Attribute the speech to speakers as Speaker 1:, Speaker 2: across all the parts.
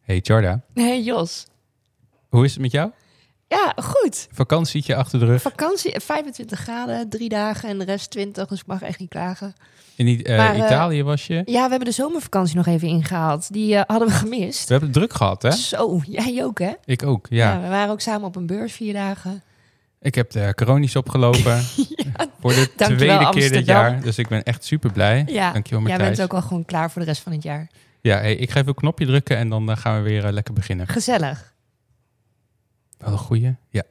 Speaker 1: Hey Jarda,
Speaker 2: Hey Jos.
Speaker 1: hoe is het met jou?
Speaker 2: Ja, goed.
Speaker 1: Vakantietje achter de rug?
Speaker 2: Vakantie, 25 graden, drie dagen en de rest 20, dus ik mag echt niet klagen.
Speaker 1: In I- eh,
Speaker 2: Maar, eh,
Speaker 1: Italië was je?
Speaker 2: Ja, we hebben de zomervakantie nog even ingehaald. Die eh, hadden we gemist.
Speaker 1: We hebben het druk gehad, hè?
Speaker 2: Zo, jij ook hè?
Speaker 1: Ik ook, ja.
Speaker 2: we waren ook samen op een beurs vier dagen.
Speaker 1: Ik heb de coronies opgelopen voor de
Speaker 2: dankjewel,
Speaker 1: tweede keer dit
Speaker 2: Amsterdam.
Speaker 1: jaar. Dus ik ben echt super blij.
Speaker 2: Ja,
Speaker 1: Dankjewel
Speaker 2: jij
Speaker 1: Matthijs.
Speaker 2: bent ook wel gewoon klaar voor de rest van het jaar.
Speaker 1: Ja, hey, ik ga even een knopje drukken en dan eh, gaan we weer eh, lekker beginnen.
Speaker 2: Gezellig.
Speaker 1: Wel een goeie. Ja.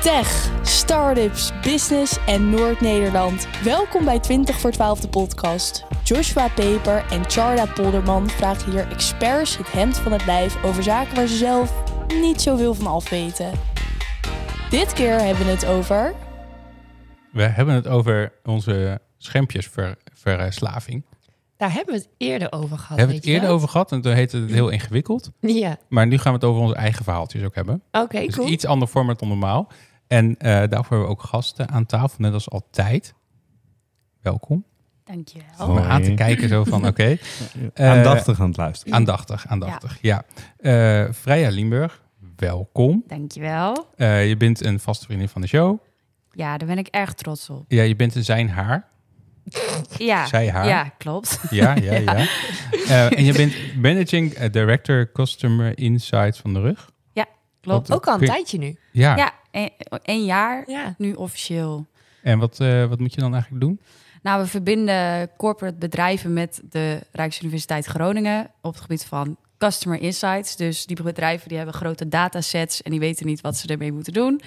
Speaker 3: Tech, startups, business en Noord-Nederland. Welkom bij 20 voor 12 de podcast. Joshua Peper en Charda Polderman vragen hier experts het hemd van het lijf over zaken waar ze zelf niet zoveel van afweten. Dit keer hebben we het over
Speaker 1: We hebben het over onze schermpjesverslaving.
Speaker 2: Daar hebben we het eerder over gehad.
Speaker 1: We hebben
Speaker 2: weet
Speaker 1: het
Speaker 2: je
Speaker 1: eerder
Speaker 2: wel?
Speaker 1: over gehad en toen heette het heel ingewikkeld.
Speaker 2: Ja,
Speaker 1: Maar nu gaan we het over onze eigen verhaaltjes ook hebben.
Speaker 2: oké,
Speaker 1: Dus
Speaker 2: cool.
Speaker 1: iets ander format dan normaal. En eh, daarvoor hebben we ook gasten aan tafel, net als altijd. Welkom.
Speaker 4: Dankjewel.
Speaker 1: Om me aan te kijken zo van, oké. Eh,
Speaker 5: Aandachtig aan het luisteren.
Speaker 1: Aandachtig, aandachtig, ja. Eh Freya Limburg, welkom.
Speaker 4: Dankjewel.
Speaker 1: Eh, je bent een vaste vriendin van de show.
Speaker 4: Ja, daar ben ik erg trots op.
Speaker 1: Ja, je bent een zijn haar.
Speaker 4: Ja,
Speaker 1: Zij haar.
Speaker 4: ja klopt.
Speaker 1: Ja, ja, ja. Eh, en je bent Managing eh, Director Customer Insights van de rug.
Speaker 4: klopt.
Speaker 1: Wat-
Speaker 2: Ook al een
Speaker 1: kun je-
Speaker 2: tijdje nu.
Speaker 1: Ja,
Speaker 4: Ja, één één jaar
Speaker 2: Ja.
Speaker 4: nu officieel.
Speaker 1: en wat, eh, wat moet je dan eigenlijk doen?
Speaker 4: Nou, we verbinden corporate bedrijven met de Rijksuniversiteit Groningen op het gebied van customer insights. Dus die bedrijven die hebben grote datasets en die weten niet wat ze ermee moeten doen.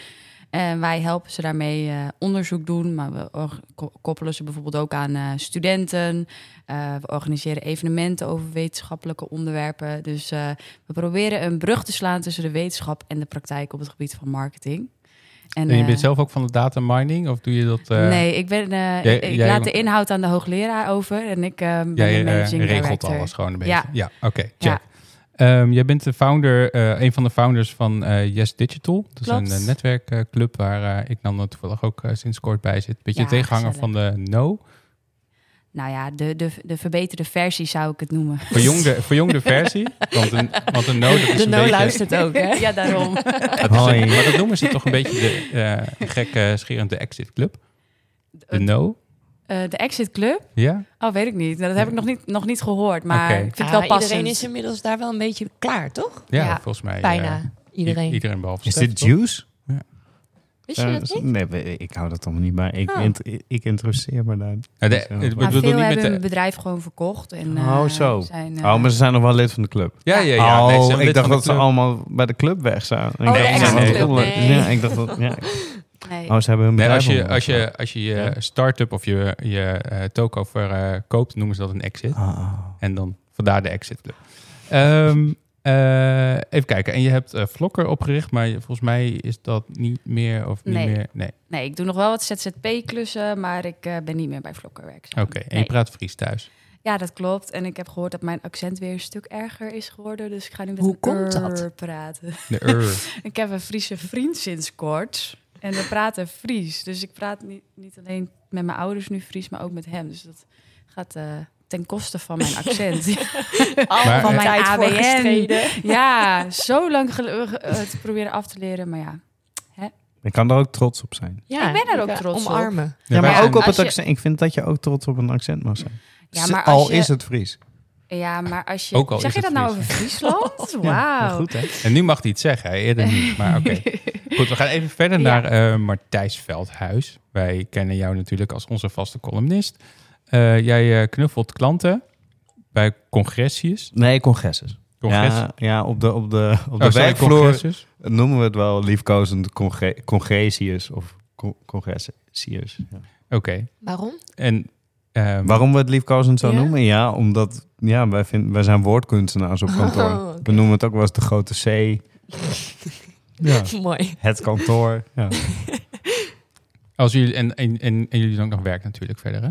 Speaker 4: En wij helpen ze daarmee eh, onderzoek doen, maar we or- ko- koppelen ze bijvoorbeeld ook aan eh, studenten. Eh, we organiseren evenementen over wetenschappelijke onderwerpen. Dus eh, we proberen een brug te slaan tussen de wetenschap en de praktijk op het gebied van marketing.
Speaker 1: En je
Speaker 4: eh,
Speaker 1: bent zelf ook van de data mining of doe je dat? eh,
Speaker 4: nee, ik, ben, eh,
Speaker 1: jij-
Speaker 4: ik- ik
Speaker 1: jij-
Speaker 4: laat de inhoud aan de hoogleraar over en ik eh, ben
Speaker 1: Jij
Speaker 4: de
Speaker 1: eh,
Speaker 4: managing
Speaker 1: regelt
Speaker 4: director.
Speaker 1: alles gewoon een beetje. Ja,
Speaker 4: Ja.
Speaker 1: oké,
Speaker 4: Ja.
Speaker 1: check. Ehm, jij bent de founder, eh, een van de founders van eh, Yes Digital. Dat is
Speaker 4: Klopt.
Speaker 1: een eh, netwerkclub waar eh, ik dan toevallig ook eh, sinds kort bij zit. Beetje
Speaker 4: Ja,
Speaker 1: tegenhanger van de No.
Speaker 4: Nou ja, de, de, de verbeterde versie zou ik het noemen.
Speaker 1: Verjongde, verjongde versie. Want een, want een No, dat is
Speaker 2: De
Speaker 1: een
Speaker 2: no
Speaker 1: beetje...
Speaker 2: luistert ook hè?
Speaker 4: ja, daarom.
Speaker 1: dat is een- maar dat noemen ze toch een beetje de eh gekke, schierende exit club. De No.
Speaker 4: Eh, de Exit Club?
Speaker 1: Ja?
Speaker 4: Oh, weet ik niet. Nou, dat heb ik nog niet, nog niet gehoord, maar
Speaker 1: Oké.
Speaker 4: ik vind
Speaker 2: Ah,
Speaker 4: het wel passend.
Speaker 2: Iedereen is inmiddels daar wel een beetje klaar, toch?
Speaker 1: ja?
Speaker 4: Ja,
Speaker 1: volgens mij. eh,
Speaker 2: Bijna
Speaker 1: i-
Speaker 2: iedereen.
Speaker 1: Iedereen behalve
Speaker 5: Is
Speaker 1: Stef,
Speaker 5: dit
Speaker 1: toch?
Speaker 5: juice?
Speaker 2: Wist je dat
Speaker 5: Eh,
Speaker 2: niet?
Speaker 5: nee, we- ik hou dat allemaal niet bij. Ik,
Speaker 2: Oh.
Speaker 5: int- ik interesseer me daar.
Speaker 1: Ja, de-
Speaker 5: niet zo.
Speaker 1: het- het-
Speaker 4: Maar
Speaker 1: Ik bedoel
Speaker 4: veel
Speaker 1: niet met
Speaker 4: hebben
Speaker 1: de-
Speaker 4: hun bedrijf gewoon verkocht. En,
Speaker 5: Oh,
Speaker 4: eh,
Speaker 5: zo.
Speaker 4: Zijn, eh,
Speaker 5: oh, maar ze zijn nog wel lid van de club.
Speaker 1: Ja, ja, ja. nee, ze
Speaker 5: oh,
Speaker 1: zijn
Speaker 5: ik
Speaker 1: lid
Speaker 5: dacht
Speaker 1: van de
Speaker 5: dat ze
Speaker 1: club.
Speaker 5: allemaal bij de club weg zijn.
Speaker 2: Oh,
Speaker 1: de exit
Speaker 2: club, nee.
Speaker 5: Ja, ik dacht dat... Ja.
Speaker 4: nee.
Speaker 5: Oh, ze hebben hun
Speaker 1: Nee,
Speaker 5: bedrijf
Speaker 1: als je,
Speaker 5: allemaal
Speaker 1: als
Speaker 5: weg.
Speaker 1: je, als je je
Speaker 5: Ja.
Speaker 1: start-up of je, je eh, toko verkoopt, noemen ze dat een exit.
Speaker 5: Ah, ah.
Speaker 1: En dan vandaar de exit club. Ehm, eh, even kijken. En je hebt eh Vlokker opgericht, maar volgens mij is dat niet meer of niet
Speaker 4: Nee.
Speaker 1: meer. Nee,
Speaker 4: nee, ik doe nog wel wat ZZP-klussen, maar ik eh, ben niet meer bij Vlokker werkzaam.
Speaker 1: oké. En je
Speaker 4: Nee.
Speaker 1: praat Fries thuis.
Speaker 4: Ja, dat klopt. En ik heb gehoord dat mijn accent weer een stuk erger is geworden. Dus ik ga nu met
Speaker 2: Hoe
Speaker 4: een
Speaker 2: komt dat?
Speaker 4: "er" praten.
Speaker 1: De ur.
Speaker 4: Ik heb een Friese vriend sinds kort. En we praten Fries. Dus ik praat niet, niet alleen met mijn ouders nu Fries, maar ook met hem. Dus dat gaat eh, ten koste van mijn accent.
Speaker 1: Maar,
Speaker 4: van
Speaker 1: eh,
Speaker 4: mijn
Speaker 2: Tijd voor
Speaker 4: ABN.
Speaker 2: gestreden.
Speaker 4: Ja, zo lang gel- ge- eh, te proberen af te leren. Maar ja,
Speaker 5: Ik kan daar ook trots op zijn.
Speaker 2: Ja,
Speaker 4: Ik ben er
Speaker 2: ik,
Speaker 4: ook
Speaker 2: eh,
Speaker 4: trots op.
Speaker 2: omarmen.
Speaker 5: Ja, maar
Speaker 4: ja,
Speaker 5: ook op
Speaker 4: als
Speaker 5: het
Speaker 4: je-
Speaker 5: accent. Ik vind dat je ook trots op een accent mag zijn.
Speaker 4: ja,
Speaker 5: Z-
Speaker 4: maar als
Speaker 5: Al
Speaker 4: je,
Speaker 5: is het Fries.
Speaker 4: Ja, maar als je...
Speaker 1: Ook al
Speaker 4: zeg
Speaker 1: is
Speaker 4: je dat
Speaker 1: het
Speaker 4: nou
Speaker 1: Fries.
Speaker 4: over Friesland?
Speaker 5: Ja, maar
Speaker 4: Wauw.
Speaker 5: Goed, hè?
Speaker 1: En nu mag hij het zeggen, hè? eerder niet. Maar oké. Goed, we gaan even verder
Speaker 4: Ja.
Speaker 1: naar eh Martijs Veldhuis. Wij kennen jou natuurlijk als onze vaste columnist. Eh, jij eh, knuffelt klanten bij congresjes.
Speaker 5: Nee, congresses.
Speaker 1: Congres...
Speaker 5: Ja, ja, op de, op de, op de
Speaker 1: Oh, sorry,
Speaker 5: werkvloer
Speaker 1: congresjes.
Speaker 5: noemen we het wel liefkozend congre congresius of co- congressius. Ja.
Speaker 1: Oké.
Speaker 2: Waarom?
Speaker 1: En ehm,
Speaker 5: Waarom we het liefkozend zo
Speaker 2: Ja?
Speaker 5: noemen? Ja, omdat ja, wij, vinden wij zijn woordkunstenaars op kantoor.
Speaker 2: Oh, oké.
Speaker 5: We noemen het ook wel eens de grote C. ja.
Speaker 1: Oh.
Speaker 2: Mooi.
Speaker 5: Het kantoor. Ja.
Speaker 1: als jullie en, en, en, en jullie doen ook nog werk natuurlijk verder. Hè?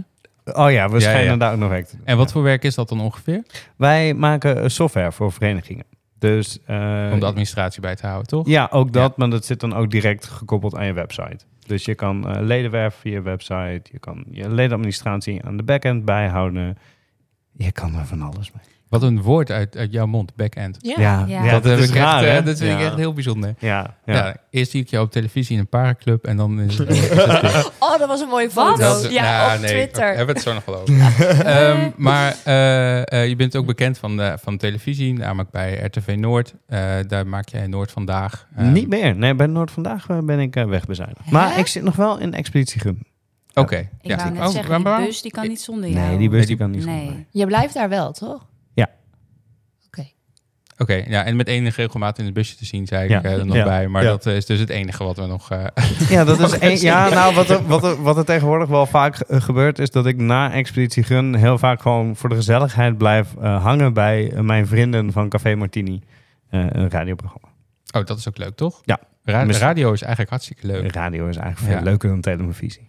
Speaker 5: Oh ja, we
Speaker 1: Ja,
Speaker 5: schijnen
Speaker 1: ja.
Speaker 5: daar ook nog werk te doen.
Speaker 1: En wat
Speaker 5: Ja.
Speaker 1: voor werk is dat dan ongeveer?
Speaker 5: Wij maken eh, software voor verenigingen. Dus, eh,
Speaker 1: Om de administratie bij te houden, toch?
Speaker 5: Ja, ook dat, maar dat zit dan ook direct gekoppeld aan je website. Dus je kan eh, leden werven via je website, je kan je ledenadministratie aan de backend bijhouden. Je kan er van alles mee.
Speaker 1: Wat een woord uit, uit jouw mond, back-end.
Speaker 2: Ja.
Speaker 5: Ja,
Speaker 4: Ja.
Speaker 5: ja,
Speaker 4: Dat
Speaker 1: dat,
Speaker 5: dat
Speaker 1: heb
Speaker 5: is
Speaker 1: ik echt,
Speaker 5: raar,
Speaker 1: eh,
Speaker 5: hè?
Speaker 1: dat vind
Speaker 5: ja.
Speaker 1: ik echt heel bijzonder.
Speaker 5: Ja,
Speaker 1: Ja.
Speaker 5: ja.
Speaker 1: eerst zie ik jou op televisie in een paraclub en dan... Is,
Speaker 2: Oh, dat was een mooie
Speaker 4: Wat?
Speaker 2: foto.
Speaker 1: is-
Speaker 2: ja,
Speaker 1: nou,
Speaker 2: op
Speaker 1: nee, oké,
Speaker 2: Twitter.
Speaker 1: hebben we het zo nog wel over. Ehm, maar eh, eh, je bent ook bekend van, de, van televisie, namelijk bij RTV Noord. Eh, daar maak jij Noord Vandaag. Ehm,
Speaker 5: Niet meer. Nee, bij Noord vandaag eh, ben ik eh, wegbezuinigd. Maar ik zit nog wel in Expeditie Gum.
Speaker 1: Oké.
Speaker 4: Ik wou net
Speaker 1: Oh,
Speaker 4: zeggen,
Speaker 1: waar-
Speaker 4: die
Speaker 1: waar-
Speaker 4: bus die kan niet zonder jou.
Speaker 5: Nee, die bus
Speaker 1: Nee,
Speaker 5: die kan niet.
Speaker 4: Nee.
Speaker 5: zonder.
Speaker 2: Je blijft daar wel, toch?
Speaker 5: Ja.
Speaker 2: Oké.
Speaker 1: Oké, ja, en met enige regelmaat in het busje te zien, zei
Speaker 5: Ja.
Speaker 1: ik eh, er nog
Speaker 5: Ja.
Speaker 1: bij. Maar
Speaker 5: Ja.
Speaker 1: dat is dus het enige wat we nog... eh,
Speaker 5: Ja, dat is een- ja nou, wat, er, wat, er, wat er tegenwoordig wel vaak eh, gebeurt, is dat ik na Expeditie Gun heel vaak gewoon voor de gezelligheid blijf eh, hangen bij eh, mijn vrienden van Café Martini. Eh, een radioprogramma.
Speaker 1: oh, dat is ook leuk, toch?
Speaker 5: Ja.
Speaker 1: Ra-
Speaker 5: Misschien-
Speaker 1: radio is eigenlijk hartstikke leuk.
Speaker 5: Radio is eigenlijk veel
Speaker 1: Ja.
Speaker 5: leuker dan televisie.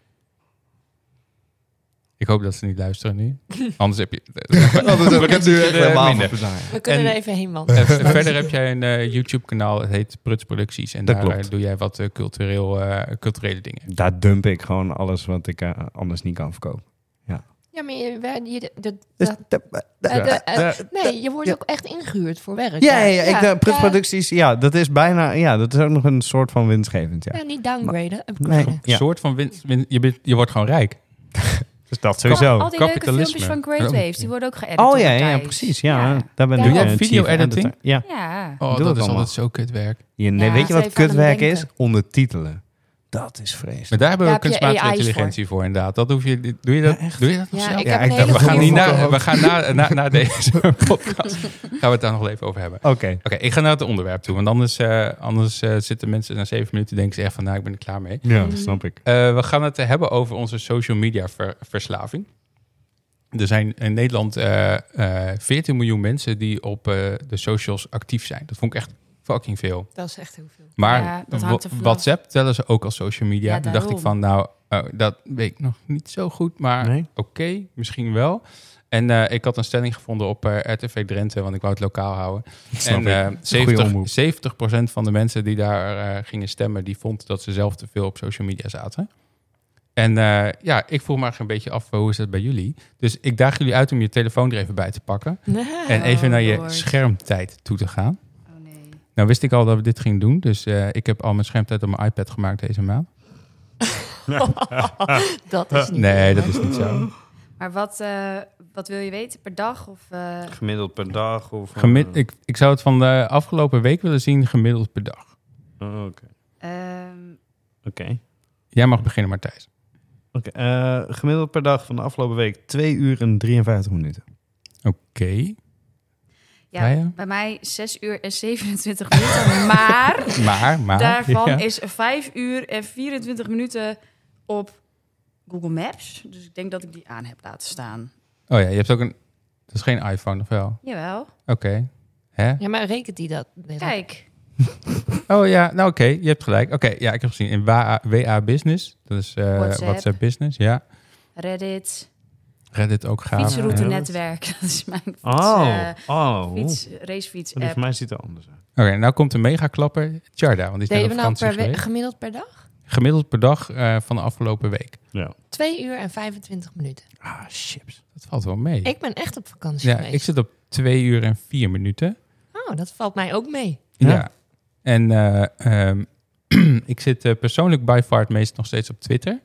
Speaker 1: Ik hoop dat ze niet luisteren nu. Anders heb je... Anders heb ik het nu eh, minder.
Speaker 2: We kunnen
Speaker 1: En-
Speaker 2: er even heen, man.
Speaker 1: Eh, verder heb jij een eh, YouTube-kanaal, het heet Pruts Producties. En
Speaker 5: Dat
Speaker 1: daar eh,
Speaker 5: klopt.
Speaker 1: doe jij wat eh, cultureel, eh, culturele dingen.
Speaker 5: Daar dump ik gewoon alles wat ik eh, anders niet kan verkopen.
Speaker 2: Ja, maar je, wij- je- de- de-
Speaker 5: Dus
Speaker 2: dat-
Speaker 5: de- de-
Speaker 2: eh, de- eh,
Speaker 5: de-
Speaker 2: nee, je wordt
Speaker 5: ja.
Speaker 2: ook echt ingehuurd voor werk.
Speaker 5: Ja, ja,
Speaker 2: daar.
Speaker 5: ja, ik, de producties, ja, dat is bijna, ja, dat is ook nog een soort van winstgevend, ja.
Speaker 2: ja, niet downgraden.
Speaker 5: Nee,
Speaker 1: Een
Speaker 5: ja.
Speaker 1: soort van winst. win- je, bent- je wordt gewoon rijk.
Speaker 5: Dus dat
Speaker 4: Al,
Speaker 5: sowieso.
Speaker 4: al die leuke
Speaker 1: Kapitalisme.
Speaker 4: filmpjes van Great
Speaker 1: Waarom?
Speaker 4: Waves, die worden ook geëdit.
Speaker 5: Oh
Speaker 4: door
Speaker 5: ja, ja,
Speaker 4: Matthijs.
Speaker 5: precies, ja.
Speaker 4: Ja.
Speaker 5: Daar ben
Speaker 4: Ja.
Speaker 5: ik
Speaker 4: Doe jij
Speaker 5: eh,
Speaker 1: video
Speaker 5: chief editor.
Speaker 1: editing?
Speaker 5: Ja.
Speaker 4: Ja.
Speaker 1: Oh,
Speaker 5: Doe
Speaker 1: dat
Speaker 5: dat
Speaker 1: is
Speaker 5: allemaal.
Speaker 1: altijd zo kut werk.
Speaker 5: Je, nee,
Speaker 4: Ja,
Speaker 5: weet je
Speaker 4: ze
Speaker 5: wat
Speaker 4: heeft aan hem
Speaker 5: kutwerk
Speaker 4: denken.
Speaker 5: is? Ondertitelen. Dat is
Speaker 1: Maar
Speaker 5: vreselijk.
Speaker 1: daar hebben we
Speaker 2: Daar heb je
Speaker 1: kunstmatige
Speaker 2: AI voor.
Speaker 1: intelligentie voor. inderdaad. Dat hoef je, doe je dat, doe je dat nog
Speaker 2: Ja,
Speaker 1: zelf?
Speaker 2: ik
Speaker 5: Ja,
Speaker 2: heb een
Speaker 5: ik-
Speaker 2: hele
Speaker 1: we gaan,
Speaker 2: goede
Speaker 1: niet
Speaker 5: vond
Speaker 1: na,
Speaker 5: ik
Speaker 1: we gaan na, na, na deze podcast gaan we het daar nog wel even over hebben.
Speaker 5: Oké.
Speaker 1: Oké, ik ga naar het onderwerp toe. Want anders, eh, anders eh, zitten mensen na zeven minuten denken ze echt van... nou, ik ben er klaar mee.
Speaker 5: Ja,
Speaker 4: Mm.
Speaker 5: dat snap ik.
Speaker 1: Eh, we gaan het eh, hebben over onze social media ver- verslaving. Er zijn in Nederland eh, eh, 14 miljoen mensen die op eh, de socials actief zijn. Dat vond ik echt fucking veel.
Speaker 2: Dat is echt heel veel.
Speaker 1: Maar
Speaker 4: Ja, dat hangt er
Speaker 1: wa-
Speaker 4: vanaf.
Speaker 1: WhatsApp tellen ze ook als social media.
Speaker 4: Ja,
Speaker 1: Toen dacht ik van,
Speaker 4: daarom.
Speaker 1: nou, eh, dat weet ik nog niet zo goed, maar
Speaker 5: Nee?
Speaker 1: oké, misschien wel. En eh, ik had een stelling gevonden op eh, RTV Drenthe, want ik wou het lokaal houden.
Speaker 5: Snap
Speaker 1: En
Speaker 5: ik.
Speaker 1: eh,
Speaker 5: Goeie
Speaker 1: 70,
Speaker 5: omroep.
Speaker 1: 70 van de mensen die daar eh, gingen stemmen, die vond dat ze zelf te veel op social media zaten. En eh, ja, ik vroeg me eigenlijk een beetje af, eh, hoe is dat bij jullie? Dus ik daag jullie uit om je telefoon er even bij te pakken. en even naar je
Speaker 4: Lord.
Speaker 1: schermtijd toe te gaan.
Speaker 4: Oh, nee.
Speaker 1: Nou wist ik al dat we dit gingen doen, dus eh, ik heb al mijn schermtijd op mijn iPad gemaakt deze maand.
Speaker 2: Dat is niet
Speaker 1: Eh, Nee, dat is niet zo.
Speaker 5: Oh.
Speaker 4: Maar wat, eh, wat wil je weten per dag? Of, eh,
Speaker 5: Gemiddeld per dag of... eh,
Speaker 1: Gemid ik, ik zou het van de afgelopen week willen zien gemiddeld per dag.
Speaker 5: oh, Oké.
Speaker 4: ehm,
Speaker 5: Oké.
Speaker 1: Jij mag beginnen, Martijn.
Speaker 5: Oké, eh, gemiddeld per dag van de afgelopen week 2 uur en 53 minuten.
Speaker 1: Oké.
Speaker 4: ja,
Speaker 1: Ga je?
Speaker 4: Bij mij 6 uur en 27 minuten. maar
Speaker 1: Maar, maar.
Speaker 4: daarvan
Speaker 1: ja.
Speaker 4: is 5 uur en 24 minuten op Google Maps. Dus ik denk dat ik die aan heb laten staan.
Speaker 1: Oh ja, je hebt ook een. Dat is geen iPhone of wel?
Speaker 4: Jawel.
Speaker 1: Oké. Hè?
Speaker 2: Ja, maar rekent die dat? Nee, dat-
Speaker 4: Kijk.
Speaker 1: Oh ja, nou oké, je hebt gelijk. Oké, ja, ik heb gezien in WA, WA Business. Dat is eh, WhatsApp.
Speaker 4: WhatsApp.
Speaker 1: Business, ja.
Speaker 4: Reddit,
Speaker 1: Reddit ook gaaf.
Speaker 4: fietsroute
Speaker 1: Ja.
Speaker 4: netwerk. Dat is mijn fiets, eh,
Speaker 5: oh.
Speaker 4: fiets, racefiets
Speaker 5: Volgens
Speaker 4: app.
Speaker 5: mij ziet het er anders uit.
Speaker 1: Oké, nou komt de megaklapper Charda, want die is net
Speaker 2: Deden
Speaker 1: op
Speaker 2: we nou
Speaker 1: vakantie
Speaker 2: per we-
Speaker 1: geweest.
Speaker 2: gemiddeld per dag?
Speaker 1: Gemiddeld per dag eh, van de afgelopen week.
Speaker 5: Ja.
Speaker 2: 2 uur en 25 minuten.
Speaker 5: Ah, chips.
Speaker 1: Dat valt wel mee.
Speaker 2: Ik ben echt op vakantie
Speaker 1: ja,
Speaker 2: geweest.
Speaker 1: ik zit op twee uur en vier minuten.
Speaker 2: Oh, dat valt mij ook mee.
Speaker 1: Ja.
Speaker 5: Ja.
Speaker 1: En eh, ehm, ik zit eh, persoonlijk by far het meest nog steeds op Twitter.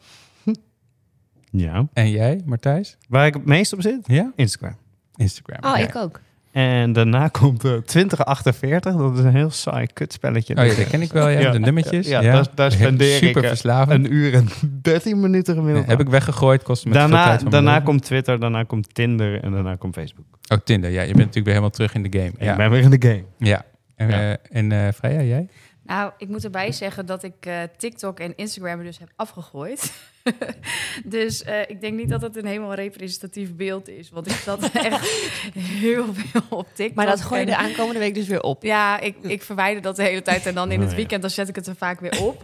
Speaker 5: Ja.
Speaker 1: En jij, Martijs?
Speaker 5: Waar ik het meest op zit?
Speaker 1: Ja?
Speaker 5: Instagram.
Speaker 1: Instagram.
Speaker 2: Oh,
Speaker 1: Ja.
Speaker 2: ik ook.
Speaker 5: En daarna komt eh 2048. Dat is een heel saai kutspelletje.
Speaker 1: Oh ja, dat ken ik wel. Ja,
Speaker 5: Ja.
Speaker 1: de nummertjes.
Speaker 5: Ja, daar- daar spendeer ik,
Speaker 1: Super
Speaker 5: eh,
Speaker 1: verslavend.
Speaker 5: Een uur en 13 minuten
Speaker 1: Nee,
Speaker 5: gemiddeld.
Speaker 1: heb ik weggegooid, kostte me te veel
Speaker 5: daarna
Speaker 1: tijd van mijn
Speaker 5: daarna
Speaker 1: leven.
Speaker 5: komt Twitter, daarna komt Tinder en daarna komt Facebook.
Speaker 1: Oh, Tinder. Ja, je bent natuurlijk weer helemaal terug in de game. Ja.
Speaker 5: Ik ben weer in de game.
Speaker 1: ja. En,
Speaker 5: Ja.
Speaker 1: eh, en eh, Freya, jij?
Speaker 4: Nou, ik moet erbij zeggen dat ik eh, TikTok en Instagram er dus heb afgegooid. dus eh, ik denk niet dat het een helemaal representatief beeld is. Want ik zat echt heel veel op TikTok.
Speaker 2: Maar dat gooi je
Speaker 4: en-
Speaker 2: de aankomende week dus weer op.
Speaker 4: Ja, ik, ik verwijder dat de hele tijd. En dan in
Speaker 5: Oh,
Speaker 4: het
Speaker 5: ja.
Speaker 4: weekend dan zet ik het er vaak weer op.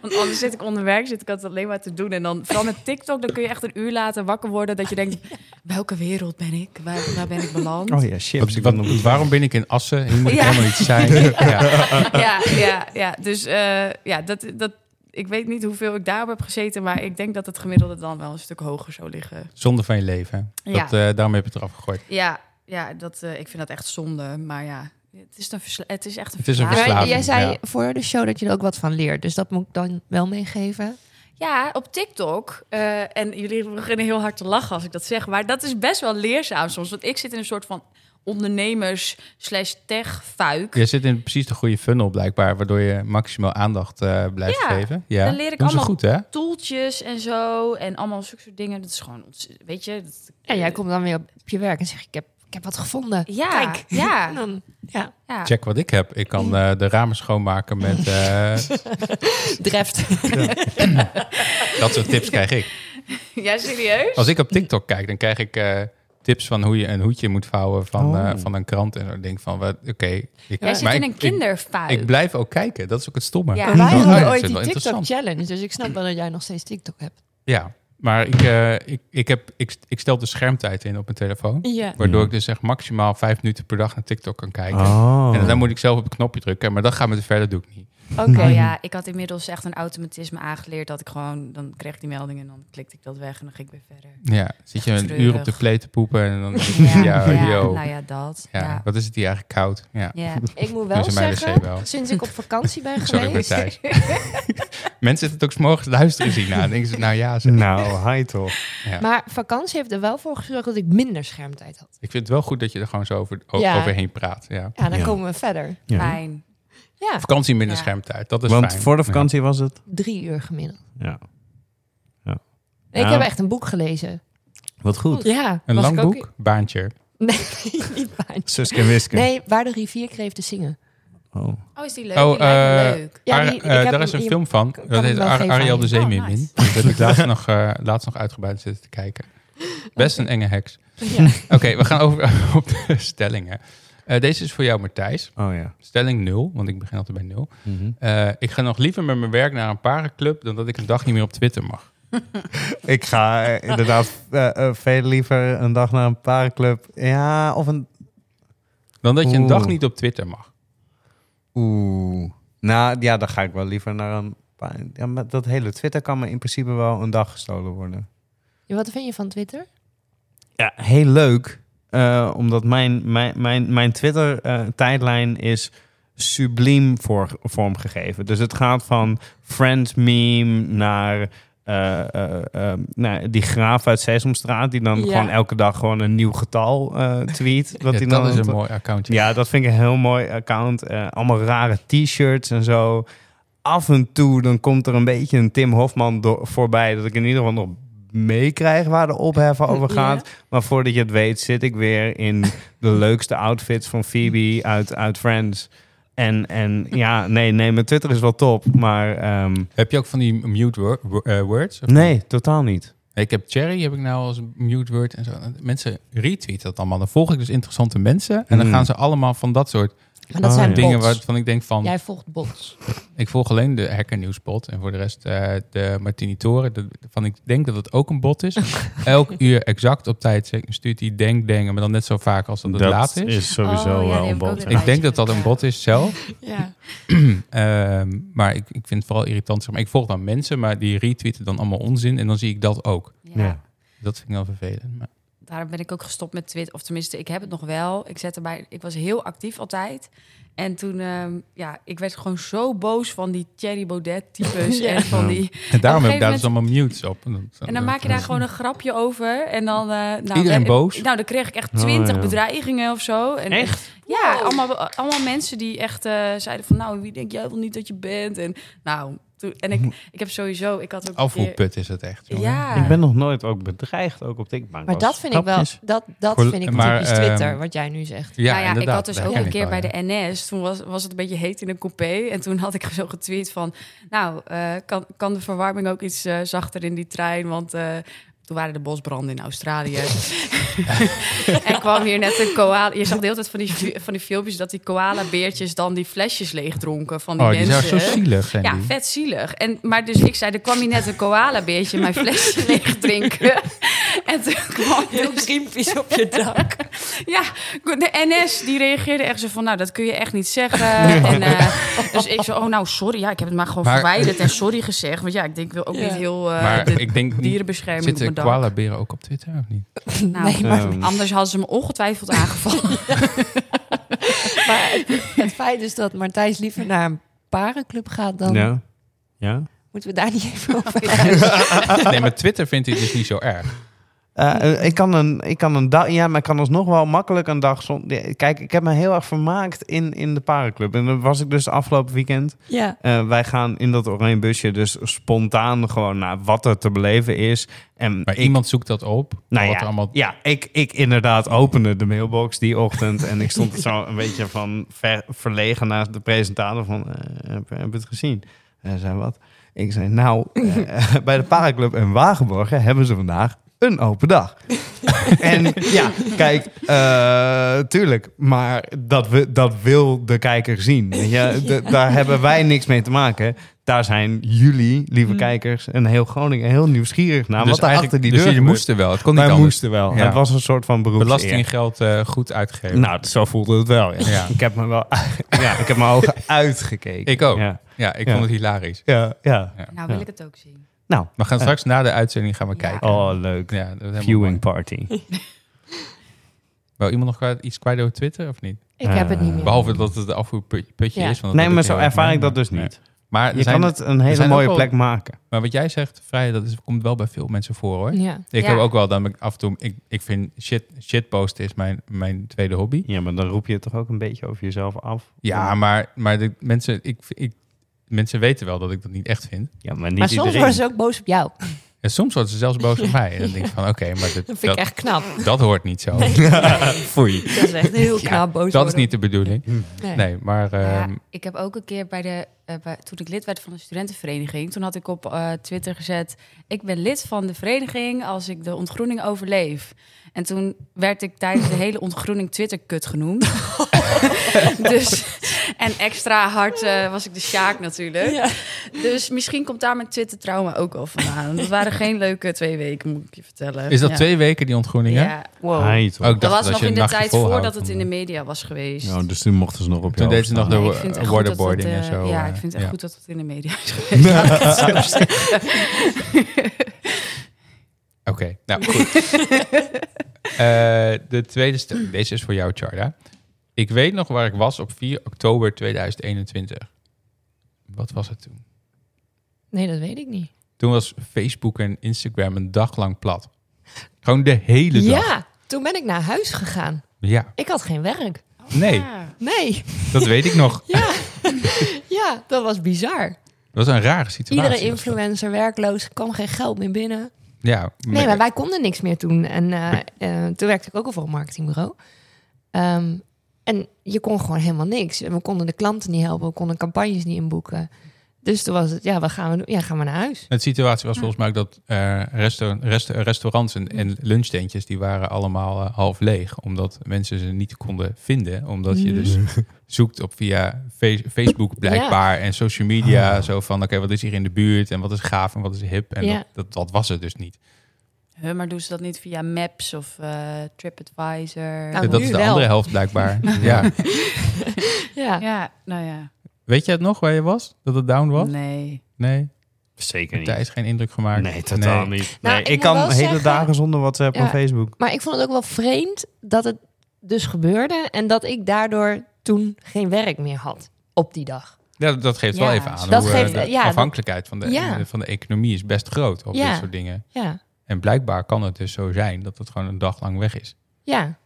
Speaker 4: Want anders zit ik onder werk, zit ik altijd alleen maar te doen. En dan, vooral met TikTok, dan kun je echt een uur later wakker worden. Dat je denkt, welke wereld ben ik? Waar, waar ben ik beland?
Speaker 5: Oh ja, chips.
Speaker 1: Wat-
Speaker 5: Ik
Speaker 1: wat-
Speaker 5: ben op-
Speaker 1: waarom ben ik in Assen? Hier moet ik
Speaker 4: Ja.
Speaker 1: helemaal niet zijn. ja.
Speaker 4: ja, ja, ja. Dus eh, ja, dat, dat, ik weet niet hoeveel ik daarop heb gezeten, maar ik denk dat het gemiddelde dan wel een stuk hoger zou liggen.
Speaker 1: Zonde van je leven. hè?
Speaker 4: Ja.
Speaker 1: Dat, eh, daarom heb je het eraf gegooid.
Speaker 4: Ja, ja dat, eh, ik vind dat echt zonde. Maar ja, het is, een versla- het is echt een
Speaker 1: Het is een
Speaker 4: verslaving.
Speaker 1: verslaving.
Speaker 2: Maar
Speaker 1: Verslaving,
Speaker 2: jij zei
Speaker 1: ja.
Speaker 2: voor de show dat je er ook wat van leert. Dus dat moet ik dan wel meegeven.
Speaker 4: Ja, op TikTok. eh, en jullie beginnen heel hard te lachen als ik dat zeg. Maar dat is best wel leerzaam soms. Want ik zit in een soort van ondernemers slash tech fuik.
Speaker 1: Je zit in precies de goede funnel blijkbaar, waardoor je maximaal aandacht eh, blijft
Speaker 4: Ja,
Speaker 1: geven. Ja,
Speaker 4: dan leer ik
Speaker 1: Doen ze
Speaker 4: allemaal-
Speaker 1: goed, hè?
Speaker 4: Toeltjes en zo. En allemaal zulke soort dingen. Dat is gewoon, ontz- weet je. dat-
Speaker 2: En jij komt dan weer op op je werk en zeg ik heb, ik heb wat gevonden.
Speaker 4: Ja,
Speaker 2: Kijk. Nou. En
Speaker 4: ja,
Speaker 2: dan ja,
Speaker 4: ja.
Speaker 1: Check wat ik heb. Ik kan eh, de ramen schoonmaken met... eh,
Speaker 2: dreft.
Speaker 1: dat soort tips krijg ik.
Speaker 4: Ja, serieus?
Speaker 1: Als ik op TikTok kijk, dan krijg ik... eh, Tips van hoe je een hoedje moet vouwen van,
Speaker 5: Oh.
Speaker 1: eh, van een krant. En dan denk ik van, wat- oké. ik-
Speaker 4: Jij zit
Speaker 1: maar
Speaker 4: in
Speaker 1: ik-
Speaker 4: een
Speaker 1: ik-
Speaker 4: kinderfuik.
Speaker 1: Ik blijf ook kijken. Dat is ook het stomme.
Speaker 4: Ja.
Speaker 1: Ik
Speaker 2: En wij
Speaker 1: denk, oh,
Speaker 2: hadden
Speaker 1: dat
Speaker 2: ooit
Speaker 1: is wel
Speaker 2: die TikTok
Speaker 1: interessant.
Speaker 2: challenge, dus ik snap wel dat jij nog steeds TikTok hebt.
Speaker 1: Ja, maar ik, eh, ik, ik, heb, ik, ik stel de schermtijd in op mijn telefoon.
Speaker 2: Ja.
Speaker 1: Waardoor
Speaker 5: Ja.
Speaker 1: ik dus echt maximaal vijf minuten per dag naar TikTok kan kijken.
Speaker 5: Oh.
Speaker 1: En dan moet ik zelf op het knopje drukken. Maar dat gaat me te ver, dat doe ik niet.
Speaker 4: Oké,
Speaker 1: Nou.
Speaker 4: ja, ik had inmiddels echt een automatisme aangeleerd dat ik gewoon, dan kreeg ik die melding en dan klikte ik dat weg en dan ging ik weer verder.
Speaker 1: Ja, zit je een
Speaker 4: Treurig.
Speaker 1: uur op de play te poepen en dan... ja, yo.
Speaker 4: nou ja, dat.
Speaker 1: Ja,
Speaker 4: Ja,
Speaker 1: wat is het hier eigenlijk koud? Ja,
Speaker 4: ja.
Speaker 2: Ik moet
Speaker 1: Dat
Speaker 2: wel
Speaker 1: is in mijn wc
Speaker 2: zeggen,
Speaker 1: wel.
Speaker 2: sinds ik op vakantie ben
Speaker 1: sorry
Speaker 2: geweest...
Speaker 1: Matthijs. Mensen zitten ook s'morgens luisteren zien na. Dan denken ze, nou ja, zeg.
Speaker 5: Nou, hi toch.
Speaker 1: Ja.
Speaker 2: Maar vakantie heeft er wel voor gezorgd dat ik minder schermtijd had.
Speaker 1: Ik vind het wel goed dat je er gewoon zo over, o-
Speaker 2: Ja.
Speaker 1: overheen praat. Ja.
Speaker 2: Ja, dan
Speaker 5: Ja.
Speaker 2: komen we verder.
Speaker 5: Ja.
Speaker 4: fijn.
Speaker 2: Ja,
Speaker 1: Vakantie minder
Speaker 4: Ja.
Speaker 1: schermtijd, dat is
Speaker 5: Want
Speaker 1: fijn.
Speaker 5: voor de
Speaker 1: Ja.
Speaker 5: vakantie was het.
Speaker 2: drie uur gemiddeld.
Speaker 5: Ja.
Speaker 2: Ik
Speaker 5: Ja.
Speaker 2: heb echt een boek gelezen.
Speaker 5: Wat goed.
Speaker 2: Ja,
Speaker 1: Een
Speaker 2: was
Speaker 1: lang
Speaker 2: ik ook-
Speaker 1: boek, baantje.
Speaker 2: Nee, niet waar.
Speaker 5: Suske en Wiske.
Speaker 2: Nee, waar de rivier kreeg te zingen.
Speaker 5: Oh.
Speaker 4: Oh, is die leuk?
Speaker 1: Oh,
Speaker 4: Die lijkt me
Speaker 1: eh,
Speaker 4: leuk.
Speaker 2: Ja,
Speaker 1: Ar-
Speaker 2: die- ik
Speaker 1: eh,
Speaker 2: heb
Speaker 1: daar
Speaker 2: hem-
Speaker 1: is een
Speaker 2: je-
Speaker 1: film van.
Speaker 2: kan
Speaker 1: Dat
Speaker 2: hem
Speaker 1: heet
Speaker 2: wel
Speaker 1: Ar-
Speaker 2: geven
Speaker 1: Ariel
Speaker 2: aan
Speaker 1: de
Speaker 2: je.
Speaker 1: Zeemeermin.
Speaker 4: Oh, nice.
Speaker 1: Dat heb ik laatst nog, eh, laatst nog uitgebreid zitten te kijken. Best een enge heks.
Speaker 2: Ja.
Speaker 1: Oké, we gaan over op de stellingen. Eh, deze is voor jou, Martijs.
Speaker 5: Oh ja.
Speaker 1: Stelling 0, want ik begin altijd bij 0.
Speaker 5: Mhm.
Speaker 1: Eh, ik ga nog liever met mijn werk naar een parenclub dan dat ik een dag niet meer op Twitter mag.
Speaker 5: Ik ga eh, inderdaad eh, eh, veel liever een dag naar een parenclub. Ja, of een...
Speaker 1: Dan dat je een dag
Speaker 5: Oeh.
Speaker 1: niet op Twitter mag.
Speaker 5: Oeh. Nou ja, dan ga ik wel liever naar een... pa- Ja, maar dat hele Twitter kan me in principe wel een dag gestolen worden.
Speaker 2: Ja, Wat vind je van Twitter?
Speaker 5: Ja, heel leuk. eh, omdat mijn, mijn, mijn, mijn Twitter-tijdlijn is subliem voor, vormgegeven. Dus het gaat van friend meme naar, eh, eh, eh, naar die graaf uit Sesamstraat... die dan
Speaker 2: Ja.
Speaker 5: gewoon elke dag gewoon een nieuw getal eh, tweet.
Speaker 1: Ja,
Speaker 5: die
Speaker 1: dat
Speaker 5: dan
Speaker 1: is een mooi accountje.
Speaker 5: ja, dat vind ik een heel mooi account. Eh, allemaal rare t-shirts en zo. Af en toe dan komt er een beetje een Tim Hofman do- voorbij. Dat ik in ieder geval nog meekrijg waar de ophef over
Speaker 2: Ja.
Speaker 5: gaat. Maar voordat je het weet zit ik weer in de leukste outfits van Phoebe uit, uit Friends. En, en ja, nee, nee, mijn Twitter is wel top. Maar ehm,
Speaker 1: Heb je ook van die mute wo- wo- eh, words? Of-
Speaker 5: nee, totaal niet.
Speaker 1: Ik heb Cherry, heb ik nou als mute word en zo. Mensen retweeten dat allemaal. Dan volg ik dus interessante mensen. En dan
Speaker 5: Mm.
Speaker 1: gaan ze allemaal van dat soort
Speaker 2: Maar dat
Speaker 5: Ah,
Speaker 2: zijn
Speaker 5: ja.
Speaker 1: dingen
Speaker 2: bots.
Speaker 1: waarvan ik denk van...
Speaker 2: Jij volgt bots.
Speaker 1: Ik volg alleen de Hacker Nieuwsbot. En voor de rest eh, de Martini Toren. de- Van ik denk dat het ook een bot is. Elk uur exact op tijd stuurt hij denk denken. Maar dan net zo vaak als dat het laat is.
Speaker 4: sowieso Oh, ja, wel die een heb ik ook bot, weer. ja.
Speaker 1: Ik denk dat dat een bot is zelf.
Speaker 2: Ja.
Speaker 1: Ehm, maar ik, ik vind het vooral irritant. Zeg maar. Ik volg dan mensen, maar die retweeten dan allemaal onzin. En dan zie ik dat ook.
Speaker 4: Ja.
Speaker 5: Ja.
Speaker 1: Dat vind ik wel vervelend. Maar
Speaker 4: Daarom ben ik ook gestopt met Twitter. Of tenminste, ik heb het nog wel. Ik, zet erbij, ik was heel actief altijd. En toen, ehm, ja, ik werd gewoon zo boos van die Thierry Baudet-types.
Speaker 2: Ja.
Speaker 4: En van
Speaker 5: Ja.
Speaker 4: die...
Speaker 1: en daarom heb ik
Speaker 4: Op een
Speaker 1: daar
Speaker 4: gegeven
Speaker 1: dus allemaal mutes op.
Speaker 4: En dan maak je daar gewoon een grapje over. En dan... eh, nou,
Speaker 1: Iedereen
Speaker 4: eh,
Speaker 1: boos?
Speaker 4: Nou, dan kreeg ik echt
Speaker 5: Oh,
Speaker 4: twintig
Speaker 5: ja.
Speaker 4: bedreigingen of zo. En,
Speaker 5: Echt?
Speaker 4: Ja, allemaal, allemaal mensen die echt eh, zeiden van... Nou, wie denk jij wel niet dat je bent? En nou... toen- En
Speaker 5: Hm.
Speaker 4: ik, ik heb sowieso... Ik had ook een keer-
Speaker 1: Afvoerput is het echt. jongen.
Speaker 4: Ja.
Speaker 5: Ik ben nog nooit ook bedreigd, ook op TikTok.
Speaker 2: Maar dat vind ik wel,
Speaker 5: Grapjes.
Speaker 2: dat, dat
Speaker 1: Voor-
Speaker 2: vind ik
Speaker 1: maar,
Speaker 2: typisch Twitter,
Speaker 1: ehm,
Speaker 2: wat jij nu zegt.
Speaker 1: Ja,
Speaker 4: nou ja, ik
Speaker 1: inderdaad.
Speaker 4: had dus
Speaker 1: Dat
Speaker 4: ook
Speaker 1: ken
Speaker 4: een
Speaker 1: ik
Speaker 4: keer
Speaker 1: wel,
Speaker 4: bij
Speaker 1: ja.
Speaker 4: de NS. Toen was, was het een beetje heet in een coupé. En toen had ik zo getweet van... Nou, eh, kan, kan de verwarming ook iets eh, zachter in die trein? Want eh, toen waren de bosbranden in Australië. en kwam hier net een koala... Je zag de hele tijd van die, fi- van die filmpjes... dat die koala-beertjes dan die flesjes leegdronken van die
Speaker 1: Oh, die
Speaker 4: mensen.
Speaker 1: zijn zo zielig zijn
Speaker 4: Ja,
Speaker 1: die.
Speaker 4: vet zielig. En, maar dus ik zei, er kwam hier net een koala-beertje mijn flesje leeg drinken. En toen kwam
Speaker 3: Heel
Speaker 4: dus-
Speaker 3: Greenpeace op je dak.
Speaker 4: Ja, de NS die reageerde echt zo van, nou dat kun je echt niet zeggen. En, eh, dus ik zo, oh nou sorry, ja ik heb het maar gewoon
Speaker 1: Maar-
Speaker 4: verwijderd en sorry gezegd. Want ja, ik denk ik wil ook
Speaker 3: Ja.
Speaker 4: niet heel eh,
Speaker 1: maar
Speaker 4: de
Speaker 1: ik denk, niet-
Speaker 4: dierenbescherming op
Speaker 1: zitten
Speaker 4: mijn dak.
Speaker 1: koalaberen ook op Twitter of niet?
Speaker 4: Nou,
Speaker 2: nee, maar,
Speaker 5: Ehm,
Speaker 4: Anders hadden ze me ongetwijfeld aangevallen.
Speaker 2: maar het, het feit is dat Martijs liever naar een parenclub gaat dan...
Speaker 5: ja. ja.
Speaker 2: Moeten we daar niet even over hebben?
Speaker 5: Ah.
Speaker 1: nee, maar Twitter vindt hij dus niet zo erg.
Speaker 5: Eh, eh, ik kan een, ik kan een dag, ja, maar ik kan alsnog wel makkelijk een dag zonder. Kijk, ik heb me heel erg vermaakt in, in de parenclub. En dan was ik dus afgelopen weekend.
Speaker 2: ja.
Speaker 5: Eh, wij gaan in dat oranje busje dus spontaan gewoon naar wat er te beleven is. En
Speaker 1: Maar
Speaker 5: ik-
Speaker 1: iemand zoekt dat op.
Speaker 5: nou
Speaker 1: wat
Speaker 5: ja,
Speaker 1: er allemaal...
Speaker 5: ja ik, ik inderdaad opende de mailbox die ochtend. en ik stond zo een beetje van ver- verlegen naast de presentator van... eh, heb, heb je het gezien? En hij zei, wat? Ik zei, nou, eh, bij de Paraclub in Wagenborgen hebben ze vandaag een open dag. en ja, kijk, eh, tuurlijk, maar dat, we, dat wil de kijker zien. Weet je? D- Daar hebben wij niks mee te maken. Daar zijn jullie, lieve kijkers, en heel Groningen heel nieuwsgierig naar. wat er
Speaker 1: Hmm.
Speaker 5: achter die
Speaker 1: dus
Speaker 5: deur
Speaker 1: jullie
Speaker 5: gebeurt.
Speaker 1: moesten wel. Het kon niet
Speaker 5: Wij
Speaker 1: anders.
Speaker 5: moesten wel.
Speaker 1: Ja.
Speaker 5: Het was een soort van beroepseer.
Speaker 1: Belastinggeld eh, goed uitgegeven.
Speaker 5: Nou, zo voelde het wel. Ja.
Speaker 1: Ja.
Speaker 5: Ik heb me wel, ja, ik heb mijn ogen uitgekeken.
Speaker 1: Ik ook.
Speaker 5: Ja,
Speaker 1: ja, ik
Speaker 5: ja.
Speaker 1: vond het hilarisch.
Speaker 5: ja. ja.
Speaker 4: Nou wil
Speaker 5: Ja.
Speaker 4: ik het ook zien.
Speaker 5: Nou,
Speaker 1: We gaan straks na de uitzending gaan we
Speaker 4: Ja.
Speaker 1: kijken.
Speaker 5: oh leuk.
Speaker 1: Ja, dat is helemaal
Speaker 5: Viewing
Speaker 1: mooi.
Speaker 5: party.
Speaker 1: Wou iemand nog kwijt- iets kwijt over Twitter of niet?
Speaker 2: Ik heb het niet meer.
Speaker 1: Behalve dat het een afvoerputje
Speaker 2: Ja.
Speaker 1: is. Want dat
Speaker 5: Nee,
Speaker 1: heb
Speaker 5: maar
Speaker 1: ik
Speaker 5: zo
Speaker 1: heel erg
Speaker 5: ervaar ik
Speaker 1: mee.
Speaker 5: dat dus
Speaker 1: Nee.
Speaker 5: niet.
Speaker 1: Maar,
Speaker 5: Je
Speaker 1: er zijn,
Speaker 5: kan het een hele
Speaker 1: zijn ook
Speaker 5: mooie
Speaker 1: wel-
Speaker 5: plek maken.
Speaker 1: maar wat jij zegt, vrij, dat is, komt wel bij veel mensen voor hoor.
Speaker 2: Ja.
Speaker 1: Ik
Speaker 4: Ja.
Speaker 1: heb ook wel dan ben ik af en toe... Ik, ik vind shit, shitposten is mijn, mijn tweede hobby.
Speaker 5: Ja, maar dan roep je het toch ook een beetje over jezelf af?
Speaker 1: Ja, maar, maar de mensen, ik, ik, mensen weten wel dat ik dat niet echt vind.
Speaker 5: Ja, maar niet
Speaker 2: Maar soms
Speaker 5: iedereen.
Speaker 2: worden ze ook boos op jou.
Speaker 1: En soms worden ze zelfs boos op mij. En dan denk ik van, oké, maar dit-
Speaker 2: Dat vind ik
Speaker 1: dat,
Speaker 2: echt knap.
Speaker 1: dat hoort niet zo. Foei.
Speaker 2: Dat is echt heel
Speaker 1: Ja,
Speaker 2: knap boos
Speaker 1: Dat is
Speaker 2: worden.
Speaker 1: niet de bedoeling.
Speaker 2: Nee.
Speaker 1: Nee, maar... ehm,
Speaker 4: Ja, ik heb ook een keer bij de. eh, bij- toen ik lid werd van een studentenvereniging. toen had ik op eh, Twitter gezet. Ik ben lid van de vereniging als ik de ontgroening overleef. En toen werd ik tijdens de hele ontgroening Twitterkut genoemd. dus, en extra hard eh, was ik de Sjaak natuurlijk.
Speaker 2: Ja.
Speaker 4: Dus misschien komt daar mijn Twitter-trauma ook wel vandaan. Dat waren geen leuke twee weken, moet ik je vertellen.
Speaker 1: Is dat
Speaker 4: Ja.
Speaker 1: twee weken die ontgroeningen?
Speaker 4: Ja.
Speaker 2: Wow.
Speaker 5: Hai, toch?
Speaker 1: Ook
Speaker 4: Dat was nog in de tijd voordat
Speaker 1: voordat
Speaker 4: het in de media was geweest.
Speaker 5: Ja, dus toen mochten ze nog
Speaker 1: Toen
Speaker 5: op jou
Speaker 1: deden ze nog
Speaker 5: staan.
Speaker 1: de
Speaker 4: Nee, ik vind het echt goed dat dat,
Speaker 1: waterboarding en
Speaker 4: eh,
Speaker 1: zo.
Speaker 4: Ja,
Speaker 1: eh,
Speaker 4: ik vind het echt
Speaker 1: ja.
Speaker 4: goed dat het in de media is geweest. Laat ik het zo zeggen.
Speaker 1: Oké, nou goed. Eh, de tweede stelling. Deze is voor jou, Charda. Ik weet nog waar ik was op 4 oktober 2021. Wat was het toen?
Speaker 2: Nee, dat weet ik niet.
Speaker 1: Toen was Facebook en Instagram een dag lang plat. Gewoon de hele dag.
Speaker 2: Ja, toen ben ik naar huis gegaan.
Speaker 1: Ja.
Speaker 2: Ik had geen werk.
Speaker 1: Nee,
Speaker 2: Nee,
Speaker 1: dat weet ik nog.
Speaker 2: ja, dat was bizar.
Speaker 1: Dat was een rare situatie.
Speaker 2: Iedere
Speaker 1: was dat.
Speaker 2: influencer werkloos, kwam geen geld meer binnen.
Speaker 1: Ja,
Speaker 2: Nee, maar wij konden niks meer toen. En eh, eh, toen werkte ik ook al voor een marketingbureau. Ehm, en je kon gewoon helemaal niks. En we konden de klanten niet helpen, we konden campagnes niet inboeken. Dus toen was het, ja, wat gaan we doen? Ja, gaan we naar huis.
Speaker 1: De situatie was volgens mij ook dat eh, resta- resta- restaurants en, en lunchtentjes, die waren allemaal eh, half leeg. Omdat mensen ze niet konden vinden. Omdat je dus
Speaker 5: Mm.
Speaker 1: zoekt op via fe- Facebook blijkbaar en social media.
Speaker 5: Ah.
Speaker 1: Zo van, oké, wat is hier in de buurt en wat is gaaf en wat is hip. En
Speaker 2: Ja.
Speaker 1: dat, dat, dat was het dus niet.
Speaker 4: Huh, maar doen ze dat niet via Maps of eh, TripAdvisor?
Speaker 2: Nou,
Speaker 1: En dat
Speaker 2: nu
Speaker 1: is de
Speaker 2: wel.
Speaker 1: andere helft blijkbaar. ja.
Speaker 2: Ja,
Speaker 4: Ja, nou ja.
Speaker 1: Weet je het nog waar je was? Dat het down was?
Speaker 4: Nee.
Speaker 1: Nee.
Speaker 5: Zeker
Speaker 1: Daar
Speaker 5: niet.
Speaker 1: is geen indruk gemaakt.
Speaker 5: Nee, totaal
Speaker 1: Nee.
Speaker 5: niet.
Speaker 2: Nou,
Speaker 5: nee,
Speaker 2: ik
Speaker 5: ik
Speaker 2: moet
Speaker 5: kan
Speaker 2: wel
Speaker 5: hele
Speaker 2: zeggen-
Speaker 5: dagen zonder WhatsApp
Speaker 2: Ja.
Speaker 5: en Facebook.
Speaker 2: maar ik vond het ook wel vreemd dat het dus gebeurde. En dat ik daardoor toen geen werk meer had op die dag.
Speaker 1: Ja, dat geeft wel
Speaker 4: Ja,
Speaker 1: even aan
Speaker 2: dat
Speaker 1: hoe
Speaker 2: geeft-
Speaker 1: eh, de
Speaker 2: ja, dat-
Speaker 1: afhankelijkheid van de,
Speaker 2: Ja.
Speaker 1: van de economie is best groot op
Speaker 2: Ja.
Speaker 1: dit soort dingen.
Speaker 2: Ja,
Speaker 1: En blijkbaar kan het dus zo zijn dat het gewoon een dag lang weg is.
Speaker 2: ja.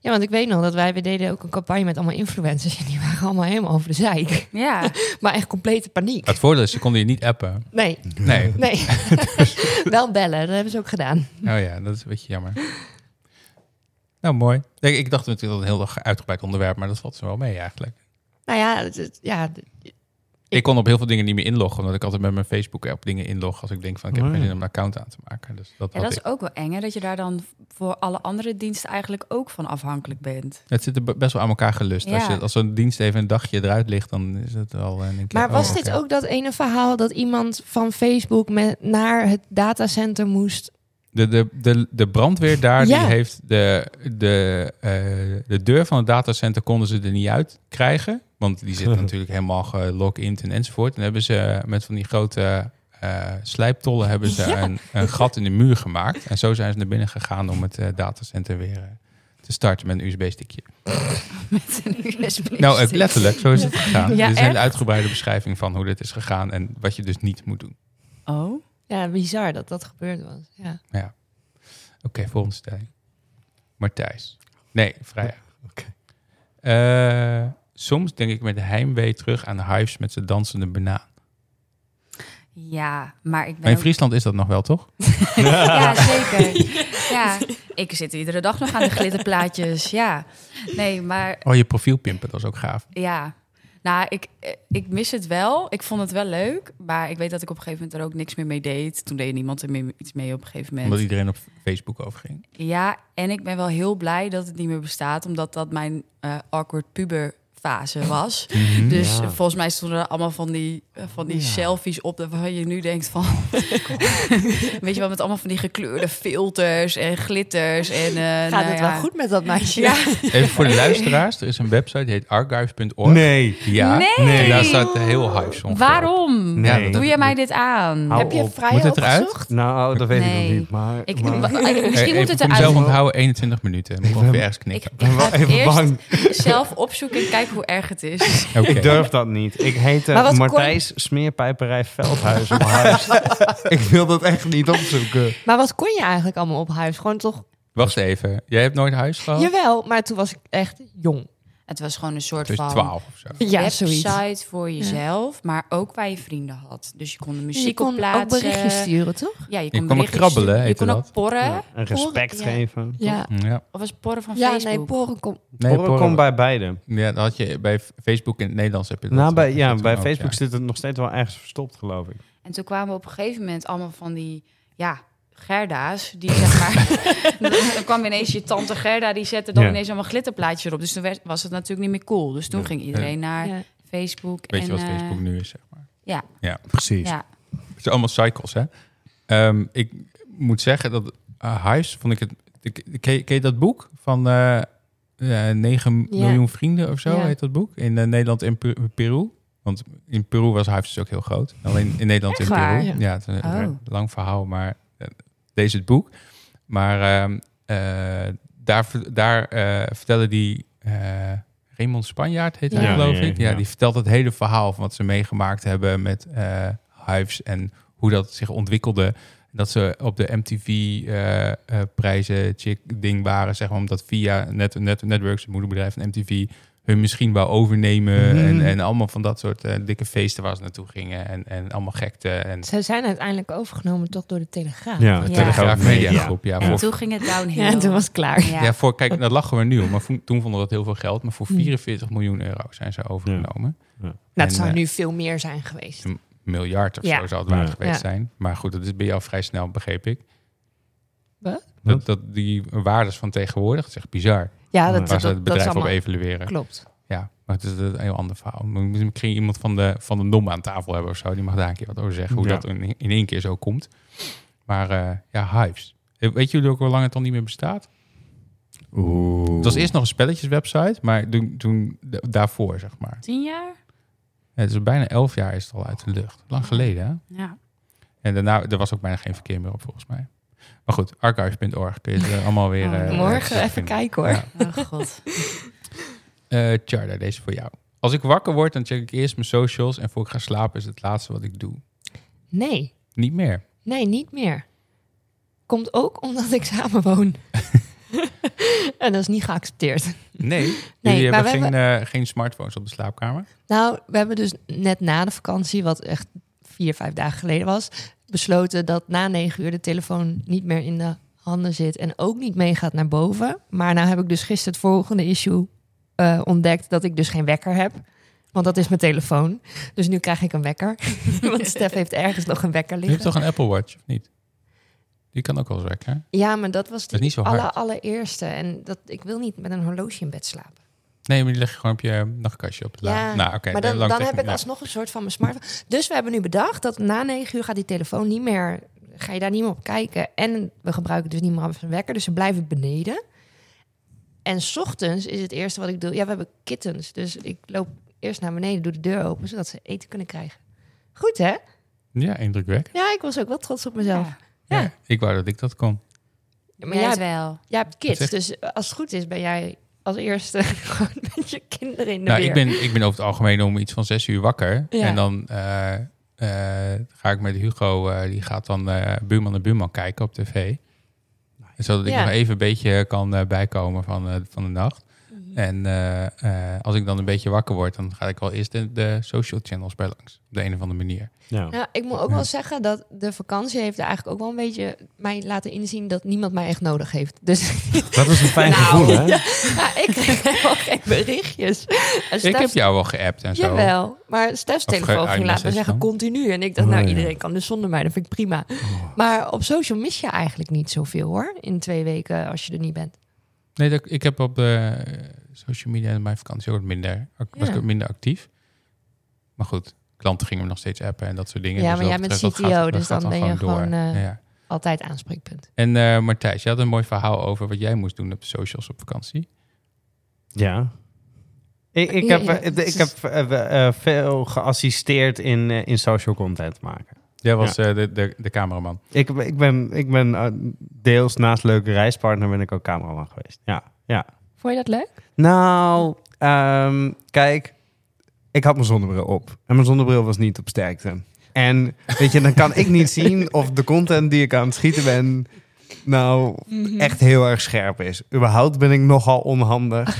Speaker 2: Ja, want ik weet nog dat wij, we deden ook een campagne met allemaal influencers. En die waren allemaal helemaal over de zeik.
Speaker 4: Ja,
Speaker 2: Maar echt complete paniek.
Speaker 1: Het voordeel is, je kon je niet appen.
Speaker 2: Nee,
Speaker 1: Nee. Oh
Speaker 2: nee. wel bellen, dat hebben ze ook gedaan.
Speaker 1: ja, dat is een beetje jammer. Nou, mooi. Ik, ik dacht natuurlijk dat het een heel uitgebreid onderwerp, maar dat valt ze wel mee eigenlijk.
Speaker 2: Nou ja, het- het- ja d-
Speaker 1: Ik kon op heel veel dingen niet meer inloggen, omdat ik altijd met mijn Facebook-app dingen inlog als ik denk van ik heb
Speaker 5: Oh,
Speaker 1: geen
Speaker 5: ja.
Speaker 1: zin om een account aan te maken. Dus dat
Speaker 4: ja
Speaker 1: had
Speaker 4: dat
Speaker 1: ik.
Speaker 4: is ook wel eng, hè, dat je daar dan voor alle andere diensten eigenlijk ook van afhankelijk bent.
Speaker 1: Het zit er be- best wel aan elkaar gelust.
Speaker 4: Ja.
Speaker 1: Als, je, als zo'n dienst even een dagje eruit ligt, dan is het al. een keer,
Speaker 2: maar was
Speaker 1: oh,
Speaker 2: dit
Speaker 1: oké.
Speaker 2: ook dat ene verhaal dat iemand van Facebook met, naar het datacenter moest
Speaker 1: De, de, de, de brandweer daar,
Speaker 3: Ja.
Speaker 1: die heeft de, de, eh, de deur van het datacenter konden ze er niet uit krijgen. Want die zit natuurlijk helemaal gelog-in en enzovoort. En hebben ze met van die grote eh, slijptollen hebben ze
Speaker 3: Ja.
Speaker 1: een, een gat in de muur gemaakt. En zo zijn ze naar binnen gegaan om het eh, datacenter weer eh, te starten met een USB-stickje.
Speaker 4: Met een USB.
Speaker 1: Nou, eh, letterlijk, zo is het gegaan.
Speaker 4: Ja,
Speaker 1: Dit is een hele
Speaker 4: echt?
Speaker 1: uitgebreide beschrijving van hoe dit is gegaan en wat je dus niet moet doen.
Speaker 4: Oh,
Speaker 2: Ja, bizar dat dat gebeurd was. Ja.
Speaker 1: Oké, volgende stelling. Martijs. Nee, Freya.
Speaker 5: Oké.
Speaker 1: Eh, soms denk ik met heimwee terug aan Hives met zijn dansende banaan.
Speaker 4: ja, maar ik ben
Speaker 1: Maar in
Speaker 4: ook-
Speaker 1: Friesland is dat nog wel, toch?
Speaker 4: Ja, zeker. Ja, ik zit iedere dag nog aan de glitterplaatjes. Ja, nee, maar
Speaker 1: Oh, je profiel pimpen, dat is ook gaaf.
Speaker 4: ja. Nou, ik, eh, ik mis het wel. Ik vond het wel leuk. Maar ik weet dat ik op een gegeven moment er ook niks meer mee deed. Toen deed niemand er meer iets mee op een gegeven moment.
Speaker 1: Omdat iedereen op Facebook overging.
Speaker 4: Ja, en ik ben wel heel blij dat het niet meer bestaat, omdat dat mijn eh, awkward puberfase was.
Speaker 1: Mhm.
Speaker 4: Dus
Speaker 5: Ja.
Speaker 4: volgens mij stonden er allemaal van die, eh, van die selfies op waarvan je nu denkt van... Weet je wel, met allemaal van die gekleurde filters en glitters. En, eh,
Speaker 2: Gaat
Speaker 4: nou
Speaker 2: het
Speaker 4: ja.
Speaker 2: wel goed met dat meisje?
Speaker 4: Ja.
Speaker 1: Even voor de luisteraars, er is een website, die heet archives.org.
Speaker 5: Nee.
Speaker 1: Ja,
Speaker 4: Nee.
Speaker 1: en daar staat heel Hives ongeveer op.
Speaker 4: Waarom?
Speaker 5: Nee.
Speaker 1: Ja, dat-
Speaker 4: Doe je mij dit aan?
Speaker 5: Hou
Speaker 2: Heb je
Speaker 5: op.
Speaker 2: vrij
Speaker 1: Moet het eruit?
Speaker 2: opgezocht?
Speaker 5: Nou, dat weet ik
Speaker 4: Nee.
Speaker 5: nog niet. Maar,
Speaker 4: Ik,
Speaker 5: maar-
Speaker 4: wa- eh,
Speaker 1: Eh,
Speaker 4: misschien moet
Speaker 1: even
Speaker 4: het
Speaker 1: voor mezelf
Speaker 4: eruit.
Speaker 1: onthouden, 21 minuten. Ik moet
Speaker 5: ben-
Speaker 1: ongeveer ergens
Speaker 4: Ik,
Speaker 1: knikken.
Speaker 4: ik
Speaker 5: ben wel
Speaker 4: ga
Speaker 5: even
Speaker 4: eerst
Speaker 5: bang.
Speaker 4: zelf opzoeken en kijken hoe erg het is.
Speaker 1: Oké.
Speaker 5: Ik durf dat niet. Ik heet
Speaker 2: Maar
Speaker 5: eh
Speaker 2: wat
Speaker 5: Martijs Smeerpijperij Veldhuis op huis. ik wil dat echt niet opzoeken.
Speaker 2: Maar wat kon je eigenlijk allemaal op huis? Gewoon toch?
Speaker 1: Wacht even, jij hebt nooit huis gehad?
Speaker 2: Jawel, maar toen was ik echt jong.
Speaker 4: Het was gewoon een soort
Speaker 1: Dus
Speaker 4: van...
Speaker 1: 12 of zo.
Speaker 2: Ja, zoiets.
Speaker 4: website voor jezelf, maar ook waar je vrienden had. Dus je kon de muziek
Speaker 2: je kon
Speaker 4: op plaatsen.
Speaker 2: ook berichtjes sturen, toch?
Speaker 4: Ja, je
Speaker 1: kon
Speaker 4: kon
Speaker 1: me
Speaker 4: berichtjes
Speaker 1: krabbelen,
Speaker 4: sturen. Je
Speaker 1: heette
Speaker 4: kon ook
Speaker 1: dat.
Speaker 4: porren.
Speaker 5: En respect
Speaker 4: Ja.
Speaker 5: geven.
Speaker 2: Ja,
Speaker 1: Ja.
Speaker 4: Of was het porren van
Speaker 2: ja nee,
Speaker 4: Facebook?
Speaker 2: poren kon...
Speaker 1: Nee,
Speaker 5: Porren komt bij beide.
Speaker 1: Ja, dat had je bij Facebook in het Nederlands heb je dat.
Speaker 5: Nou, bij,
Speaker 1: eh,
Speaker 5: ja,
Speaker 1: toen
Speaker 5: bij
Speaker 1: ook,
Speaker 5: Facebook
Speaker 1: ja.
Speaker 5: zit het nog steeds wel ergens verstopt, geloof ik.
Speaker 4: en toen kwamen we op een gegeven moment allemaal van die, ja, Gerda's. Die zeg maar, dan kwam ineens je tante Gerda, die zette dan
Speaker 5: Ja.
Speaker 4: ineens allemaal glitterplaatjes erop. Dus toen werd- was het natuurlijk niet meer cool. Dus toen
Speaker 1: Nee.
Speaker 4: ging iedereen naar
Speaker 2: Ja.
Speaker 4: Facebook.
Speaker 1: Weet je
Speaker 4: en,
Speaker 1: wat
Speaker 4: eh,
Speaker 1: Facebook nu is, zeg maar.
Speaker 4: Ja.
Speaker 1: Ja,
Speaker 5: Precies.
Speaker 4: Ja,
Speaker 1: het zijn allemaal cycles, hè. Ehm, ik moet zeggen dat eh Hives, vond ik het... ik- Ken je, ken je dat boek van eh eh, 9
Speaker 2: Ja.
Speaker 1: miljoen vrienden of zo,
Speaker 2: Ja.
Speaker 1: heet dat boek? In eh, Nederland en Peru- Peru. Want in Peru was Hives dus ook heel groot. Alleen in Nederland
Speaker 4: Echt
Speaker 1: en Peru.
Speaker 4: waar?
Speaker 1: Ja,
Speaker 2: Ja.
Speaker 1: het is een
Speaker 4: Oh.
Speaker 1: lang verhaal, maar eh, deze het boek. Maar ehm, eh, daar, ver- daar eh, vertellen die... eh, Raymond Spanjaard heet hij,
Speaker 5: Ja.
Speaker 1: geloof
Speaker 5: Ja,
Speaker 1: ik. Ja,
Speaker 5: ja.
Speaker 1: die vertelt het hele verhaal van wat ze meegemaakt hebben met eh Hives en hoe dat zich ontwikkelde. Dat ze op de MTV-prijzen eh, chick ding waren, zeg maar, omdat via Net Net Networks, het moederbedrijf van MTV, hun misschien wou overnemen.
Speaker 5: Mhm.
Speaker 1: En, en allemaal van dat soort eh, dikke feesten waar ze naartoe gingen en, en allemaal gekte. En
Speaker 2: Ze zijn uiteindelijk overgenomen toch door de Telegraaf.
Speaker 5: Ja,
Speaker 2: ja.
Speaker 5: de
Speaker 1: Telegraaf
Speaker 5: Telegraaf Media.
Speaker 1: Media Groep, ja.
Speaker 5: Ja.
Speaker 4: en
Speaker 1: voor-
Speaker 4: toen ging het downhill.
Speaker 2: Ja, toen was het klaar.
Speaker 4: Ja.
Speaker 1: ja, voor, kijk, dat lachen we nu om, maar vo- toen vonden we dat heel veel geld. Maar voor
Speaker 2: Hm.
Speaker 1: 44 miljoen euro zijn ze overgenomen.
Speaker 5: Ja. Ja.
Speaker 2: Nou,
Speaker 1: En,
Speaker 2: het zou
Speaker 1: eh,
Speaker 2: nu veel meer zijn geweest.
Speaker 1: miljard of
Speaker 2: Ja.
Speaker 1: zo zou het waard
Speaker 5: Ja.
Speaker 1: geweest
Speaker 2: Ja.
Speaker 1: zijn. Maar goed, dat is bij jou vrij snel, begreep ik.
Speaker 2: Wat?
Speaker 1: Dat, dat die waardes van tegenwoordig, dat is echt bizar.
Speaker 2: Ja,
Speaker 1: Waar
Speaker 2: dat,
Speaker 5: dat- Waar
Speaker 2: dat,
Speaker 1: ze het bedrijf op evalueren.
Speaker 2: klopt.
Speaker 1: Ja, maar het is een heel ander verhaal. Misschien iemand van de, van de NOM aan tafel hebben of zo. Die mag daar een keer wat over zeggen. Hoe
Speaker 5: Ja.
Speaker 1: dat in, in één keer zo komt. Maar eh, ja, Hives. Eh, Weet jullie ook hoe lang het al niet meer bestaat?
Speaker 5: Oeh.
Speaker 1: Het was eerst nog een spelletjeswebsite, maar toen, toen da- daarvoor, zeg maar.
Speaker 4: Tien jaar?
Speaker 1: Het is bijna elf jaar is het al uit de lucht. Lang geleden, hè?
Speaker 4: Ja.
Speaker 1: En daarna, er was ook bijna geen verkeer meer op, volgens mij. Maar goed, archives.org kun je het eh, allemaal weer...
Speaker 4: Oh,
Speaker 1: eh,
Speaker 2: Morgen
Speaker 1: terugvinden.
Speaker 2: even kijken hoor.
Speaker 1: Ja.
Speaker 4: Oh god.
Speaker 1: Eh, Charda, deze is voor jou. Als ik wakker word, dan check ik eerst mijn socials. En voor ik ga slapen is het laatste wat ik doe.
Speaker 2: Nee,
Speaker 1: Niet meer.
Speaker 2: nee, niet meer. Komt ook omdat ik samen woon. en dat is niet geaccepteerd.
Speaker 1: Nee. Jullie
Speaker 2: maar
Speaker 1: hebben,
Speaker 2: we
Speaker 1: geen, eh, geen smartphones op de slaapkamer.
Speaker 2: Nou, we hebben dus net na de vakantie, wat echt vier, vijf dagen geleden was, besloten dat na negen uur de telefoon niet meer in de handen zit en ook niet meegaat naar boven. Maar nou heb ik dus gisteren het volgende issue eh, ontdekt dat ik dus geen wekker heb. Want dat is mijn telefoon. Dus nu krijg ik een wekker. Want Stef heeft ergens nog een wekker
Speaker 1: Je hebt
Speaker 2: liggen.
Speaker 1: toch een Apple Watch, of niet? Die kan ook wel eens wekken, hè?
Speaker 2: Ja, maar dat was
Speaker 1: Dat is
Speaker 2: de
Speaker 1: niet zo hard.
Speaker 2: aller, allereerste. En dat, ik wil niet met een horloge in bed slapen.
Speaker 1: Nee, maar die leg je gewoon op je eh, nachtkastje op de la.
Speaker 2: Ja,
Speaker 1: nou, oké.
Speaker 2: maar dan,
Speaker 1: lang
Speaker 2: dan
Speaker 1: tegen-
Speaker 2: heb ik
Speaker 1: ja.
Speaker 2: alsnog een soort van mijn smartphone. Dus we hebben nu bedacht dat na negen uur gaat die telefoon niet meer ga je daar niet meer op kijken. En we gebruiken dus niet meer als een wekker, dus ze blijven beneden. En 's ochtends is het eerste wat ik doe. Ja, we hebben kittens, dus ik loop eerst naar beneden, doe de deur open, zodat ze eten kunnen krijgen. Goed, hè?
Speaker 1: Ja, indrukwekkend.
Speaker 2: Ja, ik was ook wel trots op mezelf.
Speaker 4: Ja.
Speaker 2: Ja.
Speaker 1: Ik wou dat ik dat kon.
Speaker 2: Ja, maar
Speaker 4: Jij
Speaker 2: jij,
Speaker 4: het
Speaker 2: hebt-
Speaker 4: wel.
Speaker 2: jij hebt
Speaker 1: Wat
Speaker 2: kids, dus als het goed is ben jij als eerste gewoon met je kinderen in de
Speaker 1: Nou,
Speaker 2: weer.
Speaker 1: ik ben, ik ben over het algemeen om iets van zes uur wakker.
Speaker 2: Ja.
Speaker 1: En dan eh, eh, ga ik met Hugo, eh, die gaat dan eh, buurman en buurman kijken op tv. Zodat ik
Speaker 2: Ja.
Speaker 1: nog even een beetje kan eh, bijkomen van, eh, van de nacht. En eh, eh, als ik dan een beetje wakker word, dan ga ik wel eerst de, de social channels bij langs. Op de een of andere manier.
Speaker 5: Ja.
Speaker 2: Ja, ik moet ook wel zeggen dat de vakantie heeft eigenlijk ook wel een beetje mij laten inzien dat niemand mij echt nodig heeft. Dus
Speaker 5: Dat is een fijn
Speaker 2: Nou,
Speaker 5: gevoel, hè?
Speaker 2: ja, ik krijg helemaal geen berichtjes. En
Speaker 1: ik
Speaker 2: Stef-
Speaker 1: heb jou wel geappt en zo.
Speaker 2: Dus Jawel, maar Stef's
Speaker 1: Of
Speaker 2: telefoon
Speaker 1: ge-
Speaker 2: ging laten
Speaker 1: iMessage
Speaker 2: zeggen
Speaker 1: dan?
Speaker 2: continu. En ik dacht,
Speaker 5: Oh,
Speaker 2: nou
Speaker 5: ja.
Speaker 2: iedereen kan dus zonder mij, dat vind ik prima. Maar op social mis je eigenlijk niet zoveel hoor, in twee weken als je er niet bent.
Speaker 1: Nee, dat, ik heb op de eh, social media in mijn vakantie ook wat minder, ac- was
Speaker 2: Ja.
Speaker 1: ik ook minder actief. Maar goed, klanten gingen me nog steeds appen en dat soort dingen.
Speaker 2: Ja,
Speaker 1: Dus
Speaker 2: maar
Speaker 1: wat
Speaker 2: jij bent
Speaker 1: betreft, dat
Speaker 2: CTO,
Speaker 1: dat
Speaker 2: dus dan ben je gewoon,
Speaker 1: door.
Speaker 2: eh,
Speaker 1: Ja.
Speaker 2: Altijd aanspreekpunt.
Speaker 1: En eh Martijs, je had een mooi verhaal over wat jij moest doen op de socials op vakantie.
Speaker 5: Ja. Ik, ik
Speaker 2: Ja,
Speaker 5: heb,
Speaker 2: ja.
Speaker 5: eh, ik ik heb eh, eh, veel geassisteerd in, eh, in social content maken.
Speaker 1: Jij was eh, de, de, de cameraman.
Speaker 5: Ik, heb- ik ben, ik ben eh, deels naast leuke reispartner ben ik ook cameraman geweest. Ja, ja.
Speaker 2: Vond je dat leuk?
Speaker 5: Nou, ehm, kijk, ik had mijn zonnebril op. En mijn zonnebril was niet op sterkte. En weet je, dan kan ik niet zien of de content die ik aan het schieten ben... nou echt heel erg scherp is. Überhaupt ben ik nogal onhandig.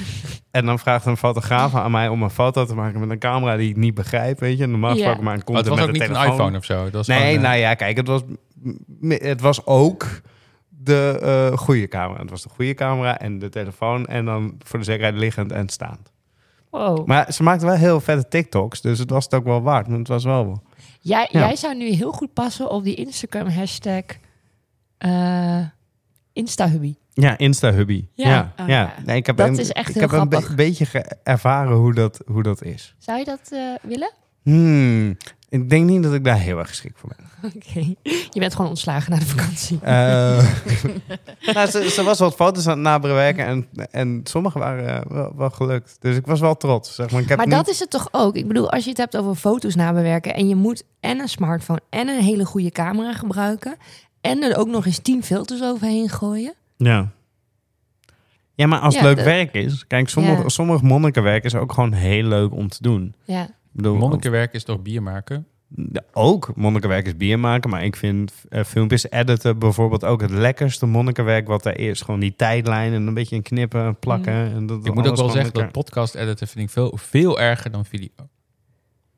Speaker 5: En dan vraagt een fotograaf aan mij om een foto te maken met een camera die ik niet begrijp, weet je. Normaal
Speaker 2: Ja.
Speaker 5: gesproken maak ik
Speaker 1: Maar het
Speaker 5: content
Speaker 1: was
Speaker 5: met
Speaker 1: ook
Speaker 5: een
Speaker 1: niet
Speaker 5: telefoon.
Speaker 1: een iPhone of zo. Dat was
Speaker 5: Nee,
Speaker 1: gewoon, eh,
Speaker 5: nou ja, kijk, het was, m- het was ook de eh, goede camera. Het was de goede camera en de telefoon en dan voor de zekerheid liggend en staand.
Speaker 2: Wow.
Speaker 5: Maar ze maakte wel heel vette TikToks, dus het was het ook wel waard. Maar het was wel...
Speaker 2: Jij,
Speaker 5: Ja.
Speaker 2: jij zou nu heel goed passen op die Instagram hashtag eh Instahubby.
Speaker 5: Ja, Insta-hubby.
Speaker 2: Ja.
Speaker 5: Ja, ja.
Speaker 4: Oh, ja.
Speaker 5: Nee, ik heb
Speaker 2: Dat
Speaker 5: een,
Speaker 2: is echt
Speaker 5: ik
Speaker 2: heel
Speaker 5: heb een be-
Speaker 2: grappig.
Speaker 5: beetje ge- ervaren hoe dat, hoe dat is.
Speaker 2: Zou je dat eh, willen?
Speaker 5: Hmm, ik denk niet dat ik daar heel erg geschikt voor ben.
Speaker 2: Oké. Je bent gewoon ontslagen na de vakantie.
Speaker 5: Eh, nou, ze, ze was wat foto's aan het nabewerken en, en sommige waren eh, wel, wel gelukt. Dus ik was wel trots. Zeg maar ik heb
Speaker 2: maar
Speaker 5: niet-
Speaker 2: dat is het toch ook? Ik bedoel, als je het hebt over foto's nabewerken en je moet en een smartphone en een hele goede camera gebruiken en er ook nog eens tien filters overheen gooien.
Speaker 5: Ja. Ja, maar als het
Speaker 2: Ja,
Speaker 5: leuk
Speaker 2: dat-
Speaker 5: werk is... Kijk, sommige,
Speaker 2: Ja.
Speaker 5: sommige monnikenwerk is ook gewoon heel leuk om te doen.
Speaker 2: Ja.
Speaker 5: Ik bedoel,
Speaker 1: Monnikenwerk is toch bier maken?
Speaker 5: Ja, Ook monnikenwerk is bier maken, maar ik vind eh, filmpjes editen bijvoorbeeld ook het lekkerste monnikenwerk wat er is. Gewoon die tijdlijn en een beetje een knippen en plakken. En dat,
Speaker 1: Ik moet ook
Speaker 5: alles
Speaker 1: wel
Speaker 5: gewoon
Speaker 1: zeggen dat
Speaker 5: lekker-
Speaker 1: podcast editen vind ik veel, veel erger dan video.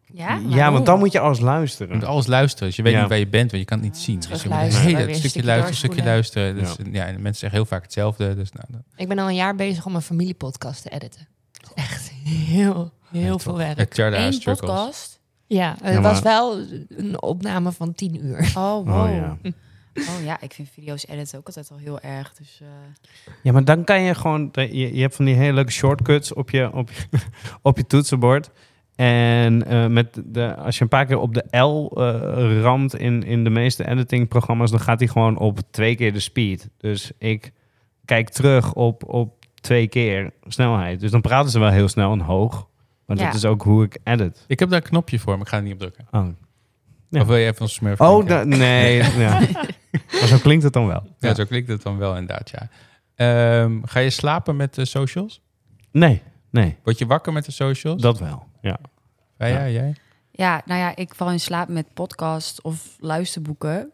Speaker 4: Ja?
Speaker 5: Ja, want dan
Speaker 4: Waarom?
Speaker 5: moet je alles
Speaker 1: Je moet
Speaker 5: luisteren.
Speaker 1: alles luisteren. Dus je weet
Speaker 5: Ja.
Speaker 1: niet waar je bent, want je kan het niet zien. Dus je moet een
Speaker 2: Terugluisteren,
Speaker 1: hele
Speaker 2: weer een
Speaker 1: stukje
Speaker 2: stukje
Speaker 1: luisteren, stukje luisteren. Dus,
Speaker 5: doorspoelen.
Speaker 1: ja. en mensen zeggen heel vaak hetzelfde. Dus nou, dat-
Speaker 2: Ik ben al een jaar bezig om een familiepodcast te editen. Dat is echt heel, heel
Speaker 1: Ja,
Speaker 2: veel
Speaker 1: toch.
Speaker 2: werk.
Speaker 1: Ja, Tjarda
Speaker 4: Eén
Speaker 1: is struggles.
Speaker 4: podcast?
Speaker 2: Ja, het
Speaker 5: Ja, maar-
Speaker 2: was wel een opname van tien uur.
Speaker 4: Oh, wow.
Speaker 5: Oh, ja.
Speaker 4: Oh ja, ik vind video's editen ook altijd al heel erg. Dus eh,
Speaker 5: Ja, maar dan kan je gewoon. Je, je hebt van die hele leuke shortcuts op je, op je, op je toetsenbord. En eh, met de, als je een paar keer op de L eh, ramt in, in de meeste editingprogramma's, dan gaat hij gewoon op twee keer de speed. Dus ik kijk terug op, op twee keer snelheid. Dus dan praten ze wel heel snel en hoog. Maar
Speaker 4: Ja.
Speaker 5: dat is ook hoe ik edit.
Speaker 1: Ik heb daar een knopje voor, maar ik ga er niet op drukken.
Speaker 5: Oh, Ja.
Speaker 1: Of wil je even een smurf
Speaker 5: oh
Speaker 1: klinken?
Speaker 5: da- nee. ja. Maar zo klinkt het dan wel.
Speaker 1: Ja,
Speaker 5: Ja.
Speaker 1: zo klinkt het dan wel inderdaad, ja. Ehm, ga je slapen met de socials?
Speaker 5: Nee, nee.
Speaker 1: Word je wakker met de socials?
Speaker 5: Dat wel. Ja.
Speaker 1: ja, ja, jij?
Speaker 4: ja, nou ja, ik val in slaap met podcasts of luisterboeken.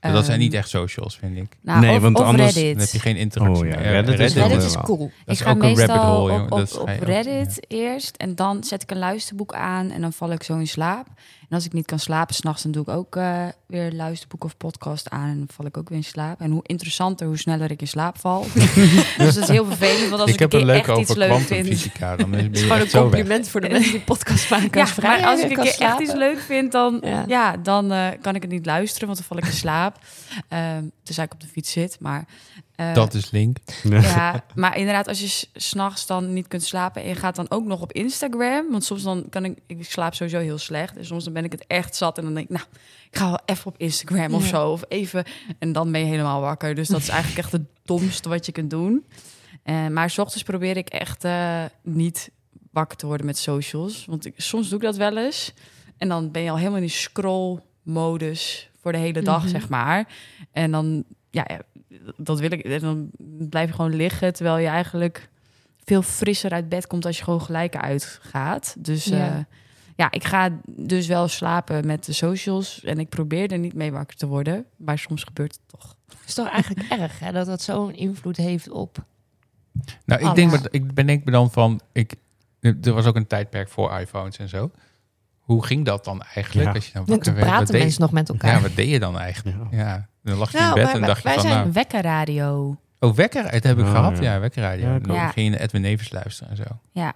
Speaker 1: Ja, dat zijn
Speaker 4: Ehm,
Speaker 1: niet echt socials, vind ik.
Speaker 4: Nou,
Speaker 5: Nee,
Speaker 4: of,
Speaker 5: want
Speaker 4: of
Speaker 5: anders-
Speaker 1: Dan heb
Speaker 4: Reddit.
Speaker 1: je geen interactie
Speaker 5: Oh ja,
Speaker 1: meer.
Speaker 2: Ja,
Speaker 5: Reddit is wel
Speaker 2: Dus dat
Speaker 5: weer
Speaker 2: is
Speaker 5: wel.
Speaker 2: cool.
Speaker 1: dat
Speaker 4: ik
Speaker 1: is
Speaker 4: ga
Speaker 1: ook een
Speaker 4: meestal
Speaker 1: rabbit hole,
Speaker 4: op-
Speaker 1: jongen.
Speaker 4: op,
Speaker 1: Dat
Speaker 4: op
Speaker 1: ga je ook-
Speaker 4: Reddit eerst en dan zet ik een luisterboek aan en dan val ik zo in slaap. En als ik niet kan slapen s'nachts, dan doe ik ook eh, weer een luisterboek of podcast aan en dan val ik ook weer in slaap. En hoe interessanter, hoe sneller ik in slaap val. dus dat is heel vervelend, want als
Speaker 1: Ik
Speaker 4: ik,
Speaker 1: heb
Speaker 4: een
Speaker 1: een
Speaker 4: keer
Speaker 1: leuke
Speaker 4: echt iets
Speaker 1: over
Speaker 4: leuk vind...
Speaker 1: kwantumfysica. Dan ben je
Speaker 2: Het is gewoon
Speaker 1: echt
Speaker 2: een
Speaker 1: zo weg.
Speaker 2: compliment voor de mensen die podcast maken.
Speaker 4: Ja,
Speaker 2: als vrij
Speaker 4: maar als ik een
Speaker 2: kan
Speaker 4: keer echt
Speaker 2: slapen.
Speaker 4: iets leuk vind, dan,
Speaker 2: Ja.
Speaker 4: ja. dan eh, kan ik het niet luisteren, want dan val ik in slaap. Ehm tenzij ik op de fiets zit, maar... Eh,
Speaker 1: dat is Link.
Speaker 4: Ja, maar inderdaad, als je s- s'nachts dan niet kunt slapen en je gaat dan ook nog op Instagram. Want soms dan kan ik, ik slaap sowieso heel slecht. En soms dan ben ik het echt zat en dan denk ik, nou, ik ga wel even op Instagram of
Speaker 2: Ja.
Speaker 4: zo. Of even, en dan ben je helemaal wakker. Dus dat is eigenlijk echt het domste wat je kunt doen. Eh, maar s ochtends probeer ik echt eh, niet wakker te worden met socials. Want ik, soms doe ik dat wel eens. En dan ben je al helemaal in die scroll-modus voor de hele dag,
Speaker 2: Mhm.
Speaker 4: zeg maar. En dan, ja, ja, dat wil ik. En dan blijf je gewoon liggen, terwijl je eigenlijk veel frisser uit bed komt als je gewoon gelijk uitgaat. Dus
Speaker 2: Ja.
Speaker 4: ja. ja, ik ga dus wel slapen met de socials. En ik probeer er niet mee wakker te worden. Maar soms gebeurt het toch.
Speaker 2: is toch eigenlijk erg hè, dat dat zo'n invloed heeft op.
Speaker 1: Nou, ik
Speaker 2: Alles.
Speaker 1: denk, me- ik bedenk me dan van, ik, er was ook een tijdperk voor iPhones en zo. Hoe ging dat dan eigenlijk?
Speaker 5: Ja.
Speaker 1: Als je dan
Speaker 2: Want
Speaker 1: wakker
Speaker 2: toen
Speaker 1: werd, wat
Speaker 2: praten
Speaker 1: deed,
Speaker 2: mensen nog met elkaar.
Speaker 1: ja, wat deed je dan eigenlijk? Ja, dan lag je
Speaker 2: Nou,
Speaker 1: in bed
Speaker 2: maar
Speaker 1: en
Speaker 2: wij-
Speaker 1: dacht je
Speaker 2: wij
Speaker 1: van,
Speaker 2: zijn
Speaker 1: nou,
Speaker 4: Wekkerradio.
Speaker 1: oh, wekker, dat heb ik
Speaker 5: Oh,
Speaker 1: gehad.
Speaker 5: ja.
Speaker 1: Ja, wekkerradio.
Speaker 5: Ja,
Speaker 1: En dan
Speaker 4: klopt.
Speaker 1: ging je naar Edwin Nevers luisteren en zo.
Speaker 4: Ja.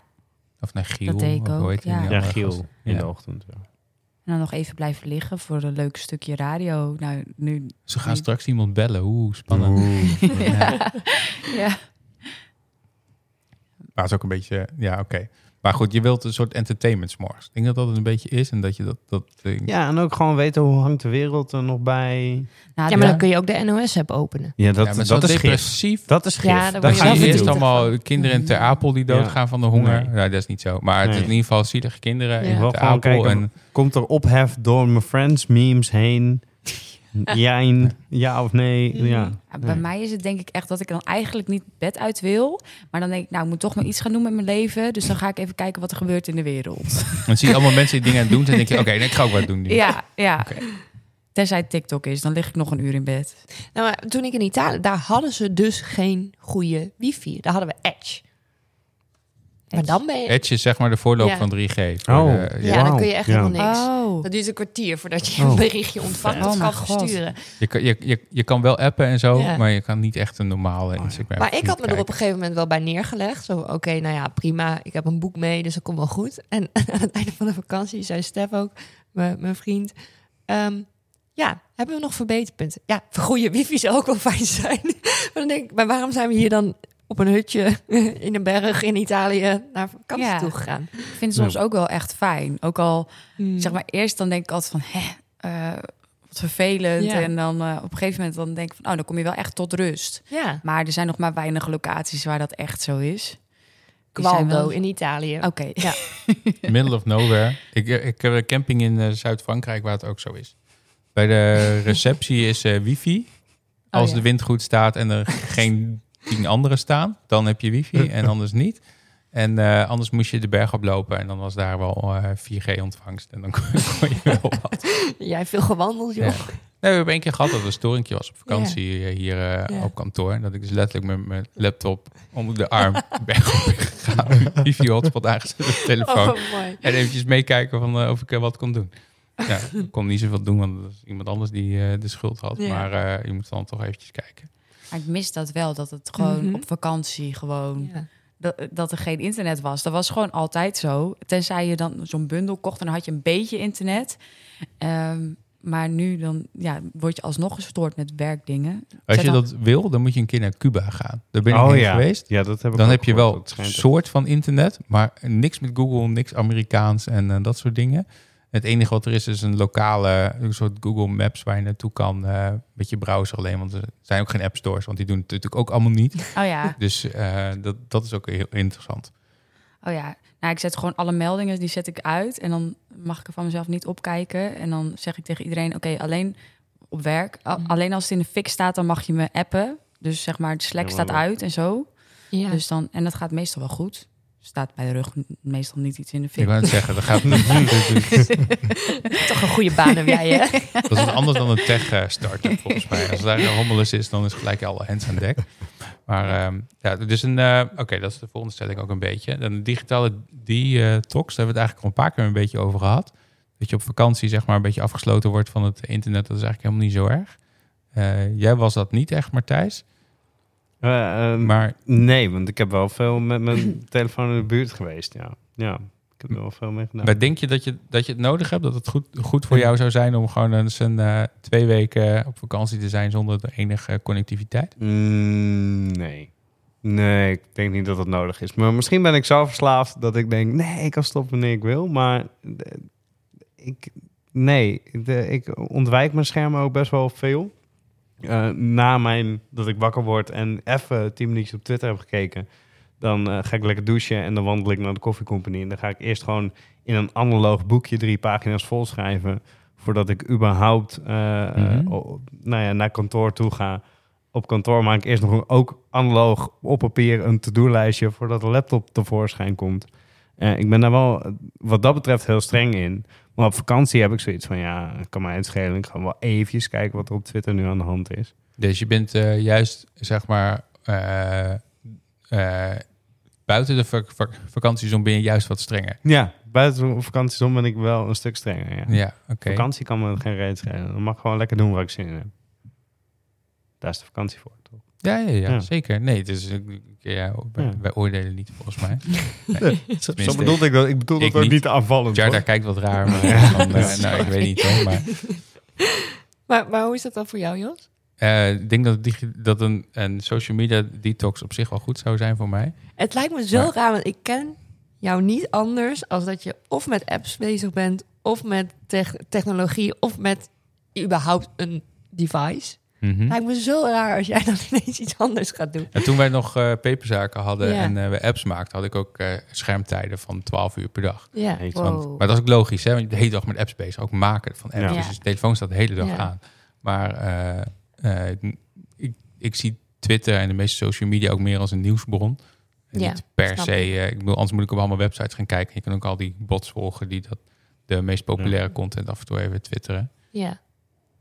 Speaker 1: Of naar Giel.
Speaker 4: Dat deed
Speaker 1: of
Speaker 4: ik
Speaker 1: hoe
Speaker 4: ook,
Speaker 1: heet die nou
Speaker 4: ja.
Speaker 1: andere
Speaker 5: Ja,
Speaker 1: gast?
Speaker 5: Giel in
Speaker 1: Ja.
Speaker 5: de ochtend. ja.
Speaker 4: En dan nog even blijven liggen voor een leuk stukje radio. Nou, nu.
Speaker 1: Ze gaan straks iemand bellen. Oeh, spannend.
Speaker 5: Oeh.
Speaker 1: Ja.
Speaker 4: Ja.
Speaker 1: Maar het is ook een beetje, ja, oké. Maar goed, je wilt een soort entertainment s'morgens. Ik denk dat dat het een beetje is en dat je dat... dat eh,
Speaker 5: Ja, en ook gewoon weten hoe hangt de wereld er nog bij.
Speaker 4: Nou,
Speaker 2: Ja, maar
Speaker 1: Ja.
Speaker 2: dan kun je ook de NOS-app openen.
Speaker 5: Ja, dat,
Speaker 1: ja, maar zo
Speaker 5: dat is gif.
Speaker 1: depressief.
Speaker 5: Dat is gif.
Speaker 2: Ja, daar
Speaker 1: Dan
Speaker 2: word je
Speaker 1: gaan
Speaker 2: wel
Speaker 1: je eerst
Speaker 2: verdrietig
Speaker 1: allemaal kinderen ter Apel die doodgaan van de honger.
Speaker 5: Nee.
Speaker 1: Nou, dat is niet zo. Maar het is
Speaker 5: Nee.
Speaker 1: in ieder geval zielige kinderen
Speaker 2: Ja.
Speaker 1: in
Speaker 5: Wel
Speaker 1: ter
Speaker 5: gewoon
Speaker 1: Apel.
Speaker 5: kijken
Speaker 1: en,
Speaker 5: Komt er ophef door mijn friends memes heen? Jijn, ja of
Speaker 2: Hmm.
Speaker 5: nee? Ja.
Speaker 4: Ja, Bij mij is het denk ik echt dat ik dan eigenlijk niet bed uit wil. Maar dan denk ik, nou, ik moet toch maar iets gaan doen met mijn leven. Dus dan ga ik even kijken wat er gebeurt in de wereld.
Speaker 1: dan zie je allemaal mensen die dingen aan het doen. En dan denk je, oké, dan ik ga ook wat doen nu.
Speaker 4: Ja, ja.
Speaker 1: Oké.
Speaker 4: Tenzij TikTok is, dan lig ik nog een uur in bed.
Speaker 2: Nou, maar toen ik in Italië, daar hadden ze dus geen goede wifi. Daar hadden we Edge. Maar dan ben je.
Speaker 1: Edge is zeg maar de voorloop
Speaker 2: Ja.
Speaker 1: van 3G. Voor eh,
Speaker 5: Oh.
Speaker 1: de-
Speaker 2: Ja,
Speaker 5: Wauw.
Speaker 2: dan kun je echt
Speaker 5: Ja.
Speaker 2: helemaal niks.
Speaker 4: Oh.
Speaker 2: Dat duurt een kwartier voordat je
Speaker 5: Oh.
Speaker 2: een berichtje ontvangt
Speaker 4: Oh
Speaker 2: of
Speaker 4: mijn
Speaker 2: kan
Speaker 4: God.
Speaker 2: versturen.
Speaker 1: je, kan- je, je, je kan wel appen en zo,
Speaker 2: Ja.
Speaker 1: maar je kan niet echt een
Speaker 5: Oh,
Speaker 1: normale Instagram.
Speaker 2: Maar ik had me er op
Speaker 1: erop
Speaker 2: een gegeven moment wel bij neergelegd. Zo, oké, nou ja, prima. Ik heb een boek mee, dus dat komt wel goed. En aan het einde van de vakantie zei Stef ook, mijn mijn vriend... ehm, ja, hebben we nog verbeterpunten? Ja, voor goede wifi zou ook wel fijn zijn. maar dan denk ik, maar waarom zijn we hier dan op een hutje in een berg in Italië naar vakantie
Speaker 4: Ja.
Speaker 2: toe gegaan?
Speaker 4: Ik vind het soms ook wel echt fijn. Ook al,
Speaker 2: Mm.
Speaker 4: zeg maar, eerst dan denk ik altijd van, hè, eh, wat vervelend.
Speaker 2: Ja.
Speaker 4: En dan eh, op een gegeven moment dan denk ik van, oh, dan kom je wel echt tot rust.
Speaker 2: Ja,
Speaker 4: Maar er zijn nog maar weinig locaties waar dat echt zo is. Die zijn
Speaker 2: Qualdo
Speaker 4: wel- Oh.
Speaker 2: in Italië.
Speaker 4: Oké.
Speaker 1: Middle of nowhere. Ik, ik heb een camping in eh, Zuid-Frankrijk waar het ook zo is. Bij de receptie is eh, wifi.
Speaker 4: Oh,
Speaker 1: Als
Speaker 4: ja.
Speaker 1: de wind goed staat en er geen tien anderen staan, dan heb je wifi en anders niet. En eh, anders moest je de berg oplopen en dan was daar wel eh 4G-ontvangst. En dan kon, kon je wel wat.
Speaker 2: Jij veel gewandeld, joh.
Speaker 1: Ja. Nee, we hebben één keer gehad dat er een storingje was op vakantie eh, hier eh,
Speaker 2: Ja.
Speaker 1: op kantoor. Dat ik dus letterlijk met mijn laptop onder de arm berg op ben gegaan. Wifi-hotspot aangezet op de telefoon.
Speaker 2: Oh, mooi.
Speaker 1: En eventjes meekijken van, eh, of ik eh, wat kon doen. Ja, ik kon niet zoveel doen, want dat was iemand anders die eh, de schuld had.
Speaker 2: Ja.
Speaker 1: Maar eh, je moet dan toch eventjes kijken.
Speaker 4: Maar ik mis dat wel, dat het gewoon
Speaker 2: Mhm.
Speaker 4: op vakantie gewoon...
Speaker 2: Ja.
Speaker 4: dat, dat er geen internet was. Dat was gewoon altijd zo. Tenzij je dan zo'n bundel kocht en dan had je een beetje internet. Ehm, maar nu dan ja, word je alsnog gestoord met werkdingen.
Speaker 1: Als
Speaker 4: Zet
Speaker 1: je
Speaker 4: dan-
Speaker 1: dat wil, dan moet je een keer naar Cuba gaan. Daar ben ik
Speaker 5: Oh
Speaker 1: heen
Speaker 5: ja.
Speaker 1: geweest.
Speaker 5: Ja, dat heb ik
Speaker 1: Dan
Speaker 5: ook
Speaker 1: heb je wel
Speaker 5: gehoord. Dat
Speaker 1: een
Speaker 5: schijnt
Speaker 1: soort van internet, maar niks met Google, niks Amerikaans en eh, dat soort dingen. Het enige wat er is, is een lokale een soort Google Maps waar je naartoe kan eh, met je browser alleen. Want er zijn ook geen app stores, want die doen het natuurlijk ook allemaal niet.
Speaker 4: Oh ja,
Speaker 1: Dus eh, dat, dat is ook heel interessant.
Speaker 4: oh ja. Nou, ik zet gewoon alle meldingen, die zet ik uit. En dan mag ik er van mezelf niet opkijken. En dan zeg ik tegen iedereen, oké, alleen op werk. A-
Speaker 2: Mhm.
Speaker 4: Alleen als het in de fik staat, dan mag je me appen. Dus zeg maar, de Slack
Speaker 5: Ja,
Speaker 4: staat
Speaker 5: maar-
Speaker 4: uit en zo.
Speaker 2: Ja.
Speaker 4: Dus dan, en dat gaat meestal wel goed. Staat bij de rug meestal niet iets in de
Speaker 1: Ik
Speaker 4: fik.
Speaker 1: wou het zeggen, dat gaat
Speaker 2: Toch een goede baan heb jij, hè?
Speaker 1: Dat is wat anders dan een tech-startup, volgens mij. Als daar een hommelus is, dan is gelijk alle hands aan dek. Maar ehm, ja, dus een... eh, Oké, dat is de volgende stelling ook een beetje. Dan de digitale detox, daar hebben we het eigenlijk al een paar keer een beetje over gehad. Dat je op vakantie zeg maar een beetje afgesloten wordt van het internet. Dat is eigenlijk helemaal niet zo erg. Eh, jij was dat niet echt, Martijs.
Speaker 5: ook. Eh, ehm,
Speaker 1: Maar
Speaker 5: Nee, want ik heb wel veel met mijn telefoon in de buurt geweest, ja. ja. Ik heb er wel veel mee gedaan.
Speaker 1: Maar denk je dat, je dat je het nodig hebt? Dat het goed, goed voor jou zou zijn om gewoon eens een, eh, twee weken op vakantie te zijn zonder de enige connectiviteit?
Speaker 5: Mm, nee. Nee, ik denk niet dat dat nodig is. Maar misschien ben ik zo verslaafd dat ik denk... nee, ik kan stoppen wanneer ik wil. Maar eh, ik, nee, de- ik ontwijk mijn schermen ook best wel veel. Eh, na mijn, dat ik wakker word en even tien minuutjes op Twitter heb gekeken... dan eh, ga ik lekker douchen en dan wandel ik naar de koffiecompany. En dan ga ik eerst gewoon in een analoog boekje drie pagina's volschrijven... voordat ik überhaupt eh, eh,
Speaker 1: Mhm.
Speaker 5: o- nou ja, naar kantoor toe ga op kantoor maak ik eerst nog een- ook analoog op papier een to-do-lijstje voordat de laptop tevoorschijn komt. Eh, ik ben daar wel eh, wat dat betreft heel streng in. Maar op vakantie heb ik zoiets van, ja, het kan mij uitschelen. Ik ga wel eventjes kijken wat er op Twitter nu aan de hand is.
Speaker 1: Dus je bent eh, juist, zeg maar, eh, eh, buiten de vak vak- vakantiezon ben je juist wat strenger.
Speaker 5: Ja, buiten vakantie om ben ik wel een stuk strenger. Ja.
Speaker 1: Ja, oké.
Speaker 5: Vakantie kan me geen reet schelen. Dan mag ik gewoon lekker doen waar ik zin in heb. Daar is de vakantie voor, toch?
Speaker 1: Ja, ja, ja,
Speaker 5: Ja.
Speaker 1: zeker. Nee, het is, ja, wij,
Speaker 5: Ja.
Speaker 1: wij oordelen niet volgens mij.
Speaker 5: Zo bedoelde ik dat. Ik bedoel
Speaker 1: ik
Speaker 5: dat ook
Speaker 1: niet.
Speaker 5: niet aanvallend.
Speaker 1: Jarda
Speaker 5: hoor.
Speaker 1: kijkt wat raar, maar
Speaker 5: Ja.
Speaker 1: van, eh, nou, ik weet niet hoor. Maar
Speaker 2: Maar, maar hoe is dat dan voor jou, Jos?
Speaker 1: eh, ik denk dat, digi- dat een, een social media detox op zich wel goed zou zijn voor mij.
Speaker 2: Het lijkt me zo
Speaker 1: Ja.
Speaker 2: raar, want ik ken jou niet anders als dat je of met apps bezig bent, of met tech- technologie, of met überhaupt een device.
Speaker 1: Mhm.
Speaker 2: Lijkt me zo raar als jij dan ineens iets anders gaat doen.
Speaker 1: En toen wij nog eh, peperzaken hadden
Speaker 2: Ja.
Speaker 1: en eh, we apps maakten, had ik ook eh, schermtijden van 12 uur per dag.
Speaker 2: Ja,
Speaker 5: Heet
Speaker 1: Want-
Speaker 2: Oh.
Speaker 4: Wow.
Speaker 1: maar dat is ook logisch, hè? want je bent de hele dag met apps bezig. Ook maken van apps.
Speaker 5: Ja.
Speaker 1: Dus je telefoon staat de hele dag
Speaker 2: Ja.
Speaker 1: aan. Maar eh, eh, ik, ik zie Twitter en de meeste social media ook meer als een nieuwsbron. En
Speaker 2: Ja,
Speaker 1: niet per
Speaker 2: snap
Speaker 1: se. eh, ik bedoel, anders moet ik op allemaal websites gaan kijken. Je kan ook al die bots volgen die dat, de meest populaire content af en toe even twitteren.
Speaker 2: ja.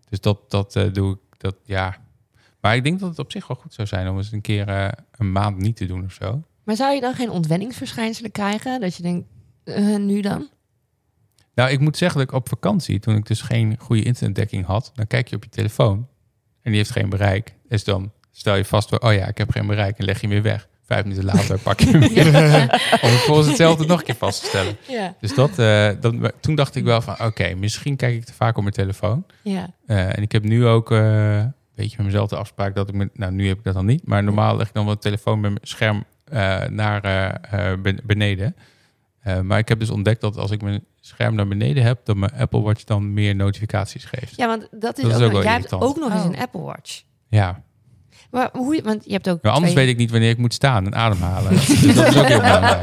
Speaker 1: Dus dat, dat eh, doe ik, dat ja. Maar ik denk dat het op zich wel goed zou zijn om eens een keer eh, een maand niet te doen of zo.
Speaker 2: Maar zou je dan geen ontwenningsverschijnselen krijgen? Dat je denkt, eh, nu dan?
Speaker 1: Nou, ik moet zeggen dat ik op vakantie, toen ik dus geen goede internetdekking had, dan kijk je op je telefoon en die heeft geen bereik. Dus dan stel je vast, oh ja, ik heb geen bereik en leg je hem weer weg. Vijf minuten later pak je hem weer. Om het volgens hetzelfde nog een keer vast te stellen.
Speaker 2: Ja,
Speaker 1: Dus dat, eh, dat, toen dacht ik wel van, oké, misschien kijk ik te vaak op mijn telefoon.
Speaker 2: ja.
Speaker 1: Eh, en ik heb nu ook eh, een beetje met mezelf de afspraak dat ik me. Nou, nu heb ik dat dan niet. Maar normaal leg ik dan wel de telefoon met mijn scherm eh, naar eh, eh, ben- beneden. Eh, maar ik heb dus ontdekt dat als ik mijn scherm naar beneden heb, dat mijn Apple Watch dan meer notificaties geeft. Ja.
Speaker 2: ja want dat is
Speaker 1: Dat is ook
Speaker 2: ook, nog-
Speaker 1: wel
Speaker 2: jij
Speaker 1: irritant.
Speaker 2: hebt ook nog eens
Speaker 4: Oh.
Speaker 2: een Apple Watch. Maar hoe, want je hebt ook
Speaker 1: Maar anders
Speaker 2: twee,
Speaker 1: weet ik niet wanneer ik moet staan en ademhalen. dus dat is ook heel belangrijk.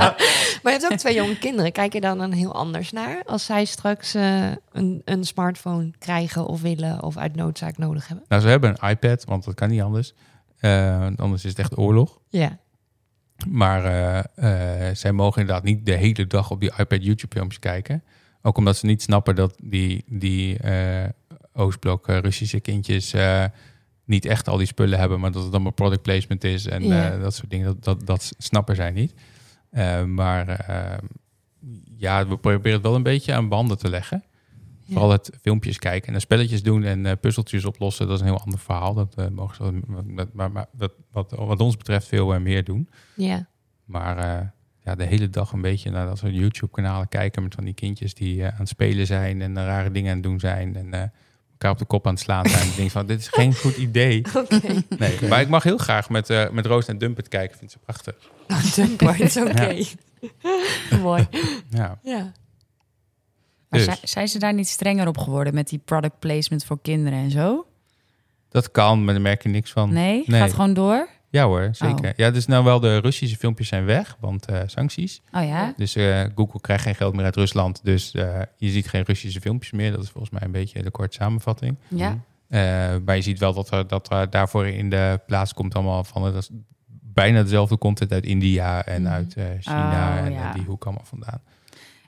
Speaker 2: maar je hebt ook twee jonge kinderen. Kijk je dan dan heel anders naar als zij straks eh, een, een smartphone krijgen of willen of uit noodzaak nodig hebben?
Speaker 1: Nou, ze hebben een iPad, want dat kan niet anders. Eh, want anders is het echt oorlog.
Speaker 2: Ja,
Speaker 1: Maar eh, eh, zij mogen inderdaad niet de hele dag op die iPad YouTube-filmpjes kijken. Ook omdat ze niet snappen dat die, die eh, Oostblok eh, Russische kindjes eh, niet echt al die spullen hebben, maar dat het allemaal product placement is en
Speaker 2: Ja.
Speaker 1: eh, dat soort dingen. Dat, dat, dat snappen zij niet. Eh, maar eh, ja, we proberen het wel een beetje aan banden te leggen. Vooral het filmpjes kijken en spelletjes doen en eh, puzzeltjes oplossen, dat is een heel ander verhaal. Dat eh, mogen ze, wat- wat- maar, maar dat, wat, wat ons betreft veel eh, meer doen.
Speaker 2: ja.
Speaker 1: Maar eh, ja, de hele dag een beetje naar dat soort YouTube-kanalen kijken met van die kindjes die eh, aan het spelen zijn en rare dingen aan het doen zijn en eh, elkaar op de kop aan het slaan zijn. ik denk van, dit is geen goed idee.
Speaker 2: Oké.
Speaker 1: Nee, maar ik mag heel graag met, eh, met Roos en Dumpet kijken. Ik vind ze prachtig.
Speaker 2: Nou, dankbaar, is oké. Mooi.
Speaker 1: Ja.
Speaker 2: Ja.
Speaker 4: Maar
Speaker 1: Dus.
Speaker 4: zi- zijn ze daar niet strenger op geworden met die product placement voor kinderen en zo?
Speaker 1: Dat kan, maar daar merk je niks van.
Speaker 4: Nee?
Speaker 1: Nee.
Speaker 4: Gaat gewoon door?
Speaker 1: Ja hoor, zeker. Ja, dus nou wel, de Russische filmpjes zijn weg, want eh, sancties.
Speaker 4: Oh ja?
Speaker 1: Dus eh, Google krijgt geen geld meer uit Rusland, dus eh, je ziet geen Russische filmpjes meer. Dat is volgens mij een beetje de korte samenvatting.
Speaker 4: Ja.
Speaker 1: Eh, maar je ziet wel dat er, dat er daarvoor in de plaats komt allemaal van... Dat is bijna dezelfde content uit India en
Speaker 4: Mhm.
Speaker 1: uit eh, China
Speaker 4: Oh,
Speaker 1: en
Speaker 4: ja.
Speaker 1: eh, die hoek allemaal vandaan.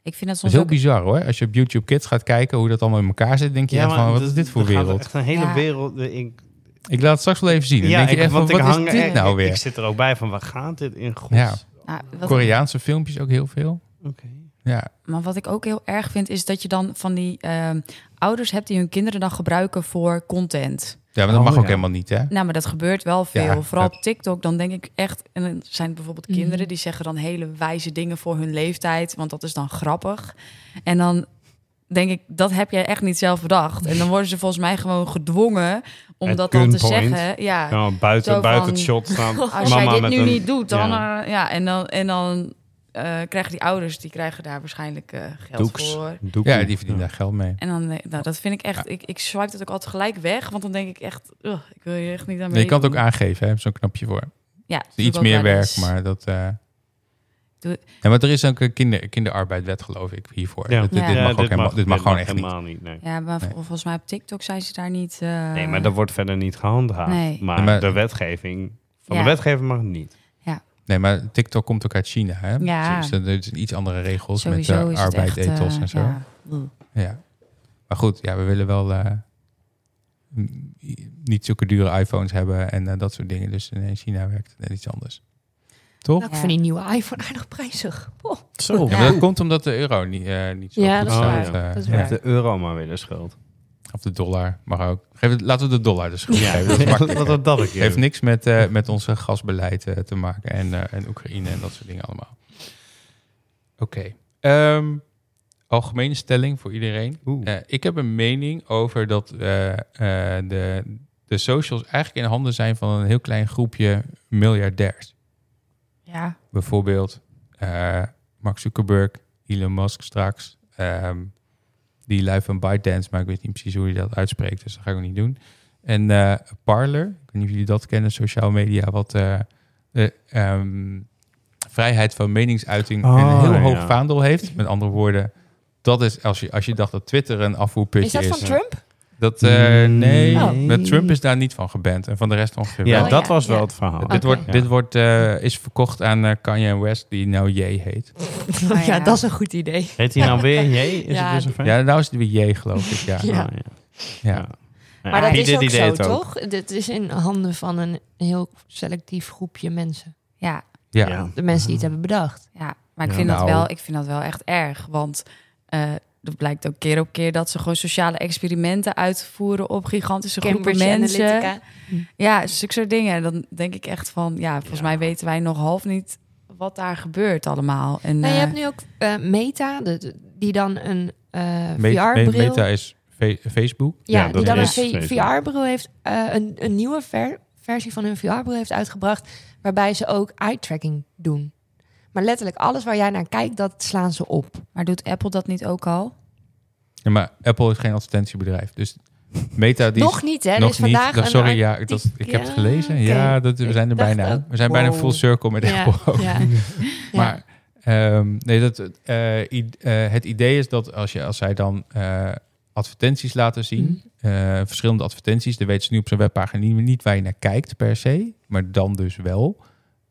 Speaker 4: Ik vind dat
Speaker 1: Dat
Speaker 4: soms
Speaker 1: is heel
Speaker 4: ook...
Speaker 1: bizar hoor. Als je op YouTube Kids gaat kijken hoe dat allemaal in elkaar zit... denk je echt van, wat is dit voor wereld?
Speaker 5: Echt een hele
Speaker 4: Ja.
Speaker 5: wereld. eh, Ik,
Speaker 1: Ik laat het straks wel even zien. Dan
Speaker 5: Ja,
Speaker 1: denk je
Speaker 5: ik,
Speaker 1: echt van,
Speaker 5: want ik
Speaker 1: wat
Speaker 5: hang
Speaker 1: is dit
Speaker 5: er-
Speaker 1: nou
Speaker 5: Ik
Speaker 1: weer?
Speaker 5: zit er ook bij van, waar gaat dit in gods?
Speaker 1: Ja.
Speaker 4: Nou, wat-
Speaker 1: Koreaanse filmpjes ook heel veel. Ja,
Speaker 4: Maar wat ik ook heel erg vind, is dat je dan van die ehm, ouders hebt die hun kinderen dan gebruiken voor content.
Speaker 1: ja maar dat
Speaker 5: Oh,
Speaker 1: mag ook
Speaker 5: ja.
Speaker 1: helemaal niet, hè?
Speaker 4: Nou, maar dat gebeurt wel veel.
Speaker 1: Ja,
Speaker 4: Vooral
Speaker 1: dat-
Speaker 4: op TikTok, dan denk ik echt... En dan zijn het bijvoorbeeld
Speaker 2: Mhm.
Speaker 4: kinderen die zeggen dan hele wijze dingen voor hun leeftijd. Want dat is dan grappig. En dan denk ik, dat heb jij echt niet zelf bedacht. En dan worden ze volgens mij gewoon gedwongen om
Speaker 5: At
Speaker 4: dat dan te
Speaker 5: gunpoint.
Speaker 4: zeggen. Ja,
Speaker 5: Nou,
Speaker 4: Zo
Speaker 5: buiten, buiten het
Speaker 4: van-
Speaker 5: shot staan.
Speaker 4: als
Speaker 5: mama
Speaker 4: jij dit
Speaker 5: met
Speaker 4: nu
Speaker 5: een-
Speaker 4: niet doet, dan...
Speaker 5: ja.
Speaker 4: Ja, ja en dan, en dan eh, krijgen die ouders, die krijgen daar waarschijnlijk eh, geld
Speaker 5: Doeks.
Speaker 4: voor.
Speaker 5: Doekoe.
Speaker 1: Ja, die verdienen daar geld mee.
Speaker 4: En dan, eh, nou, dat vind ik echt, ik, ik swipe dat ook altijd gelijk weg, want dan denk ik echt, ugh, ik wil je echt niet aan
Speaker 1: Nee, je kan het ook
Speaker 4: meedoen.
Speaker 1: aangeven, hè? Zo'n knopje voor.
Speaker 4: Ja,
Speaker 1: Het
Speaker 4: doe
Speaker 1: is
Speaker 4: ik
Speaker 1: iets
Speaker 4: ook dus.
Speaker 1: meer
Speaker 4: wel
Speaker 1: werk,
Speaker 4: eens.
Speaker 1: maar dat... eh
Speaker 4: Doe-
Speaker 1: Ja, want er is ook een kinder, kinderarbeidwet, geloof ik, hiervoor.
Speaker 5: Ja.
Speaker 1: Dat- dit,
Speaker 4: Ja.
Speaker 1: dit
Speaker 4: Ja,
Speaker 1: mag ook helemaal, dit mag gewoon echt niet.
Speaker 5: helemaal niet. nee.
Speaker 4: Ja, maar vol-
Speaker 1: Nee.
Speaker 4: volgens mij op TikTok zijn ze daar niet. eh,
Speaker 5: Nee, maar dat wordt verder niet gehandhaafd.
Speaker 4: Nee.
Speaker 5: Maar,
Speaker 1: Ja, maar-
Speaker 5: de wetgeving van
Speaker 4: Ja.
Speaker 5: de wetgever mag het niet.
Speaker 1: Nee, maar TikTok komt ook uit China, hè?
Speaker 4: Ja.
Speaker 1: Dus er er zijn iets andere regels
Speaker 4: sowieso
Speaker 1: met
Speaker 4: is
Speaker 1: eh,
Speaker 4: het
Speaker 1: arbeid,
Speaker 4: echt, eh,
Speaker 1: ethos en zo. Ja.
Speaker 4: ja. Ugh.
Speaker 1: Maar goed, ja, we willen wel eh, m- niet zulke dure iPhones hebben en eh, dat soort dingen. Dus in China werkt het net iets anders. Toch?
Speaker 2: Nou, ik
Speaker 4: Ja.
Speaker 2: vind die nieuwe iPhone aardig prijzig. Oh.
Speaker 5: Zo.
Speaker 1: Ja, maar dat komt omdat de euro niet, eh, niet zo
Speaker 2: Ja,
Speaker 1: goed
Speaker 2: dat
Speaker 5: is
Speaker 1: staat.
Speaker 5: waar.
Speaker 1: eh,
Speaker 2: Dat is
Speaker 1: ja.
Speaker 2: waar.
Speaker 5: De euro maar weer de schuld.
Speaker 1: Of de dollar, mag ook. Geef het, laten we de dollar de schuld geven. Dat is makkelijker.
Speaker 5: dat, dat, dat ik
Speaker 1: heeft niks met, eh, met onze gasbeleid eh, te maken en, eh, en Oekraïne en dat soort dingen allemaal. Oké. Ehm, algemene stelling voor iedereen.
Speaker 5: Oeh.
Speaker 1: Eh, ik heb een mening over dat eh, eh, de, de socials eigenlijk in handen zijn van een heel klein groepje miljardairs.
Speaker 4: Ja.
Speaker 1: Bijvoorbeeld eh, Mark Zuckerberg, Elon Musk straks. ehm, die lui van ByteDance, maar ik weet niet precies hoe je dat uitspreekt, dus dat ga ik ook niet doen. En eh, Parler, ik weet niet of jullie dat kennen, sociaal media, wat eh, de ehm, vrijheid van meningsuiting een
Speaker 5: Oh,
Speaker 1: heel hoog
Speaker 5: ja.
Speaker 1: vaandel heeft. Met andere woorden, dat is als je, als je dacht dat Twitter een afvoerputje is.
Speaker 2: Is
Speaker 1: eh,
Speaker 2: dat van Trump?
Speaker 1: Dat, eh,
Speaker 5: Mm.
Speaker 1: nee,
Speaker 5: Oh.
Speaker 1: met Trump is daar niet van geband en van de rest ongeveer wel.
Speaker 5: Ja,
Speaker 2: Oh,
Speaker 5: dat
Speaker 2: ja,
Speaker 5: was wel
Speaker 2: ja.
Speaker 5: het verhaal.
Speaker 1: Dit,
Speaker 2: Oké.
Speaker 1: wordt,
Speaker 5: Ja.
Speaker 1: dit wordt, eh, is verkocht aan eh, Kanye West, die nou J heet.
Speaker 4: Ah,
Speaker 2: ja,
Speaker 4: ja.
Speaker 2: dat is een goed idee.
Speaker 5: Heet hij nou weer J? Is
Speaker 2: Ja,
Speaker 5: het weer zover?
Speaker 1: Ja, nou is het weer J, geloof ik. Ja.
Speaker 2: Ja.
Speaker 5: Ah, ja.
Speaker 1: Ja.
Speaker 5: Ja.
Speaker 2: Maar dat
Speaker 5: P.
Speaker 2: is
Speaker 5: Diddy
Speaker 2: ook
Speaker 5: deed
Speaker 2: zo,
Speaker 5: het ook.
Speaker 2: toch? Dit is in handen van een heel selectief groepje mensen.
Speaker 4: Ja,
Speaker 1: Ja.
Speaker 2: De mensen die het hebben bedacht.
Speaker 4: ja. Maar ik
Speaker 5: Ja,
Speaker 4: vind, dat
Speaker 1: nou.
Speaker 4: wel, ik vind dat wel echt erg. Want eh dat blijkt ook keer op keer dat ze gewoon sociale experimenten uitvoeren op gigantische groepen mensen. Ja, zulke soort dingen. En dan denk ik echt van, ja, volgens
Speaker 5: Ja.
Speaker 4: mij weten wij nog half niet wat daar gebeurt allemaal. En,
Speaker 2: Nou, je
Speaker 4: eh,
Speaker 2: hebt nu ook eh, Meta, de- de- die dan een eh,
Speaker 1: Me- me-
Speaker 2: VR-bril...
Speaker 1: Meta is fe- Facebook.
Speaker 2: Ja,
Speaker 5: Ja,
Speaker 2: die
Speaker 5: dat
Speaker 2: dan
Speaker 5: is
Speaker 2: een
Speaker 5: Facebook.
Speaker 2: VR-bril heeft, eh, een, een nieuwe ver- versie van hun VR-bril heeft uitgebracht, waarbij ze ook eye-tracking doen. Maar letterlijk alles waar jij naar kijkt, dat slaan ze op.
Speaker 4: Maar doet Apple dat niet ook al?
Speaker 1: Ja, maar Apple is geen advertentiebedrijf. Dus Meta die
Speaker 2: nog niet, hè?
Speaker 1: nog
Speaker 2: dus vandaag
Speaker 1: niet. Nou,
Speaker 2: een
Speaker 1: Sorry,
Speaker 2: art-
Speaker 1: ja, ik- dat, ik heb het
Speaker 2: Ja,
Speaker 1: gelezen.
Speaker 2: oké.
Speaker 1: Ja, dat, we
Speaker 2: Ik
Speaker 1: zijn er
Speaker 2: dacht
Speaker 1: bijna.
Speaker 2: ook.
Speaker 1: We zijn bijna
Speaker 2: Wow.
Speaker 1: full circle met
Speaker 2: Ja,
Speaker 1: Apple. ook.
Speaker 2: ja.
Speaker 1: Maar ehm, nee, dat, eh, i- eh, het idee is dat als, je, als zij dan eh, advertenties laten zien,
Speaker 2: Mhm.
Speaker 1: eh, verschillende advertenties, dan weet ze nu op zijn webpagina niet, niet waar je naar kijkt per se, maar dan dus wel.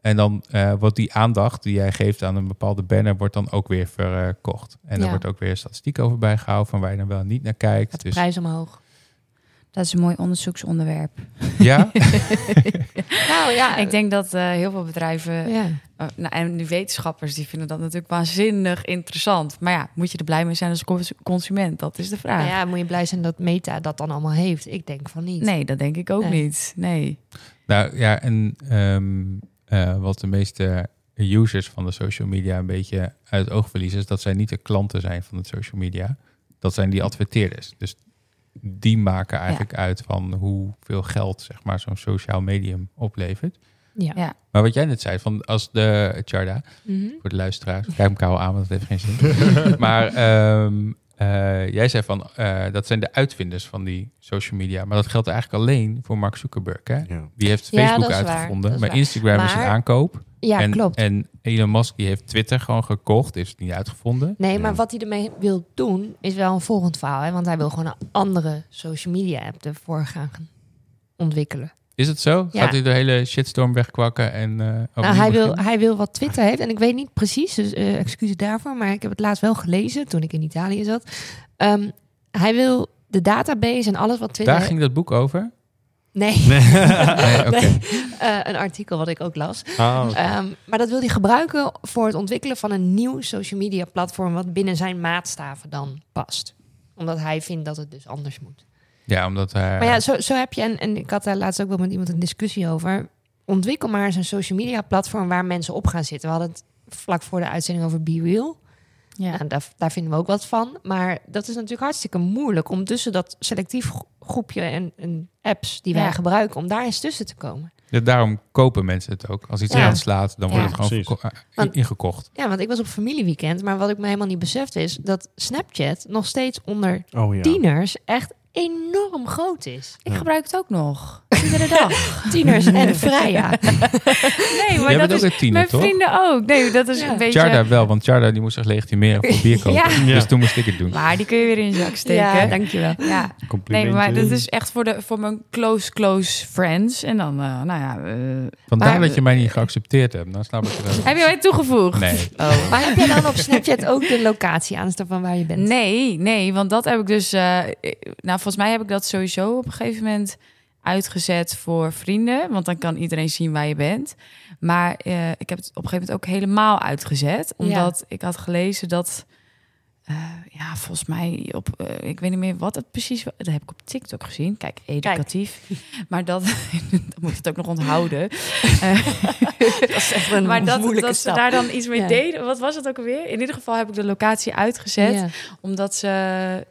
Speaker 1: En dan eh, wordt die aandacht die jij geeft aan een bepaalde banner, wordt dan ook weer verkocht. En daar
Speaker 2: Ja.
Speaker 1: wordt ook weer statistiek over bijgehouden van waar je dan wel en niet naar kijkt.
Speaker 2: Gaat de
Speaker 1: Dus,
Speaker 2: prijs omhoog.
Speaker 4: Dat is een mooi onderzoeksonderwerp.
Speaker 1: ja,
Speaker 2: Nou ja,
Speaker 4: Ik denk dat eh, heel veel bedrijven,
Speaker 2: Ja.
Speaker 4: eh, nou, en die wetenschappers, die vinden dat natuurlijk waanzinnig interessant. Maar ja, moet je er blij mee zijn als cons- consument? Dat is de vraag.
Speaker 2: Nou ja, moet je blij zijn dat Meta dat dan allemaal heeft. Ik denk van niet.
Speaker 4: Nee, dat denk ik ook
Speaker 2: Nee.
Speaker 4: niet. Nee.
Speaker 1: nou ja, en ehm, eh, wat de meeste users van de social media een beetje uit het oog verliezen, is dat zij niet de klanten zijn van de social media. Dat zijn die adverteerders. Dus die maken eigenlijk uit van hoeveel geld, zeg maar, zo'n sociaal medium oplevert.
Speaker 2: Ja.
Speaker 4: Ja.
Speaker 1: Maar wat jij net zei, van als de Charda,
Speaker 2: Mhm.
Speaker 1: voor de luisteraars, kijk hem kou aan, want dat heeft geen zin. maar ehm, eh, jij zei van, eh, dat zijn de uitvinders van die social media. Maar dat geldt eigenlijk alleen voor Mark Zuckerberg, hè?
Speaker 5: Ja.
Speaker 1: Die heeft
Speaker 2: Ja,
Speaker 1: Facebook
Speaker 2: dat is waar.
Speaker 1: uitgevonden,
Speaker 2: Dat is
Speaker 1: maar
Speaker 2: waar.
Speaker 1: Instagram is een
Speaker 2: Maar-
Speaker 1: aankoop.
Speaker 2: Ja,
Speaker 1: en,
Speaker 2: klopt.
Speaker 1: en Elon Musk die heeft Twitter gewoon gekocht, is het niet uitgevonden.
Speaker 2: Nee, maar
Speaker 5: Ja.
Speaker 2: wat hij ermee wil doen is wel een volgend verhaal. Hè? Want hij wil gewoon een andere social media app ervoor gaan ontwikkelen.
Speaker 1: Is het zo?
Speaker 2: Ja.
Speaker 1: Gaat hij de hele shitstorm wegkwakken? En, eh,
Speaker 2: nou,
Speaker 1: opnieuw
Speaker 2: hij, wil,
Speaker 1: beginnen?
Speaker 2: hij wil wat Twitter heeft. En ik weet niet precies, dus eh excuses daarvoor. Maar ik heb het laatst wel gelezen toen ik in Italië zat. Ehm, hij wil de database en alles wat Twitter
Speaker 1: Daar ging dat boek over.
Speaker 2: Nee,
Speaker 1: Nee, oké. Oh.
Speaker 2: Nee. Eh, een artikel wat ik ook las.
Speaker 5: Ah, oké.
Speaker 2: Ehm, maar dat wil hij gebruiken voor het ontwikkelen van een nieuw social media platform... wat binnen zijn maatstaven dan past. Omdat hij vindt dat het dus anders moet.
Speaker 1: Ja, omdat... eh,
Speaker 2: Maar ja, zo, zo heb je, en, en ik had daar laatst ook wel met iemand een discussie over. Ontwikkel maar eens een social media platform waar mensen op gaan zitten. We hadden het vlak voor de uitzending over Be Real.
Speaker 4: Ja.
Speaker 2: Nou, daar, daar vinden we ook wat van. Maar dat is natuurlijk hartstikke moeilijk om tussen dat selectief gro- groepje en, en apps die wij
Speaker 4: Ja.
Speaker 2: gebruiken, om daar eens tussen te komen.
Speaker 1: ja, daarom kopen mensen het ook. Als iets
Speaker 2: Ja.
Speaker 1: aanslaat, dan wordt
Speaker 2: Ja.
Speaker 1: het gewoon
Speaker 5: Precies.
Speaker 1: verko- eh,
Speaker 2: Want-
Speaker 1: ingekocht.
Speaker 2: Ja, want ik was op familieweekend, maar wat ik me helemaal niet besefte is dat Snapchat nog steeds onder
Speaker 5: Oh ja.
Speaker 2: tieners echt enorm groot is.
Speaker 4: Ik
Speaker 5: Ja.
Speaker 4: gebruik het ook nog. Iedere dag.
Speaker 2: Tieners en Freya.
Speaker 4: Nee, maar
Speaker 1: Jij
Speaker 4: dat
Speaker 1: bent
Speaker 4: is...
Speaker 1: ook een tiener,
Speaker 4: Mijn
Speaker 1: toch?
Speaker 4: vrienden ook. Nee, dat is
Speaker 2: Ja.
Speaker 4: een beetje...
Speaker 1: Charda wel, want Charda die moest zich legitimeren voor bier kopen.
Speaker 4: Ja.
Speaker 5: Ja.
Speaker 1: Dus toen moest ik het doen.
Speaker 4: Maar die kun je weer in je zak steken.
Speaker 2: Ja, dankjewel.
Speaker 4: Ja. Nee,
Speaker 5: Complimentje.
Speaker 4: maar dat is echt voor, de, voor mijn close, close friends. En dan, eh, nou ja... eh,
Speaker 1: Vandaar
Speaker 4: Maar-
Speaker 1: dat je mij niet geaccepteerd hebt. Dan snap ik het ook.
Speaker 4: heb je mij toegevoegd?
Speaker 1: Nee.
Speaker 4: Oh.
Speaker 2: Maar heb jij dan op Snapchat ook de locatie aanstaan van waar je bent?
Speaker 4: Nee, nee, want dat heb ik dus... eh, eh, nou, volgens mij heb ik dat sowieso op een gegeven moment uitgezet voor vrienden. Want dan kan iedereen zien waar je bent. Maar eh, ik heb het op een gegeven moment ook helemaal uitgezet. Omdat ik had gelezen dat... eh, ja, volgens mij op... eh, ik weet niet meer wat het precies was. Dat heb ik op TikTok gezien. Kijk, educatief. Maar dat... dan moet je het ook nog onthouden. Eh,
Speaker 2: dat is echt een
Speaker 4: maar dat,
Speaker 2: moeilijke
Speaker 4: dat ze
Speaker 2: stap.
Speaker 4: daar dan iets mee
Speaker 2: Ja.
Speaker 4: deden. Wat was het ook alweer? In ieder geval heb ik de locatie uitgezet
Speaker 2: Ja.
Speaker 4: omdat ze.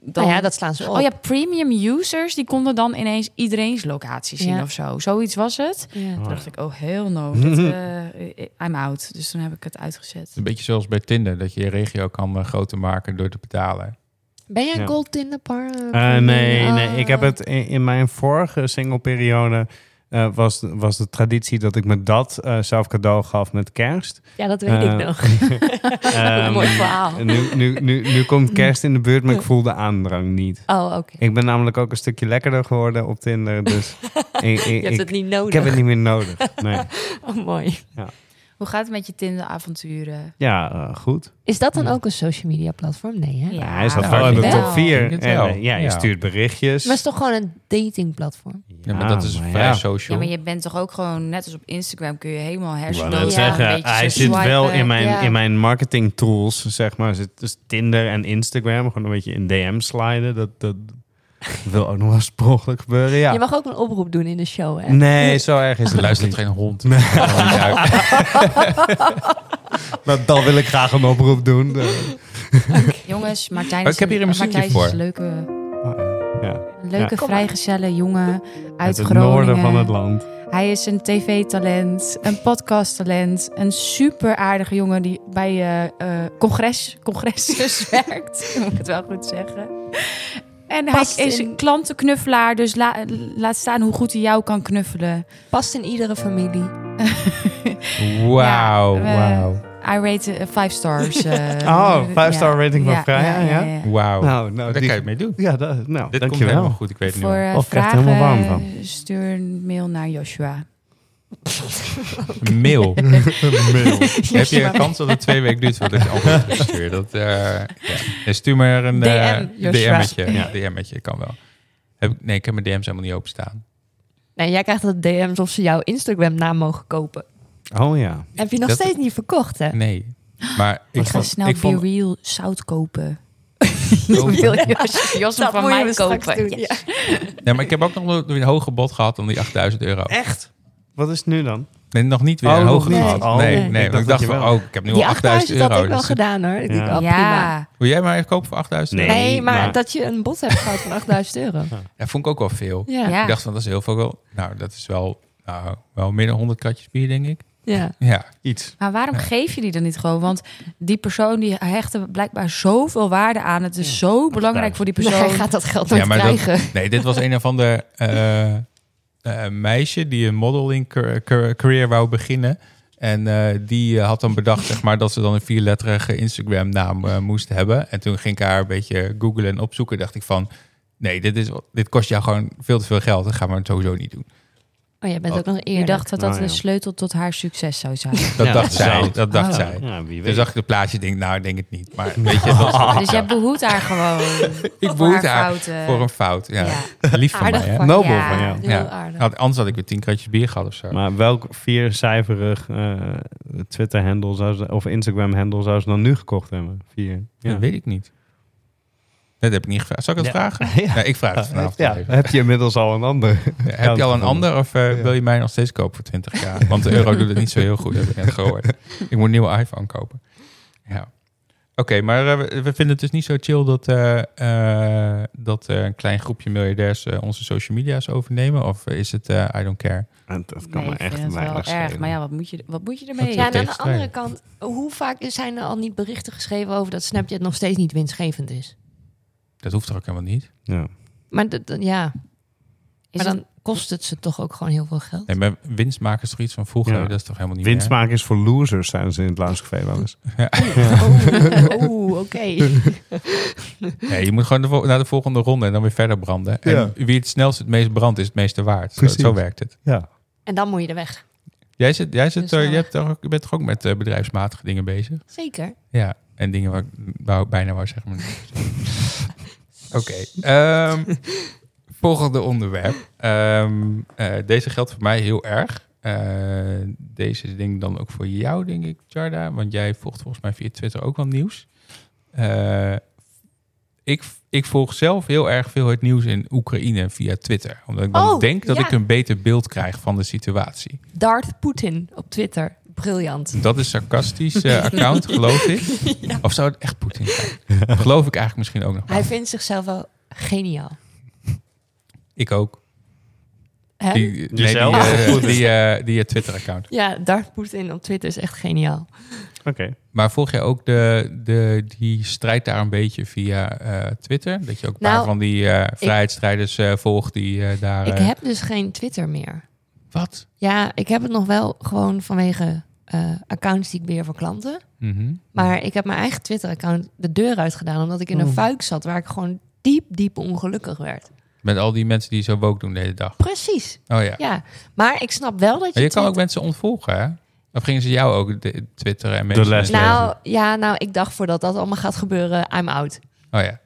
Speaker 4: Dan...
Speaker 2: Nou ja, dat slaan ze op.
Speaker 4: Oh ja, premium users die konden dan ineens iedereen's locatie zien
Speaker 2: Ja.
Speaker 4: of zo. Zoiets was het.
Speaker 2: Ja.
Speaker 4: Toen
Speaker 5: Oh.
Speaker 4: dacht ik, oh heel no, dit, eh, I'm out. Dus toen heb ik het uitgezet.
Speaker 1: Het is Een beetje zoals bij Tinder, dat je je regio kan eh, groter maken door te betalen.
Speaker 2: Ben jij
Speaker 5: Ja.
Speaker 2: een Ah. gold Tinderpar?
Speaker 5: Eh, nee, nee, ik heb het in, in mijn vorige singleperiode eh was, was de traditie dat ik me dat eh, zelf cadeau gaf met kerst.
Speaker 2: Ja, dat weet ik
Speaker 5: Eh,
Speaker 2: nog.
Speaker 5: Ehm,
Speaker 2: Mooi verhaal.
Speaker 5: en nu, nu, nu, nu komt kerst in de buurt, maar ik voel de aandrang niet.
Speaker 2: Oh, oké.
Speaker 5: Ik ben namelijk ook een stukje lekkerder geworden op Tinder, dus ik, ik,
Speaker 2: Je hebt
Speaker 5: ik,
Speaker 2: het niet
Speaker 5: ik
Speaker 2: nodig.
Speaker 5: heb het niet meer nodig. Nee.
Speaker 2: Oh, mooi.
Speaker 4: Hoe gaat het met je Tinder-avonturen?
Speaker 5: Ja, eh, goed.
Speaker 2: Is dat dan
Speaker 5: Ja.
Speaker 2: ook een social media platform? Nee, hè?
Speaker 5: Ja, hij zat
Speaker 1: nou,
Speaker 5: wel in de
Speaker 1: wel.
Speaker 5: top 4.
Speaker 1: Ik denk het wel.
Speaker 5: ja, je
Speaker 1: Ja.
Speaker 5: stuurt berichtjes.
Speaker 2: Maar het is toch gewoon een dating platform?
Speaker 1: Ja, maar dat is
Speaker 5: maar
Speaker 1: vrij
Speaker 5: ja.
Speaker 4: Ja,
Speaker 1: social.
Speaker 4: maar je bent toch ook gewoon, net als op Instagram, kun je helemaal
Speaker 5: Ik wou
Speaker 4: hersenen.
Speaker 2: Ja,
Speaker 5: net zeggen, hij zit wel in mijn,
Speaker 2: Ja.
Speaker 5: in mijn marketing tools, zeg maar. Zit dus Tinder en Instagram, gewoon een beetje in DM sliden. Dat, dat wil ook nog wel sprogelijk gebeuren, ja.
Speaker 2: Je mag ook een oproep doen in de show, hè?
Speaker 5: Nee, zo erg is
Speaker 1: Er
Speaker 5: het
Speaker 1: luistert
Speaker 5: luistert.
Speaker 1: geen hond. Gewoon niet uit.
Speaker 5: Maar dan wil ik graag een oproep doen. Eh,
Speaker 4: Jongens, Martijn
Speaker 1: Oh,
Speaker 4: is
Speaker 1: ik heb hier een muziekje
Speaker 4: Martijn is
Speaker 1: voor.
Speaker 4: een leuke,
Speaker 5: Oh, ja.
Speaker 4: een leuke
Speaker 2: Kom maar.
Speaker 4: vrijgezelle jongen uit
Speaker 5: Uit het
Speaker 4: Groningen.
Speaker 5: noorden van het land.
Speaker 1: Oh,
Speaker 4: Hij is een tv-talent, een podcast-talent, een super aardige jongen die bij eh, eh, congres, congresses werkt. Moet ik het wel goed zeggen. En
Speaker 2: Past
Speaker 4: hij is
Speaker 2: in-
Speaker 4: een klantenknuffelaar, dus la- laat staan hoe goed hij jou kan knuffelen.
Speaker 2: Past in iedere familie.
Speaker 1: Wauw,
Speaker 4: Ja, we-
Speaker 1: wauw,
Speaker 4: I rate 5 stars. eh.
Speaker 5: Oh, five star rating van Freya, ja?
Speaker 1: wauw.
Speaker 5: Nou, nou
Speaker 1: Daar
Speaker 5: die-
Speaker 1: kan je mee doen.
Speaker 5: ja,
Speaker 1: Dit
Speaker 5: dat, nou,
Speaker 1: komt helemaal
Speaker 5: dankjewel.
Speaker 1: goed, ik weet het nu.
Speaker 4: Voor
Speaker 1: al.
Speaker 4: eh,
Speaker 5: Of ik krijg er
Speaker 4: vragen
Speaker 5: helemaal warm van.
Speaker 4: stuur een mail naar Joshua.
Speaker 1: Mail.
Speaker 5: Mail.
Speaker 1: Heb je kans dat het twee weken duurt voordat je antwoord hebt gestuurd? Dat, eh, ja. Nee, Stuur maar een eh,
Speaker 2: DM, Joshua.
Speaker 1: DM'tje. Ja, DM'tje kan wel. Heb ik, nee, ik heb mijn DM's helemaal niet openstaan.
Speaker 2: Nee, jij krijgt dat DM's of ze jouw Instagram-naam mogen kopen.
Speaker 5: Oh ja.
Speaker 2: Heb je nog
Speaker 1: Dat-
Speaker 2: steeds niet verkocht, hè?
Speaker 1: Nee. Maar ik
Speaker 4: Ik ga
Speaker 1: vond,
Speaker 4: snel
Speaker 1: ik vond
Speaker 4: Be Real zout kopen. Jos
Speaker 2: Dat moet je me straks doen,
Speaker 4: Yes.
Speaker 2: ja.
Speaker 1: Nee, maar ik heb ook nog nooit een hoger bod gehad dan die 8000 euro.
Speaker 5: Echt? Wat is het nu dan?
Speaker 1: Nee, nog niet weer
Speaker 5: Oh,
Speaker 1: een
Speaker 5: nog
Speaker 1: hoger
Speaker 5: niet.
Speaker 1: bod.
Speaker 5: Oh,
Speaker 1: nee,
Speaker 2: nee.
Speaker 1: nee,
Speaker 5: Ik
Speaker 1: want ik dacht
Speaker 5: dacht dat je
Speaker 1: van,
Speaker 5: wel-
Speaker 1: oh, ik heb nu al
Speaker 2: Die
Speaker 1: 8000
Speaker 2: 8000 had
Speaker 1: euro.
Speaker 2: ik wel
Speaker 1: dus-
Speaker 2: gedaan, hoor. Ik denk,
Speaker 5: Ja.
Speaker 2: oh, prima.
Speaker 4: Ja.
Speaker 1: Wil jij maar even kopen voor 8000 euro?
Speaker 5: Nee,
Speaker 2: Nee, maar,
Speaker 5: maar-
Speaker 2: dat je een bot hebt gehad van 8000 euro.
Speaker 1: Dat vond ik ook wel veel.
Speaker 2: Ja. ja.
Speaker 4: Ja.
Speaker 1: Ik dacht van, dat is heel veel. Nou, dat is wel, nou, wel meer dan 100 katjes bier, denk ik.
Speaker 2: ja.
Speaker 1: Ja.
Speaker 5: Iets.
Speaker 4: Maar waarom geef je die dan niet gewoon? Want die persoon die hecht er blijkbaar zoveel waarde aan. Het is zo belangrijk voor die
Speaker 2: Dus hij
Speaker 4: persoon.
Speaker 2: gaat dat geld nooit
Speaker 1: ja, maar dat-
Speaker 2: krijgen.
Speaker 1: nee, dit was een of ander eh, eh, meisje die een modeling car- car- career wou beginnen. En eh, die eh, had dan bedacht zeg maar, dat ze dan een vierletterige Instagram naam moest hebben. En toen ging ik haar een beetje googlen en opzoeken. Dacht ik van, nee, dit, is, wel- dit kost jou gewoon veel te veel geld. Dat gaan we sowieso niet doen.
Speaker 2: Oh, jij bent
Speaker 1: Oh,
Speaker 2: ook nog
Speaker 4: Je
Speaker 2: eerder.
Speaker 4: dacht dat dat
Speaker 5: Nou,
Speaker 4: de
Speaker 5: ja.
Speaker 4: sleutel tot haar succes zou zijn.
Speaker 1: Dat
Speaker 5: Ja,
Speaker 1: dacht
Speaker 5: dat zou
Speaker 1: zij.
Speaker 5: het.
Speaker 1: Dat dacht
Speaker 4: Oh.
Speaker 1: zij.
Speaker 5: Ja, wie
Speaker 1: Dus
Speaker 5: weet.
Speaker 1: zag ik de plaatje, denk nou, ik denk het niet. Maar weet je, dat is
Speaker 4: Dus jij behoeft haar gewoon.
Speaker 1: ik
Speaker 4: voor
Speaker 1: behoed
Speaker 4: haar
Speaker 1: haar
Speaker 4: fouten.
Speaker 1: voor een fout. Ja.
Speaker 4: Ja.
Speaker 1: Lief van
Speaker 2: Aardig
Speaker 1: mij, hè?
Speaker 2: van
Speaker 5: Nobel
Speaker 4: Ja.
Speaker 5: van jou.
Speaker 2: Heel
Speaker 1: Ja.
Speaker 2: aardig.
Speaker 1: Nou, anders had ik weer tien kratjes bier gehad of zo.
Speaker 5: Maar welk viercijferig eh, Twitter-handle zou ze, of Instagram-handle zou ze dan nu gekocht hebben? Vier.
Speaker 1: Dat weet ik niet. Dat heb ik niet gevraagd. Zal ik het
Speaker 5: Ja.
Speaker 1: vragen?
Speaker 5: Ja.
Speaker 1: Ja, ik vraag het vanavond
Speaker 5: Ja,
Speaker 1: even.
Speaker 5: heb je inmiddels al een ander?
Speaker 1: Ja, heb je al een
Speaker 5: gevonden.
Speaker 1: ander of eh,
Speaker 5: Ja.
Speaker 1: wil je mij nog steeds kopen voor 20 jaar? Want de euro doet het niet zo heel goed, heb ik net gehoord. Ik moet een nieuwe iPhone kopen. Ja. Oké, maar eh, we- we vinden het dus niet zo chill dat, eh, eh, dat eh, een klein groepje miljardairs eh, onze social media's overnemen. Of is het eh, I don't care?
Speaker 5: En dat kan
Speaker 4: Nee,
Speaker 5: me
Speaker 4: ik vind
Speaker 5: echt
Speaker 4: het wel
Speaker 5: weinig
Speaker 4: erg.
Speaker 5: schelen.
Speaker 4: Maar ja, wat moet je, wat moet je ermee?
Speaker 2: Ja, en aan de
Speaker 1: tegenstrijdig.
Speaker 2: andere kant, hoe vaak zijn er al niet berichten geschreven over dat Snapchat nog steeds niet winstgevend is?
Speaker 1: Dat hoeft toch ook helemaal niet?
Speaker 5: Ja.
Speaker 2: Maar dat, dat- ja,
Speaker 4: Is
Speaker 2: maar dan
Speaker 4: het-
Speaker 2: kost het ze toch ook gewoon heel veel geld.
Speaker 1: Nee, maar winstmaken is toch iets van vroeger?
Speaker 5: Ja.
Speaker 1: Dat is toch helemaal niet
Speaker 5: Winst maken is voor losers, zijn ze in het Lauwerscafé wel eens.
Speaker 2: Oh, oké.
Speaker 1: meer? Nee, je moet gewoon de vol- naar de volgende ronde en dan weer verder branden.
Speaker 5: Ja.
Speaker 1: En wie het snelst het meest brandt, is het meeste waard. Zo,
Speaker 5: Precies.
Speaker 1: zo werkt het.
Speaker 5: Ja.
Speaker 2: En dan moet je er weg.
Speaker 1: Jij, zit, jij, zit,
Speaker 2: Dus
Speaker 1: er-
Speaker 2: wel
Speaker 1: je,
Speaker 2: echt.
Speaker 1: hebt toch ook- je bent toch ook met eh, bedrijfsmatige dingen bezig?
Speaker 2: Zeker.
Speaker 1: Ja, en dingen waar ik wou- bijna wou zeggen. maar niet. Oké. ehm, volgende onderwerp. Ehm, eh, deze geldt voor mij heel erg. Eh, deze is denk ik dan ook voor jou, denk ik, Jarda. Want jij volgt volgens mij via Twitter ook wel nieuws. Eh, ik, ik volg zelf heel erg veel het nieuws in Oekraïne via Twitter. Omdat ik dan
Speaker 2: Oh,
Speaker 1: denk dat
Speaker 2: ja.
Speaker 1: ik een beter beeld krijg van de situatie.
Speaker 2: Dart Poetin op Twitter. Briljant.
Speaker 1: Dat is sarcastisch eh, account, geloof ik. Of zou het echt Poetin zijn? geloof ik eigenlijk misschien ook nog wel.
Speaker 2: Hij vindt zichzelf wel geniaal.
Speaker 1: Ik ook.
Speaker 2: Hè?
Speaker 1: Die, nee, die,
Speaker 5: Jezelf?
Speaker 1: eh,
Speaker 5: Of Poetin?
Speaker 1: die, eh, die eh, Twitter-account.
Speaker 2: Ja, Dart Poetin op Twitter is echt geniaal.
Speaker 5: Oké.
Speaker 1: Maar volg jij ook de, de, die strijd daar een beetje via eh, Twitter? Dat je ook een paar
Speaker 2: Nou,
Speaker 1: van die eh, vrijheidsstrijders eh, volgt die eh, daar...
Speaker 2: Ik
Speaker 1: eh,
Speaker 2: heb dus geen Twitter meer.
Speaker 1: Wat?
Speaker 2: Ja, ik heb het nog wel gewoon vanwege eh, accounts die ik beheer voor klanten.
Speaker 1: Mhm.
Speaker 2: Maar ik heb mijn eigen Twitter-account de deur uitgedaan... omdat ik in
Speaker 1: Oh.
Speaker 2: een fuik zat waar ik gewoon diep, diep ongelukkig werd.
Speaker 1: Met al die mensen die zo woke doen de hele dag.
Speaker 2: Precies,
Speaker 1: Oh ja.
Speaker 2: ja. Maar ik snap wel dat je...
Speaker 1: Maar je kan ook
Speaker 2: Twitter-
Speaker 1: mensen ontvolgen, hè? Of gingen ze jou ook de- twitteren en mensen... Oh
Speaker 5: les
Speaker 2: Nou, ja, nou, ik dacht voordat dat allemaal gaat gebeuren, I'm out.
Speaker 1: Oh ja.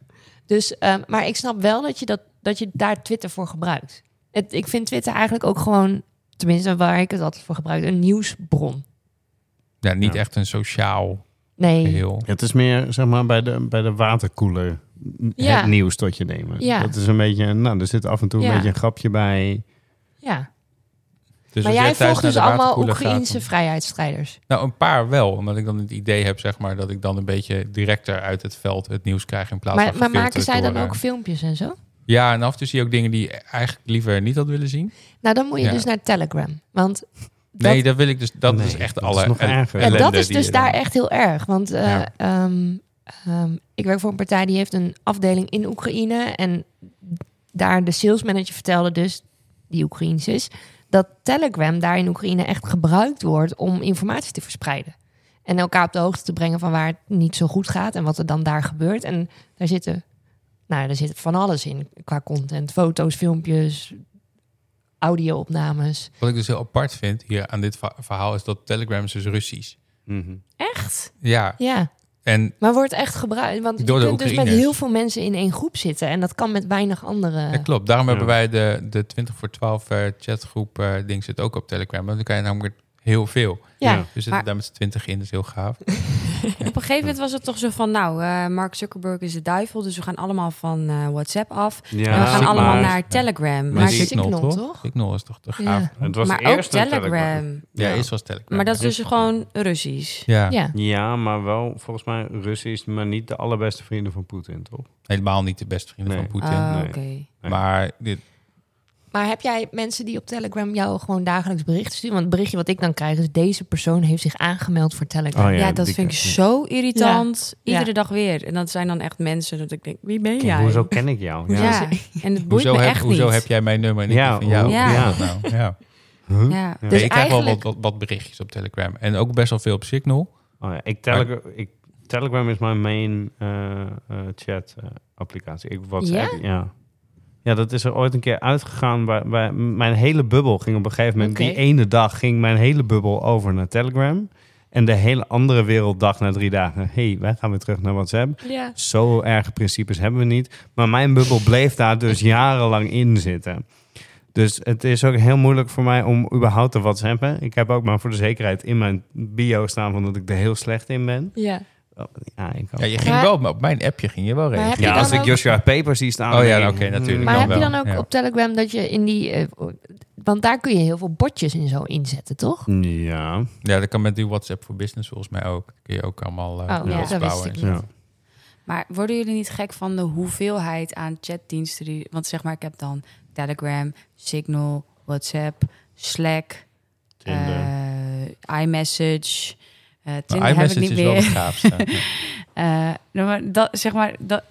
Speaker 2: Dus, ehm, maar ik snap wel dat je, dat, dat je daar Twitter voor gebruikt. Het, ik vind Twitter eigenlijk ook gewoon, tenminste waar ik het altijd voor gebruik, een nieuwsbron.
Speaker 1: ja, niet
Speaker 5: Ja.
Speaker 1: echt een sociaal
Speaker 2: Nee,
Speaker 1: geheel.
Speaker 5: Het is meer zeg maar bij de, bij de waterkoeler
Speaker 2: Ja.
Speaker 5: het nieuws tot je nemen.
Speaker 2: Ja.
Speaker 5: Dat is een beetje, nou, er zit af en toe een
Speaker 2: Ja.
Speaker 5: beetje een grapje bij.
Speaker 2: ja.
Speaker 1: Dus
Speaker 2: maar
Speaker 1: als
Speaker 2: jij
Speaker 1: thuis
Speaker 2: volgt
Speaker 1: naar
Speaker 2: dus
Speaker 1: de
Speaker 2: allemaal
Speaker 1: waterkoeler gaat,
Speaker 2: Oekraïense
Speaker 1: dan-
Speaker 2: vrijheidsstrijders.
Speaker 1: Nou, een paar wel. Omdat ik dan het idee heb, zeg maar, dat ik dan een beetje directer uit het veld het nieuws krijg in plaats
Speaker 2: Maar,
Speaker 1: van
Speaker 2: maar
Speaker 1: gefilterd
Speaker 2: maken zij dan
Speaker 1: door, eh,
Speaker 2: ook filmpjes en zo?
Speaker 1: Ja, en af en toe zie je ook dingen die je eigenlijk liever niet had willen zien.
Speaker 2: Nou, dan moet je
Speaker 1: Ja.
Speaker 2: dus naar Telegram. Want dat,
Speaker 1: nee, dat wil ik dus. Dat
Speaker 5: Nee,
Speaker 1: is echt
Speaker 5: dat
Speaker 1: alle.
Speaker 5: is nog
Speaker 1: el-
Speaker 5: erger. Ja,
Speaker 2: ja,
Speaker 1: ellende
Speaker 2: dat is
Speaker 1: die
Speaker 2: dus
Speaker 1: je
Speaker 2: daar
Speaker 1: dan-
Speaker 2: echt heel erg. Want eh,
Speaker 1: Ja.
Speaker 2: ehm, ehm, ik werk voor een partij die heeft een afdeling in Oekraïne. En daar de salesmanager vertelde dus, die Oekraïens is... dat Telegram daar in Oekraïne echt gebruikt wordt om informatie te verspreiden. En elkaar op de hoogte te brengen van waar het niet zo goed gaat... en wat er dan daar gebeurt. En daar zitten, nou, daar zit van alles in qua content. Foto's, filmpjes, audio-opnames.
Speaker 1: Wat ik dus heel apart vind hier aan dit va- verhaal is dat Telegram is dus Russisch.
Speaker 5: Mhm.
Speaker 4: Echt?
Speaker 1: Ja,
Speaker 2: Ja.
Speaker 1: en
Speaker 2: Maar wordt echt gebruikt. Want
Speaker 1: Door de
Speaker 2: je kunt dus met
Speaker 1: Oekraïners.
Speaker 2: heel veel mensen in één groep zitten. En dat kan met weinig andere.
Speaker 1: dat klopt. Daarom
Speaker 5: Ja.
Speaker 1: hebben wij de, de 20 voor 12 eh, chatgroep eh, ding zit ook op Telegram. Want dan kan je namelijk heel veel.
Speaker 2: ja.
Speaker 5: Ja.
Speaker 1: Dus zitten
Speaker 4: Maar-
Speaker 1: daar met z'n 20 in, dat is heel gaaf.
Speaker 4: Op een gegeven moment was het toch zo van, nou, eh, Mark Zuckerberg is de duivel, dus we gaan allemaal van eh, WhatsApp af.
Speaker 5: Ja,
Speaker 4: en we gaan
Speaker 1: maar-
Speaker 4: allemaal naar Telegram.
Speaker 1: Maar
Speaker 4: Maar,
Speaker 2: die-
Speaker 1: Signal,
Speaker 2: Signal,
Speaker 1: toch?
Speaker 2: toch?
Speaker 1: Signal is toch te
Speaker 2: Ja.
Speaker 1: gaaf.
Speaker 5: Het was
Speaker 4: maar ook
Speaker 5: eerst een
Speaker 4: Telegram.
Speaker 1: Ja, eerst was Telegram.
Speaker 4: Maar dat is dus gewoon Russisch.
Speaker 1: Ja.
Speaker 2: Ja.
Speaker 5: Ja, maar wel volgens mij Russisch, maar niet de allerbeste vrienden van Poetin, toch?
Speaker 1: helemaal niet de beste vrienden
Speaker 5: Nee.
Speaker 1: van Poetin.
Speaker 4: Ah,
Speaker 5: nee.
Speaker 4: Oké.
Speaker 5: Nee.
Speaker 1: Maar dit,
Speaker 2: Maar heb jij mensen die op Telegram jou gewoon dagelijks berichten sturen? Want het berichtje wat ik dan krijg is: deze persoon heeft zich aangemeld voor Telegram.
Speaker 5: Oh,
Speaker 4: Ja,
Speaker 5: Ja,
Speaker 4: dat
Speaker 5: die
Speaker 4: vind ik
Speaker 5: ken ik.
Speaker 4: zo irritant.
Speaker 2: Ja.
Speaker 4: Iedere dag weer. En dat zijn dan echt mensen dat ik denk, wie ben jij?
Speaker 5: Hoezo ken ik jou?
Speaker 4: Ja.
Speaker 2: Ja.
Speaker 4: En het boeit
Speaker 1: hoezo
Speaker 4: me
Speaker 1: heb,
Speaker 4: echt
Speaker 1: hoezo
Speaker 4: niet.
Speaker 1: heb jij mijn nummer en ik
Speaker 5: Ja,
Speaker 1: die van jou?
Speaker 4: ja.
Speaker 1: Hoe is dat nou? ja.
Speaker 5: Huh?
Speaker 4: Ja.
Speaker 5: Ja.
Speaker 2: Dus
Speaker 1: Nee, ik krijg wel wat,
Speaker 2: eigenlijk-
Speaker 1: wat, wat berichtjes op Telegram. En ook best wel veel op Signal.
Speaker 5: Oh ja, ik Telegram, ik, Telegram is mijn main eh, eh, chat eh, applicatie. Ik WhatsApp, ja. Ja, dat is er ooit een keer uitgegaan. Bij, bij- mijn hele bubbel ging op een gegeven moment... Die
Speaker 2: Oké.
Speaker 5: ene dag ging mijn hele bubbel over naar Telegram. En de hele andere wereld dacht na drie dagen... hey, wij gaan weer terug naar WhatsApp.
Speaker 2: Ja.
Speaker 5: Zo erge principes hebben we niet. Maar mijn bubbel bleef daar dus jarenlang in zitten. Dus het is ook heel moeilijk voor mij om überhaupt te whatsappen. Ik heb ook maar voor de zekerheid in mijn bio staan... van dat ik er heel slecht in ben.
Speaker 2: ja.
Speaker 5: Ja, ik ook.
Speaker 1: Ja, je ging
Speaker 2: Maar-
Speaker 1: wel op- op mijn appje ging je wel
Speaker 2: heb je
Speaker 1: reageren.
Speaker 5: Ja,
Speaker 2: dan
Speaker 5: als ik
Speaker 2: ook-
Speaker 5: Joshua Paper zie staan...
Speaker 1: Oh ja,
Speaker 5: denk ik,
Speaker 1: oké, natuurlijk.
Speaker 5: hmm,
Speaker 1: kan
Speaker 2: Maar heb je
Speaker 1: wel,
Speaker 2: dan ook
Speaker 1: ja.
Speaker 2: op Telegram dat je in die... eh, want daar kun je heel veel botjes en zo inzetten, toch?
Speaker 5: Ja.
Speaker 1: Ja, dat kan met die WhatsApp voor Business volgens mij ook. Kun je ook allemaal eh
Speaker 2: Oh, ja,
Speaker 1: bots
Speaker 2: dat wist
Speaker 1: bouwen
Speaker 2: ik
Speaker 1: en
Speaker 2: niet.
Speaker 1: zo.
Speaker 5: ja.
Speaker 4: Maar worden jullie niet gek van de hoeveelheid aan chatdiensten? Die, want zeg maar, ik heb dan Telegram, Signal, WhatsApp, Slack, eh, iMessage. eh Tinder
Speaker 1: Maar
Speaker 4: heb ik
Speaker 1: iMessage
Speaker 4: niet
Speaker 1: is wel
Speaker 4: meer.
Speaker 1: het gaafste. Ja.
Speaker 4: Eh, nou, maar dat, zeg maar, dat,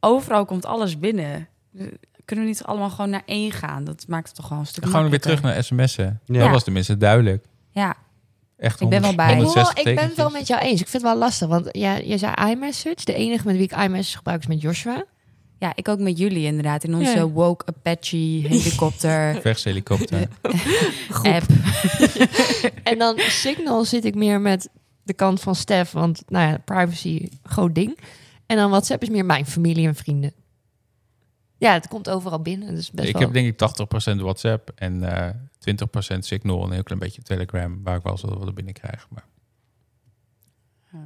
Speaker 4: overal komt alles binnen. Eh, Kunnen we niet allemaal gewoon naar één gaan? Dat maakt het toch gewoon een stuk
Speaker 1: Gewoon weer terug
Speaker 4: makkelijker.
Speaker 1: naar sms'en.
Speaker 5: Ja.
Speaker 1: Dat was tenminste duidelijk.
Speaker 4: Ja,
Speaker 1: Echt
Speaker 4: Ik ben wel bij.
Speaker 2: Ik, wil wel,
Speaker 1: 160
Speaker 2: ik ben het wel
Speaker 1: tekentjes.
Speaker 2: met jou eens. Ik vind het wel lastig, want ja, je zei iMessage. De enige met wie ik iMessage gebruik is met Joshua.
Speaker 4: ja, ik ook met jullie inderdaad. In onze
Speaker 2: Ja.
Speaker 4: woke Apache helikopter
Speaker 1: Vechtshelikopter.
Speaker 4: app.
Speaker 2: En dan Signal zit ik meer met de kant van Stef, want nou ja, privacy, groot ding. En dan WhatsApp is meer mijn familie en vrienden. Ja, het komt overal binnen, dus best
Speaker 1: Ik
Speaker 2: wel...
Speaker 1: heb denk ik 80% WhatsApp en eh 20% Signal en een heel klein beetje Telegram, waar ik wel zo wat binnen krijg. Maar...
Speaker 4: Ja.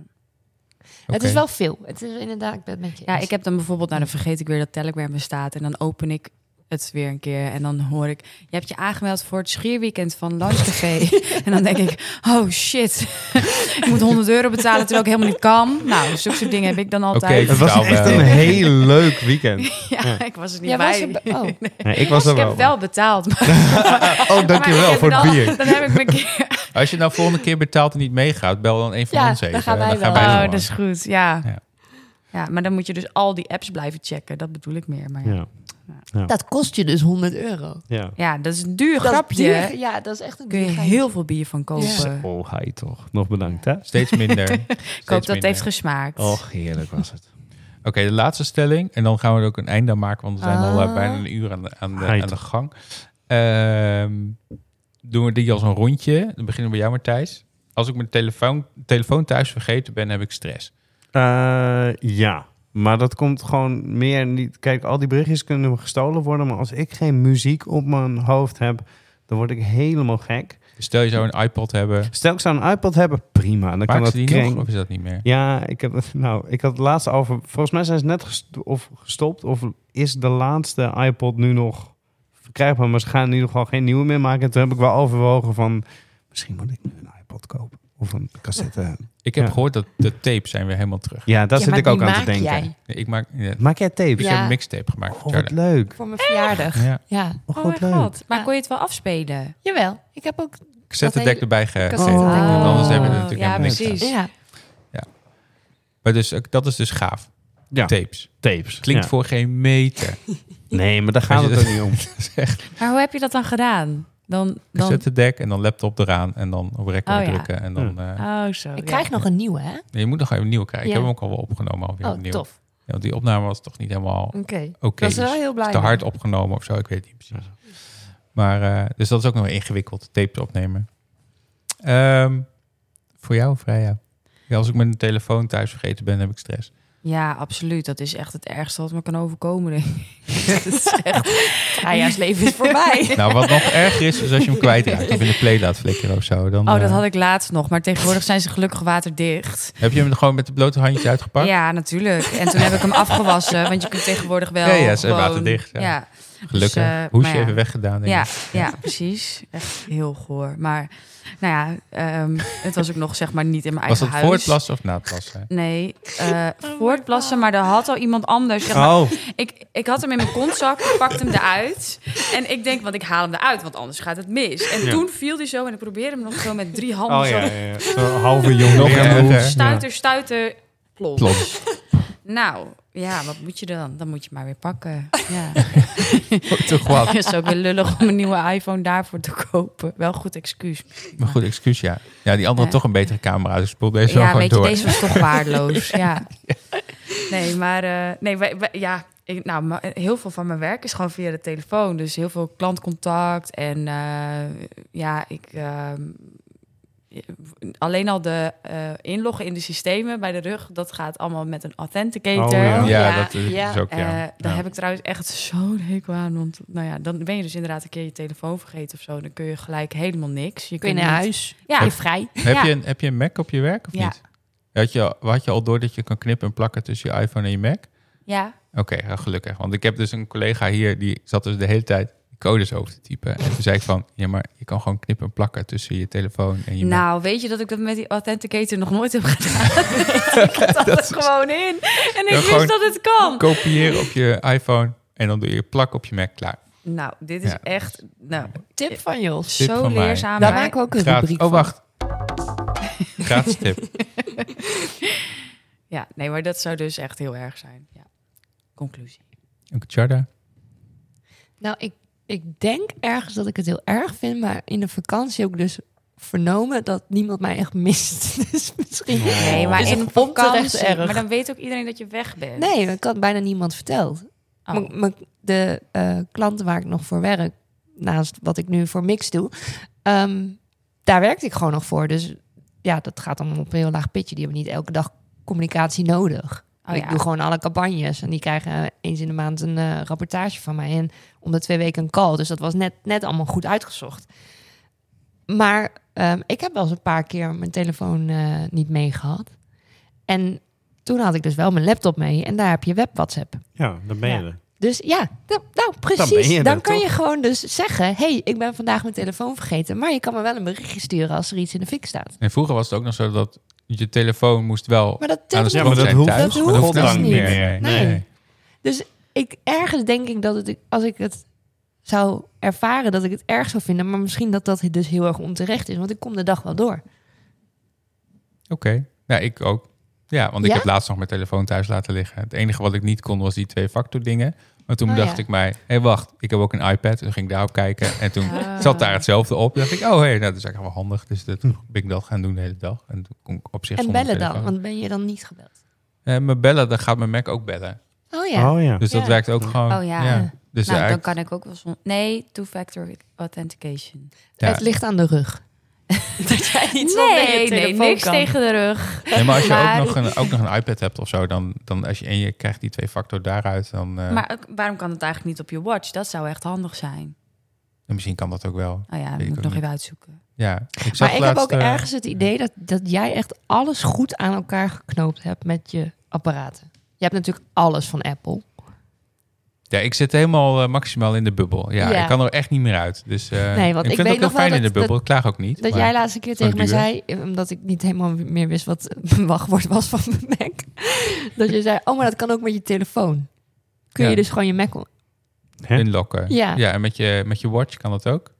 Speaker 2: Het
Speaker 1: Oké.
Speaker 2: is wel veel. Het is inderdaad, ik ben het met je
Speaker 4: Ja,
Speaker 2: eens.
Speaker 4: ik heb dan bijvoorbeeld, nou dan vergeet ik weer dat Telegram bestaat. En dan open ik het weer een keer en dan hoor ik... Je hebt je aangemeld voor het schierweekend van Lunchcafé. en dan denk ik, oh shit, ik moet 100 euro betalen terwijl ik helemaal niet kan. Nou, zulke soort dingen heb ik dan altijd.
Speaker 1: Oké.
Speaker 5: Het was
Speaker 1: Vertaal
Speaker 5: echt
Speaker 1: wel.
Speaker 5: een heel leuk weekend.
Speaker 4: Ja, ik was er niet
Speaker 2: Jij was
Speaker 4: bij.
Speaker 2: er bij- oh.
Speaker 5: Nee, ik was er
Speaker 4: ik
Speaker 5: wel.
Speaker 4: heb wel betaald. Maar,
Speaker 5: Oh, dankjewel
Speaker 4: maar
Speaker 5: voor het
Speaker 4: dan-
Speaker 5: bier.
Speaker 4: Dan heb ik me een keer...
Speaker 1: Als je nou volgende keer betaalt en niet meegaat, bel dan een van
Speaker 2: Ja,
Speaker 1: ons
Speaker 2: dan
Speaker 1: even.
Speaker 2: gaan
Speaker 1: en
Speaker 2: wij wel. eh, dus-
Speaker 4: Oh,
Speaker 1: gewoon.
Speaker 4: dat is goed, ja.
Speaker 1: Ja.
Speaker 4: ja. maar dan moet je dus al die apps blijven checken. Dat bedoel ik meer. Maar ja.
Speaker 5: Ja,
Speaker 2: Dat kost je dus 100 euro.
Speaker 5: ja.
Speaker 4: Ja, dat is een duur
Speaker 2: Dat is
Speaker 4: grapje.
Speaker 2: duur. Ja, dat is echt een
Speaker 4: Kun je
Speaker 2: duur
Speaker 4: heel veel bier van kopen.
Speaker 2: Ja.
Speaker 5: Oh, hij toch. Nog bedankt, hè?
Speaker 1: Steeds minder.
Speaker 4: Ik hoop dat het heeft gesmaakt.
Speaker 5: Och, heerlijk was het.
Speaker 1: Oké, de laatste stelling. En dan gaan we er ook een eind aan maken, want we zijn al eh,
Speaker 2: Ah.
Speaker 1: bijna een uur aan de, aan de,
Speaker 5: Heid.
Speaker 1: aan de gang. Ehm, doen we die als een rondje. Dan beginnen we bij jou, Matthijs. Als ik mijn telefoon, telefoon thuis vergeten ben, heb ik stress.
Speaker 5: Eh, ja, maar dat komt gewoon meer niet... Kijk, al die berichtjes kunnen gestolen worden... maar als ik geen muziek op mijn hoofd heb... dan word ik helemaal gek.
Speaker 1: Dus stel je zou een iPod hebben.
Speaker 5: Stel ik zou een iPod hebben, prima. Dan kan
Speaker 1: Maak
Speaker 5: dat
Speaker 1: ze die
Speaker 5: kring-
Speaker 1: nog of is dat niet meer?
Speaker 5: Ja, ik heb, nou, ik had het laatste over... Volgens mij zijn ze net gest- of gestopt... of is de laatste iPod nu nog verkrijgbaar... maar ze gaan in ieder geval geen nieuwe meer maken. Toen heb ik wel overwogen van... misschien moet ik nu een iPod kopen. Of een cassette.
Speaker 1: Ik heb
Speaker 5: Ja.
Speaker 1: gehoord dat de tapes zijn weer helemaal terug.
Speaker 5: Ja, daar
Speaker 2: Ja,
Speaker 5: zit
Speaker 2: maar
Speaker 5: ik ook
Speaker 2: die
Speaker 5: aan te
Speaker 2: maak
Speaker 5: denken.
Speaker 2: jij.
Speaker 1: Nee, Ik maak ja,
Speaker 5: Maak jij tapes?
Speaker 1: ik
Speaker 2: Ja.
Speaker 1: heb een mixtape gemaakt.
Speaker 5: Oh, wat
Speaker 1: Charlie.
Speaker 5: leuk.
Speaker 2: Voor mijn verjaardag.
Speaker 1: Ja,
Speaker 2: Ja.
Speaker 5: Oh,
Speaker 4: Oh
Speaker 5: wat
Speaker 4: mijn
Speaker 5: leuk.
Speaker 4: god. Maar
Speaker 2: Ja.
Speaker 4: kon je het wel afspelen?
Speaker 2: Jawel, ik heb ook...
Speaker 1: cassettedek
Speaker 2: hele-
Speaker 1: erbij ge- gezet.
Speaker 2: Cassettedek.
Speaker 1: Want
Speaker 2: Oh.
Speaker 1: anders hebben we er natuurlijk
Speaker 4: Ja,
Speaker 1: helemaal niks
Speaker 4: precies.
Speaker 1: aan.
Speaker 2: Ja.
Speaker 1: Maar dus, eh, dat is dus gaaf.
Speaker 5: Ja,
Speaker 1: Tapes.
Speaker 5: tapes.
Speaker 1: Klinkt
Speaker 5: Ja.
Speaker 1: voor geen meter.
Speaker 5: Nee, maar daar gaat
Speaker 1: Als je
Speaker 5: het ook
Speaker 1: dat-
Speaker 5: niet om.
Speaker 4: Maar hoe heb je dat dan gedaan? Dan, dan...
Speaker 1: Cassettedek en dan laptop eraan en dan op record
Speaker 4: Oh, ja.
Speaker 1: drukken. En
Speaker 5: Hm.
Speaker 1: dan, eh,
Speaker 4: Oh, zo.
Speaker 2: Ik krijg nog een nieuwe, hè?
Speaker 1: nee, je moet nog even een nieuwe krijgen. Ik
Speaker 2: Ja.
Speaker 1: heb hem ook al wel opgenomen. Alweer
Speaker 2: Oh,
Speaker 1: opnieuw.
Speaker 2: tof.
Speaker 1: Ja, want die opname was toch niet helemaal oké.
Speaker 2: Oké. Ik was er wel
Speaker 1: Dus
Speaker 2: heel blij
Speaker 1: te hard
Speaker 2: mee.
Speaker 1: opgenomen of zo, ik weet het niet precies. Maar, eh, dus dat is ook nog ingewikkeld, tape opnemen. Ehm, voor jou, Freya? Ja, als ik mijn telefoon thuis vergeten ben, heb ik stress.
Speaker 4: Ja, absoluut. Dat is echt het ergste wat me kan overkomen. denk ik. dat is echt...
Speaker 2: Traja's Nou leven is voorbij.
Speaker 1: Nou, wat nog erger is, is als je hem kwijtraakt of in de play laat flikkeren of zo. Dan,
Speaker 4: Oh, dat
Speaker 1: eh,
Speaker 4: had ik laatst nog. Maar tegenwoordig zijn ze gelukkig waterdicht.
Speaker 1: Heb je hem er gewoon met de blote handjes uitgepakt?
Speaker 4: Ja, natuurlijk. En toen heb ik hem afgewassen. Want je kunt tegenwoordig wel
Speaker 1: Ja, ja, ze zijn
Speaker 4: gewoon...
Speaker 1: waterdicht, ja.
Speaker 4: ja.
Speaker 1: Gelukkig.
Speaker 4: Dus, eh,
Speaker 1: Hoesje
Speaker 4: maar ja.
Speaker 1: even weggedaan. Denk
Speaker 4: Ja,
Speaker 1: ik.
Speaker 4: ja, precies. Echt heel goor. Maar nou ja, ehm, het was ook nog zeg maar niet in mijn
Speaker 1: Was
Speaker 4: eigen
Speaker 1: dat
Speaker 4: huis.
Speaker 1: voor het plassen of na het plassen?
Speaker 4: Nee, eh voor het plassen, maar er had al iemand anders. Zeg maar,
Speaker 5: Oh,
Speaker 4: ik, ik had hem in mijn kontzak, ik pakte hem eruit. En ik denk, want ik haal hem eruit, want anders gaat het mis. En
Speaker 5: Ja.
Speaker 4: toen viel hij zo en ik probeerde hem nog zo met drie handen
Speaker 5: oh ja,
Speaker 4: zo...
Speaker 5: ja, ja. Zo'n halve jongen.
Speaker 1: Nog erger.
Speaker 4: Stuiter, stuiter, plons.
Speaker 1: Plons.
Speaker 4: Nou, ja, wat moet je dan? Dan moet je maar weer pakken. Ja.
Speaker 1: Toch wat.
Speaker 4: Het is ook weer lullig om een nieuwe iPhone daarvoor te kopen. Wel een goed excuus.
Speaker 1: Maar goed, excuus, ja. Ja, die andere
Speaker 4: Ja.
Speaker 1: toch een betere camera. Dus ik spoel deze wel
Speaker 4: ja,
Speaker 1: gewoon
Speaker 4: weet je,
Speaker 1: door.
Speaker 4: deze was toch waardeloos. ja. Nee, maar eh, nee, wij, wij- ja, Ik, nou, ma- heel veel van mijn werk is gewoon via de telefoon. Dus heel veel klantcontact. En eh, ja, ik. ehm, alleen al de eh, inloggen in de systemen bij de rug, dat gaat allemaal met een authenticator.
Speaker 5: Oh, ja.
Speaker 1: Ja,
Speaker 2: Oh, ja.
Speaker 1: dat is,
Speaker 2: Ja.
Speaker 1: is ook, ja.
Speaker 4: Eh, daar
Speaker 1: Ja.
Speaker 4: heb ik trouwens echt zo'n hekel aan. Want nou ja, dan ben je dus inderdaad een keer je telefoon vergeten of zo. Dan kun je gelijk helemaal niks. Je
Speaker 2: Kun je
Speaker 4: kunt
Speaker 2: naar
Speaker 4: niet-
Speaker 2: huis?
Speaker 4: Ja,
Speaker 2: Ben je vrij?
Speaker 1: heb,
Speaker 4: ja.
Speaker 1: je een, heb je een Mac op je werk of
Speaker 4: Ja.
Speaker 1: niet? Had je, al- had je al door dat je kan knippen en plakken tussen je iPhone en je Mac?
Speaker 4: ja.
Speaker 1: Oké, ja, gelukkig. Want ik heb dus een collega hier, die zat dus de hele tijd codes over te typen. En toen zei ik van, ja, maar je kan gewoon knippen en plakken tussen je telefoon en je Mac.
Speaker 4: Nou, weet je dat ik dat met die authenticator nog nooit heb gedaan? ik had dat er gewoon in. En ik
Speaker 1: Ja,
Speaker 4: wist
Speaker 1: gewoon-
Speaker 4: dat het kan.
Speaker 1: Kopieer op je iPhone en dan doe je plak op je Mac, klaar.
Speaker 4: Nou, dit is
Speaker 1: Ja.
Speaker 4: echt nou,
Speaker 2: Tip van Jos.
Speaker 1: Tip
Speaker 4: zo
Speaker 1: van mij.
Speaker 4: leerzaam.
Speaker 2: Daar
Speaker 4: maar-
Speaker 2: maken we ook een
Speaker 1: Gratis.
Speaker 2: rubriek
Speaker 1: Oh, wacht. Gratis tip.
Speaker 4: Ja, nee, maar dat zou dus echt heel erg zijn. Ja. Conclusie.
Speaker 1: Ook Charda.
Speaker 2: van. Nou, ik, ik denk ergens dat ik het heel erg vind. Maar in de vakantie heb ik dus vernomen dat niemand mij echt mist. Dus misschien...
Speaker 1: Oh.
Speaker 4: Nee, maar
Speaker 2: Is
Speaker 4: in
Speaker 2: het
Speaker 4: een vakantie.
Speaker 2: onterecht erg?
Speaker 4: Maar dan weet ook iedereen dat je weg bent.
Speaker 2: Nee, ik had bijna niemand verteld.
Speaker 4: Oh.
Speaker 2: M- m- de eh, klanten waar ik nog voor werk, naast wat ik nu voor Mix doe, ehm, daar werkte ik gewoon nog voor. Dus ja, dat gaat dan op een heel laag pitje. Die hebben niet elke dag communicatie nodig.
Speaker 4: Oh,
Speaker 2: Ik
Speaker 4: ja.
Speaker 2: doe gewoon alle campagnes en die krijgen eh, eens in de maand een eh, rapportage van mij en om de twee weken een call. Dus dat was net, net allemaal goed uitgezocht. Maar ehm, ik heb wel eens een paar keer mijn telefoon eh, niet meegehad. En toen had ik dus wel mijn laptop mee en daar heb je web WhatsApp.
Speaker 6: Ja, dan ben je
Speaker 4: Ja.
Speaker 6: er.
Speaker 2: Dus ja, nou, nou, precies.
Speaker 6: ben
Speaker 2: Dan,
Speaker 6: je er,
Speaker 2: kan
Speaker 6: toch?
Speaker 2: je gewoon dus zeggen... hey, ik ben vandaag mijn telefoon vergeten... maar je kan me wel een berichtje sturen als er iets in de fik staat.
Speaker 1: En vroeger was het ook nog zo dat je telefoon moest wel
Speaker 2: Maar dat
Speaker 1: aan de
Speaker 2: telt
Speaker 6: Ja,
Speaker 1: strand
Speaker 6: maar dat
Speaker 1: zijn
Speaker 6: hoeft-
Speaker 1: thuis.
Speaker 2: dat
Speaker 1: Maar
Speaker 2: hoeft
Speaker 1: nou
Speaker 2: dus
Speaker 1: niet
Speaker 2: niet.
Speaker 1: meer.
Speaker 2: Nee.
Speaker 1: Nee.
Speaker 2: ik ergens denk ik dat het, als ik het zou ervaren, dat ik het erg zou vinden. Maar misschien dat dat dus heel erg onterecht is, want ik kom de dag wel door.
Speaker 1: Oké. Nou, ik ook. Ja, want ik
Speaker 2: Ja?
Speaker 1: heb laatst nog mijn telefoon thuis laten liggen. Het enige wat ik niet kon was die twee factor dingen. Maar toen
Speaker 2: Oh,
Speaker 1: dacht
Speaker 2: ja.
Speaker 1: ik mij, hé hey, wacht, ik heb ook een iPad. Toen ging ik daarop kijken en toen
Speaker 4: Ah.
Speaker 1: zat daar hetzelfde op. Toen dacht ik, oh hé, hey, nou, dat is eigenlijk wel handig. Dus dat, toen ben ik dat gaan doen de hele dag. En toen kon ik op zich
Speaker 2: en
Speaker 1: zonder
Speaker 2: bellen dan,
Speaker 1: telefoon.
Speaker 2: want ben je dan niet gebeld?
Speaker 1: Eh, mijn bellen, dan gaat mijn Mac ook bellen.
Speaker 2: Oh ja.
Speaker 6: Oh ja.
Speaker 1: Dus dat
Speaker 2: Ja.
Speaker 1: werkt ook gewoon.
Speaker 4: Oh ja.
Speaker 1: Dus
Speaker 4: nou, dan
Speaker 1: eigenlijk-
Speaker 4: kan ik ook wel zon- Nee, two-factor authentication.
Speaker 1: ja.
Speaker 2: Het ligt aan de rug. dat jij niet
Speaker 4: nee, nee, niks tegen de rug.
Speaker 1: Nee, maar als je
Speaker 4: Maar-
Speaker 1: ook, nog een, ook nog een iPad hebt of zo, dan, dan als je en je krijgt die twee factor daaruit, dan eh,
Speaker 4: Maar ook- waarom kan het eigenlijk niet op je watch? Dat zou echt handig zijn.
Speaker 1: misschien kan dat ook wel.
Speaker 4: Oh ja, dat
Speaker 1: Weet
Speaker 4: moet
Speaker 1: ik
Speaker 4: ik
Speaker 1: ook
Speaker 4: nog
Speaker 1: niet.
Speaker 4: even uitzoeken.
Speaker 1: Ja, ik zag
Speaker 2: Maar ik heb
Speaker 1: laatst,
Speaker 2: ook
Speaker 1: eh,
Speaker 2: ergens het idee dat, dat jij echt alles goed aan elkaar geknoopt hebt met je apparaten. Je hebt natuurlijk alles van Apple.
Speaker 1: Ja, ik zit helemaal eh, maximaal in de bubbel. Ja,
Speaker 2: Ja.
Speaker 1: ik kan er echt niet meer uit. Dus eh,
Speaker 2: Nee, want
Speaker 1: ik vind
Speaker 2: ik weet
Speaker 1: het ook
Speaker 2: nog
Speaker 1: heel
Speaker 2: wel
Speaker 1: fijn in de
Speaker 2: dat-
Speaker 1: bubbel. ik klaag ook niet.
Speaker 2: Dat
Speaker 1: maar-
Speaker 2: jij laatste keer tegen mij
Speaker 1: duur.
Speaker 2: zei, eh, omdat ik niet helemaal meer wist wat mijn wachtwoord was van mijn Mac. dat je zei, oh, maar dat kan ook met je telefoon. Kun
Speaker 1: Ja.
Speaker 2: je dus gewoon je Mac... on-
Speaker 6: Hè?
Speaker 1: inlokken.
Speaker 2: Ja.
Speaker 1: en met je, met je watch kan dat ook.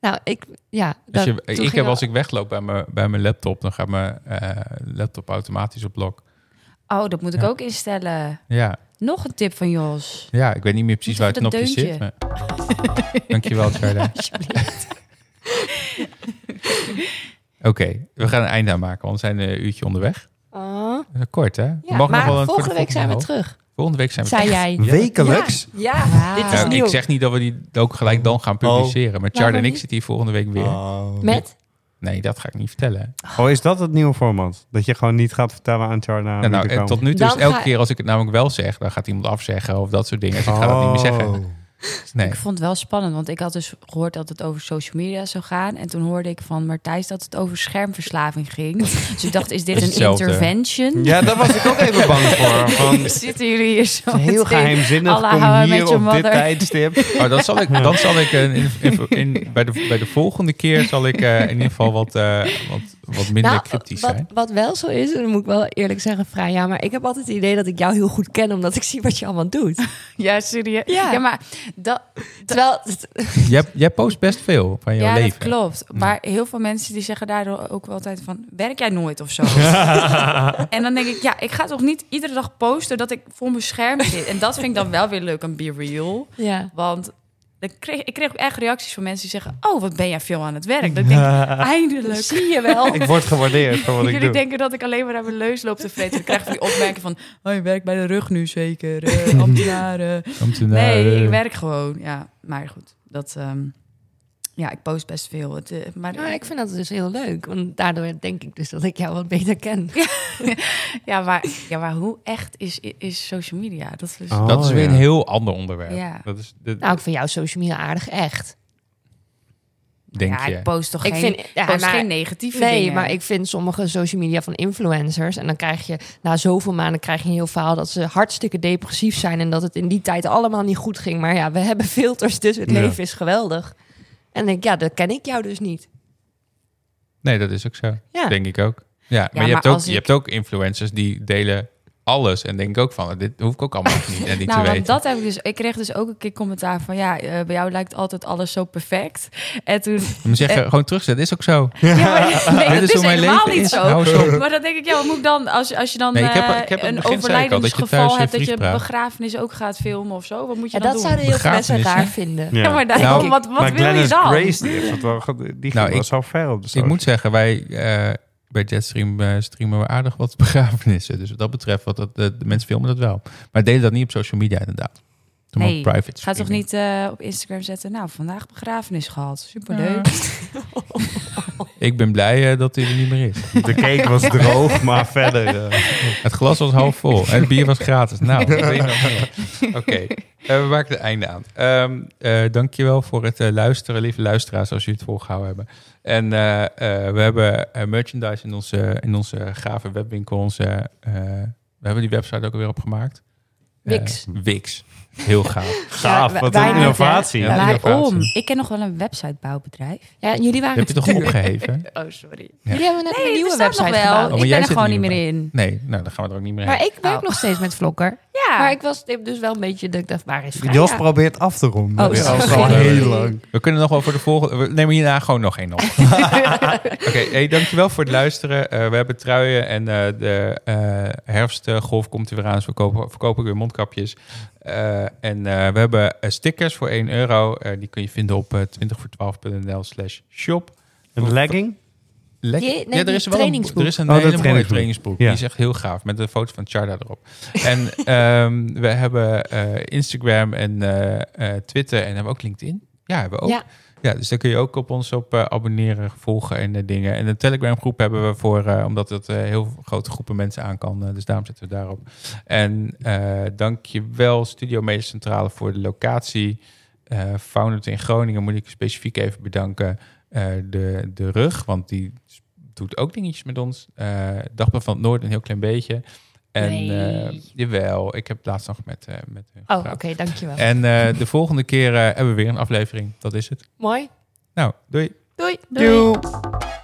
Speaker 2: Nou, ik... Ja,
Speaker 1: Als
Speaker 2: dat,
Speaker 1: je,
Speaker 2: toen
Speaker 1: ik
Speaker 2: ging
Speaker 1: heb
Speaker 2: er-
Speaker 1: als ik wegloop bij mijn, bij mijn laptop, dan gaat mijn eh, laptop automatisch op lok.
Speaker 4: Oh, dat moet ik
Speaker 1: Ja.
Speaker 4: ook instellen.
Speaker 1: Ja,
Speaker 4: Nog een tip van Jos.
Speaker 1: ja, ik weet niet meer precies
Speaker 4: Moet
Speaker 1: waar het
Speaker 4: even dat
Speaker 1: knopje zit.
Speaker 4: deuntje.
Speaker 1: maar- Dankjewel, Charda. Oké, we gaan een einde aan maken, want we zijn eh, een uurtje onderweg.
Speaker 2: Oh,
Speaker 1: Dat is kort, hè? We
Speaker 2: ja,
Speaker 1: mogen nog
Speaker 2: maar
Speaker 1: wel een- voor de
Speaker 2: volgende week zijn we
Speaker 1: helft.
Speaker 2: terug,
Speaker 1: Volgende week zijn we
Speaker 2: zei jij.
Speaker 5: Wekelijks?
Speaker 2: Ja, dit is
Speaker 1: Nou,
Speaker 2: nieuw.
Speaker 1: ik zeg niet dat we die ook gelijk dan gaan publiceren. Maar Chard
Speaker 2: Waarom
Speaker 1: en ik
Speaker 2: niet?
Speaker 1: zitten hier volgende week weer.
Speaker 6: Oh.
Speaker 2: Met?
Speaker 1: Nee, dat ga ik niet vertellen.
Speaker 5: Oh, is dat het nieuwe format? Dat je gewoon niet gaat vertellen aan Charna
Speaker 1: nou, nou,
Speaker 5: wie er
Speaker 1: eh,
Speaker 5: komen?
Speaker 1: tot nu toe is
Speaker 2: Dan
Speaker 1: elke
Speaker 2: ga-
Speaker 1: keer als ik het namelijk wel zeg, dan gaat iemand afzeggen of dat soort dingen. Dus ik ga dat niet meer zeggen.
Speaker 6: Oh.
Speaker 1: Nee.
Speaker 4: Ik vond het wel spannend, want ik had dus gehoord dat het over social media zou gaan. En toen hoorde ik van Martijs dat het over schermverslaving ging. dus ik dacht, is dit
Speaker 1: Dat is
Speaker 4: een
Speaker 1: hetzelfde.
Speaker 4: intervention?
Speaker 5: Ja, daar was ik ook even bang voor. Van,
Speaker 4: Zitten jullie hier zo
Speaker 5: Het is heel
Speaker 4: meteen?
Speaker 5: geheimzinnig.
Speaker 4: Allah,
Speaker 5: Kom
Speaker 4: hou haar
Speaker 5: hier
Speaker 4: met je
Speaker 5: op dit
Speaker 4: mother.
Speaker 5: tijdstip.
Speaker 1: Maar dan zal ik, dan zal ik eh, in, in- in- bij, de, bij de volgende keer zal ik eh, in ieder geval wat, eh, wat, wat
Speaker 4: Nou,
Speaker 1: minder cryptisch
Speaker 2: nou, wat,
Speaker 1: zijn.
Speaker 2: Wat wel zo is, en dan moet ik wel eerlijk zeggen, vrij ja, maar ik heb altijd het idee dat ik jou heel goed ken, omdat ik zie wat je allemaal doet.
Speaker 4: Ja, serieus. Ja,
Speaker 2: Ja.
Speaker 4: maar dat,
Speaker 2: Terwijl,
Speaker 1: Jij, jij post best veel van jouw
Speaker 4: ja, dat
Speaker 1: leven.
Speaker 4: klopt. Maar heel veel mensen die zeggen daardoor ook wel altijd van... werk jij nooit of zo? en dan denk ik, ja, ik ga toch niet iedere dag posten... dat ik voor mijn scherm zit. En dat vind ik dan wel weer leuk aan Be Real.
Speaker 2: ja.
Speaker 4: Want dan kreeg, ik kreeg ook echt reacties van mensen die zeggen... oh, wat ben jij veel aan het werk. Dat ik denk, eindelijk. Zie je wel.
Speaker 5: ik word gewaardeerd voor wat ik
Speaker 4: Jullie
Speaker 5: doe.
Speaker 4: denken dat ik alleen maar aan mijn leus loop te vreten. Dan krijg ik die opmerking van... oh, je werkt bij de rug nu zeker. eh, ambtenaren.
Speaker 1: eh.
Speaker 4: Nee, ik werk gewoon. Ja, maar goed. Dat, ehm, ja, ik post best veel. Het, eh, maar
Speaker 2: Nou, ik vind dat dus heel leuk. Want daardoor denk ik dus dat ik jou wat beter ken.
Speaker 4: ja, maar, ja, maar hoe echt is, is social media? Dat is...
Speaker 5: Oh,
Speaker 1: Dat is weer
Speaker 5: ja.
Speaker 1: een heel ander onderwerp.
Speaker 4: Ja.
Speaker 1: Dat is, dat
Speaker 2: Nou, ik vind jouw social media aardig echt.
Speaker 1: denk
Speaker 4: ja,
Speaker 1: je.
Speaker 4: ik post toch
Speaker 2: Ik
Speaker 4: geen,
Speaker 2: vind, ja,
Speaker 4: post
Speaker 2: maar-
Speaker 4: geen negatieve
Speaker 2: nee,
Speaker 4: dingen.
Speaker 2: maar ik vind sommige social media van influencers. En dan krijg je na zoveel maanden krijg je een heel verhaal dat ze hartstikke depressief zijn. En dat het in die tijd allemaal niet goed ging. Maar ja, we hebben filters, dus het
Speaker 5: Ja.
Speaker 2: leven is geweldig. En dan denk ik, ja, dat ken ik jou dus niet.
Speaker 1: Nee, dat is ook zo.
Speaker 2: Ja.
Speaker 1: Denk ik ook. Ja, maar, je,
Speaker 4: maar
Speaker 1: hebt ook,
Speaker 4: als
Speaker 1: je
Speaker 4: ik-
Speaker 1: hebt ook influencers die delen alles. En denk ik ook van, dit hoef ik ook allemaal niet, en niet
Speaker 4: nou,
Speaker 1: te
Speaker 4: want
Speaker 1: weten.
Speaker 4: dat heb ik dus. Ik kreeg dus ook een keer commentaar van ja, eh, bij jou lijkt altijd alles zo perfect. En toen.
Speaker 1: Dan moet je
Speaker 4: eh,
Speaker 1: zeggen, gewoon terugzetten, is ook zo.
Speaker 4: Ja, maar, nee,
Speaker 1: Dit is
Speaker 4: dat is,
Speaker 1: dus hoe mijn
Speaker 4: helemaal
Speaker 1: leven
Speaker 4: niet
Speaker 1: is.
Speaker 4: zo.
Speaker 1: Hou eens op.
Speaker 4: Maar dan denk ik, ja, wat moet ik dan als, als je dan
Speaker 1: Nee, ik heb-
Speaker 4: eh,
Speaker 1: ik heb in het begin zei ik
Speaker 4: een
Speaker 1: al, dat je thuis,
Speaker 4: overlijdensgeval
Speaker 1: eh,
Speaker 4: hebt dat je
Speaker 1: Fries praat.
Speaker 4: begrafenis ook gaat filmen of zo? Wat moet je
Speaker 2: En
Speaker 4: dan
Speaker 2: dat
Speaker 4: doen?
Speaker 2: zouden heel veel mensen
Speaker 1: Begrafenissen.
Speaker 2: raar vinden.
Speaker 4: Ja, maar dan,
Speaker 1: Nou,
Speaker 4: wat, wat
Speaker 5: maar
Speaker 4: wil je
Speaker 5: Glennis
Speaker 4: dan?
Speaker 5: Grace, die heeft dat wel ge- die ging
Speaker 1: Nou,
Speaker 5: wel
Speaker 1: ik-
Speaker 5: zo ver op de
Speaker 1: Ik
Speaker 5: social.
Speaker 1: moet zeggen, wij eh, bij Jetstream eh, streamen we aardig wat begrafenissen. Dus wat dat betreft, wat dat, de, de mensen filmen dat wel. Maar delen dat niet op social media inderdaad. Doe maar
Speaker 4: Nee,
Speaker 1: private
Speaker 4: Ga toch
Speaker 1: streaming.
Speaker 4: niet eh, op Instagram zetten? Nou, vandaag begrafenis gehad. Superleuk.
Speaker 1: Ik ben blij eh, dat hij er niet meer is.
Speaker 5: De cake was droog, maar verder... eh,
Speaker 1: Het glas was half vol en het bier was gratis. Nou, wat wil je nog meer? oké. eh, we maken het einde aan. Ehm eh dankjewel voor het eh, luisteren, lieve luisteraars, als jullie het volgehouden hebben. En eh, eh, we hebben eh, merchandise in onze, in onze gave webwinkel. Onze, eh, we hebben die website ook alweer opgemaakt. Eh,
Speaker 2: Wix.
Speaker 1: Wix. Heel gaaf.
Speaker 5: Gaaf,
Speaker 2: wij-
Speaker 5: wat
Speaker 2: wij
Speaker 5: een
Speaker 2: niet, hè?
Speaker 5: innovatie.
Speaker 1: Ja.
Speaker 4: Waarom?
Speaker 1: innovatie.
Speaker 4: Ik ken nog wel een websitebouwbedrijf.
Speaker 2: Ja, jullie waren
Speaker 1: Heb je toch opgeheven?
Speaker 4: Oh, sorry.
Speaker 2: Jullie hebben net een
Speaker 4: Nee,
Speaker 2: nieuwe
Speaker 4: er staat
Speaker 2: website
Speaker 4: nog wel. Oh,
Speaker 2: gebouwd.
Speaker 1: maar
Speaker 4: ik
Speaker 1: jij
Speaker 4: ben er
Speaker 1: zit
Speaker 4: gewoon
Speaker 1: er niet
Speaker 4: niet meer in.
Speaker 1: Nee, nou dan gaan we er ook niet meer heen.
Speaker 2: Maar ik werk
Speaker 4: Oh.
Speaker 2: nog steeds met Vlokker.
Speaker 4: Ja.
Speaker 2: Maar ik was ik heb dus wel een beetje dat ik dacht, waar is Vrijdag?
Speaker 5: Jos probeert af te ronden.
Speaker 2: Oh,
Speaker 5: Dat is
Speaker 1: sorry.
Speaker 5: al heel
Speaker 2: Sorry.
Speaker 5: lang.
Speaker 1: We kunnen nog wel voor de volgende. We nemen hierna gewoon nog één op. Oké, hey, dankjewel voor het luisteren. Eh, we hebben truien en eh, de eh, herfstgolf komt er weer aan. Dus we kopen, verkopen ook weer mondkapjes. Eh, en eh, we hebben eh, stickers voor 1 euro. Eh, die kun je vinden op 20voor12.nl slash shop.
Speaker 5: Een legging?
Speaker 1: Lekker.
Speaker 2: Die- nee, die
Speaker 1: een,
Speaker 2: trainingsbroek.
Speaker 1: er is een
Speaker 5: Oh, dat
Speaker 1: hele mooie
Speaker 5: trainingsbroek.
Speaker 1: trainingsbroek.
Speaker 5: Ja.
Speaker 1: Die is echt heel gaaf, met een foto van Charda erop. en ehm, we hebben eh, Instagram en eh, eh, Twitter en hebben we ook LinkedIn. Ja, hebben we ook. Ja.
Speaker 2: Ja.
Speaker 1: dus daar kun je ook op ons op eh, abonneren, volgen en eh, dingen. En de Telegram groep hebben we voor, eh, omdat dat eh, heel grote groepen mensen aan kan. eh, dus daarom zetten we daarop. En eh dankjewel Studio Media Centrale voor de locatie. Eh Founded in Groningen moet ik specifiek even bedanken. Eh, de, de rug, want die s- doet ook dingetjes met ons. Eh Dagblad van het Noorden een heel klein beetje. En
Speaker 2: Nee.
Speaker 1: eh, jawel, ik heb laatst nog met, eh met hun
Speaker 2: Oh, oké,
Speaker 1: gepraat.
Speaker 2: dankjewel.
Speaker 1: En eh, de volgende keer eh, hebben we weer een aflevering. Dat is het.
Speaker 2: Mooi.
Speaker 1: Nou, doei.
Speaker 2: Doei.
Speaker 5: Doei.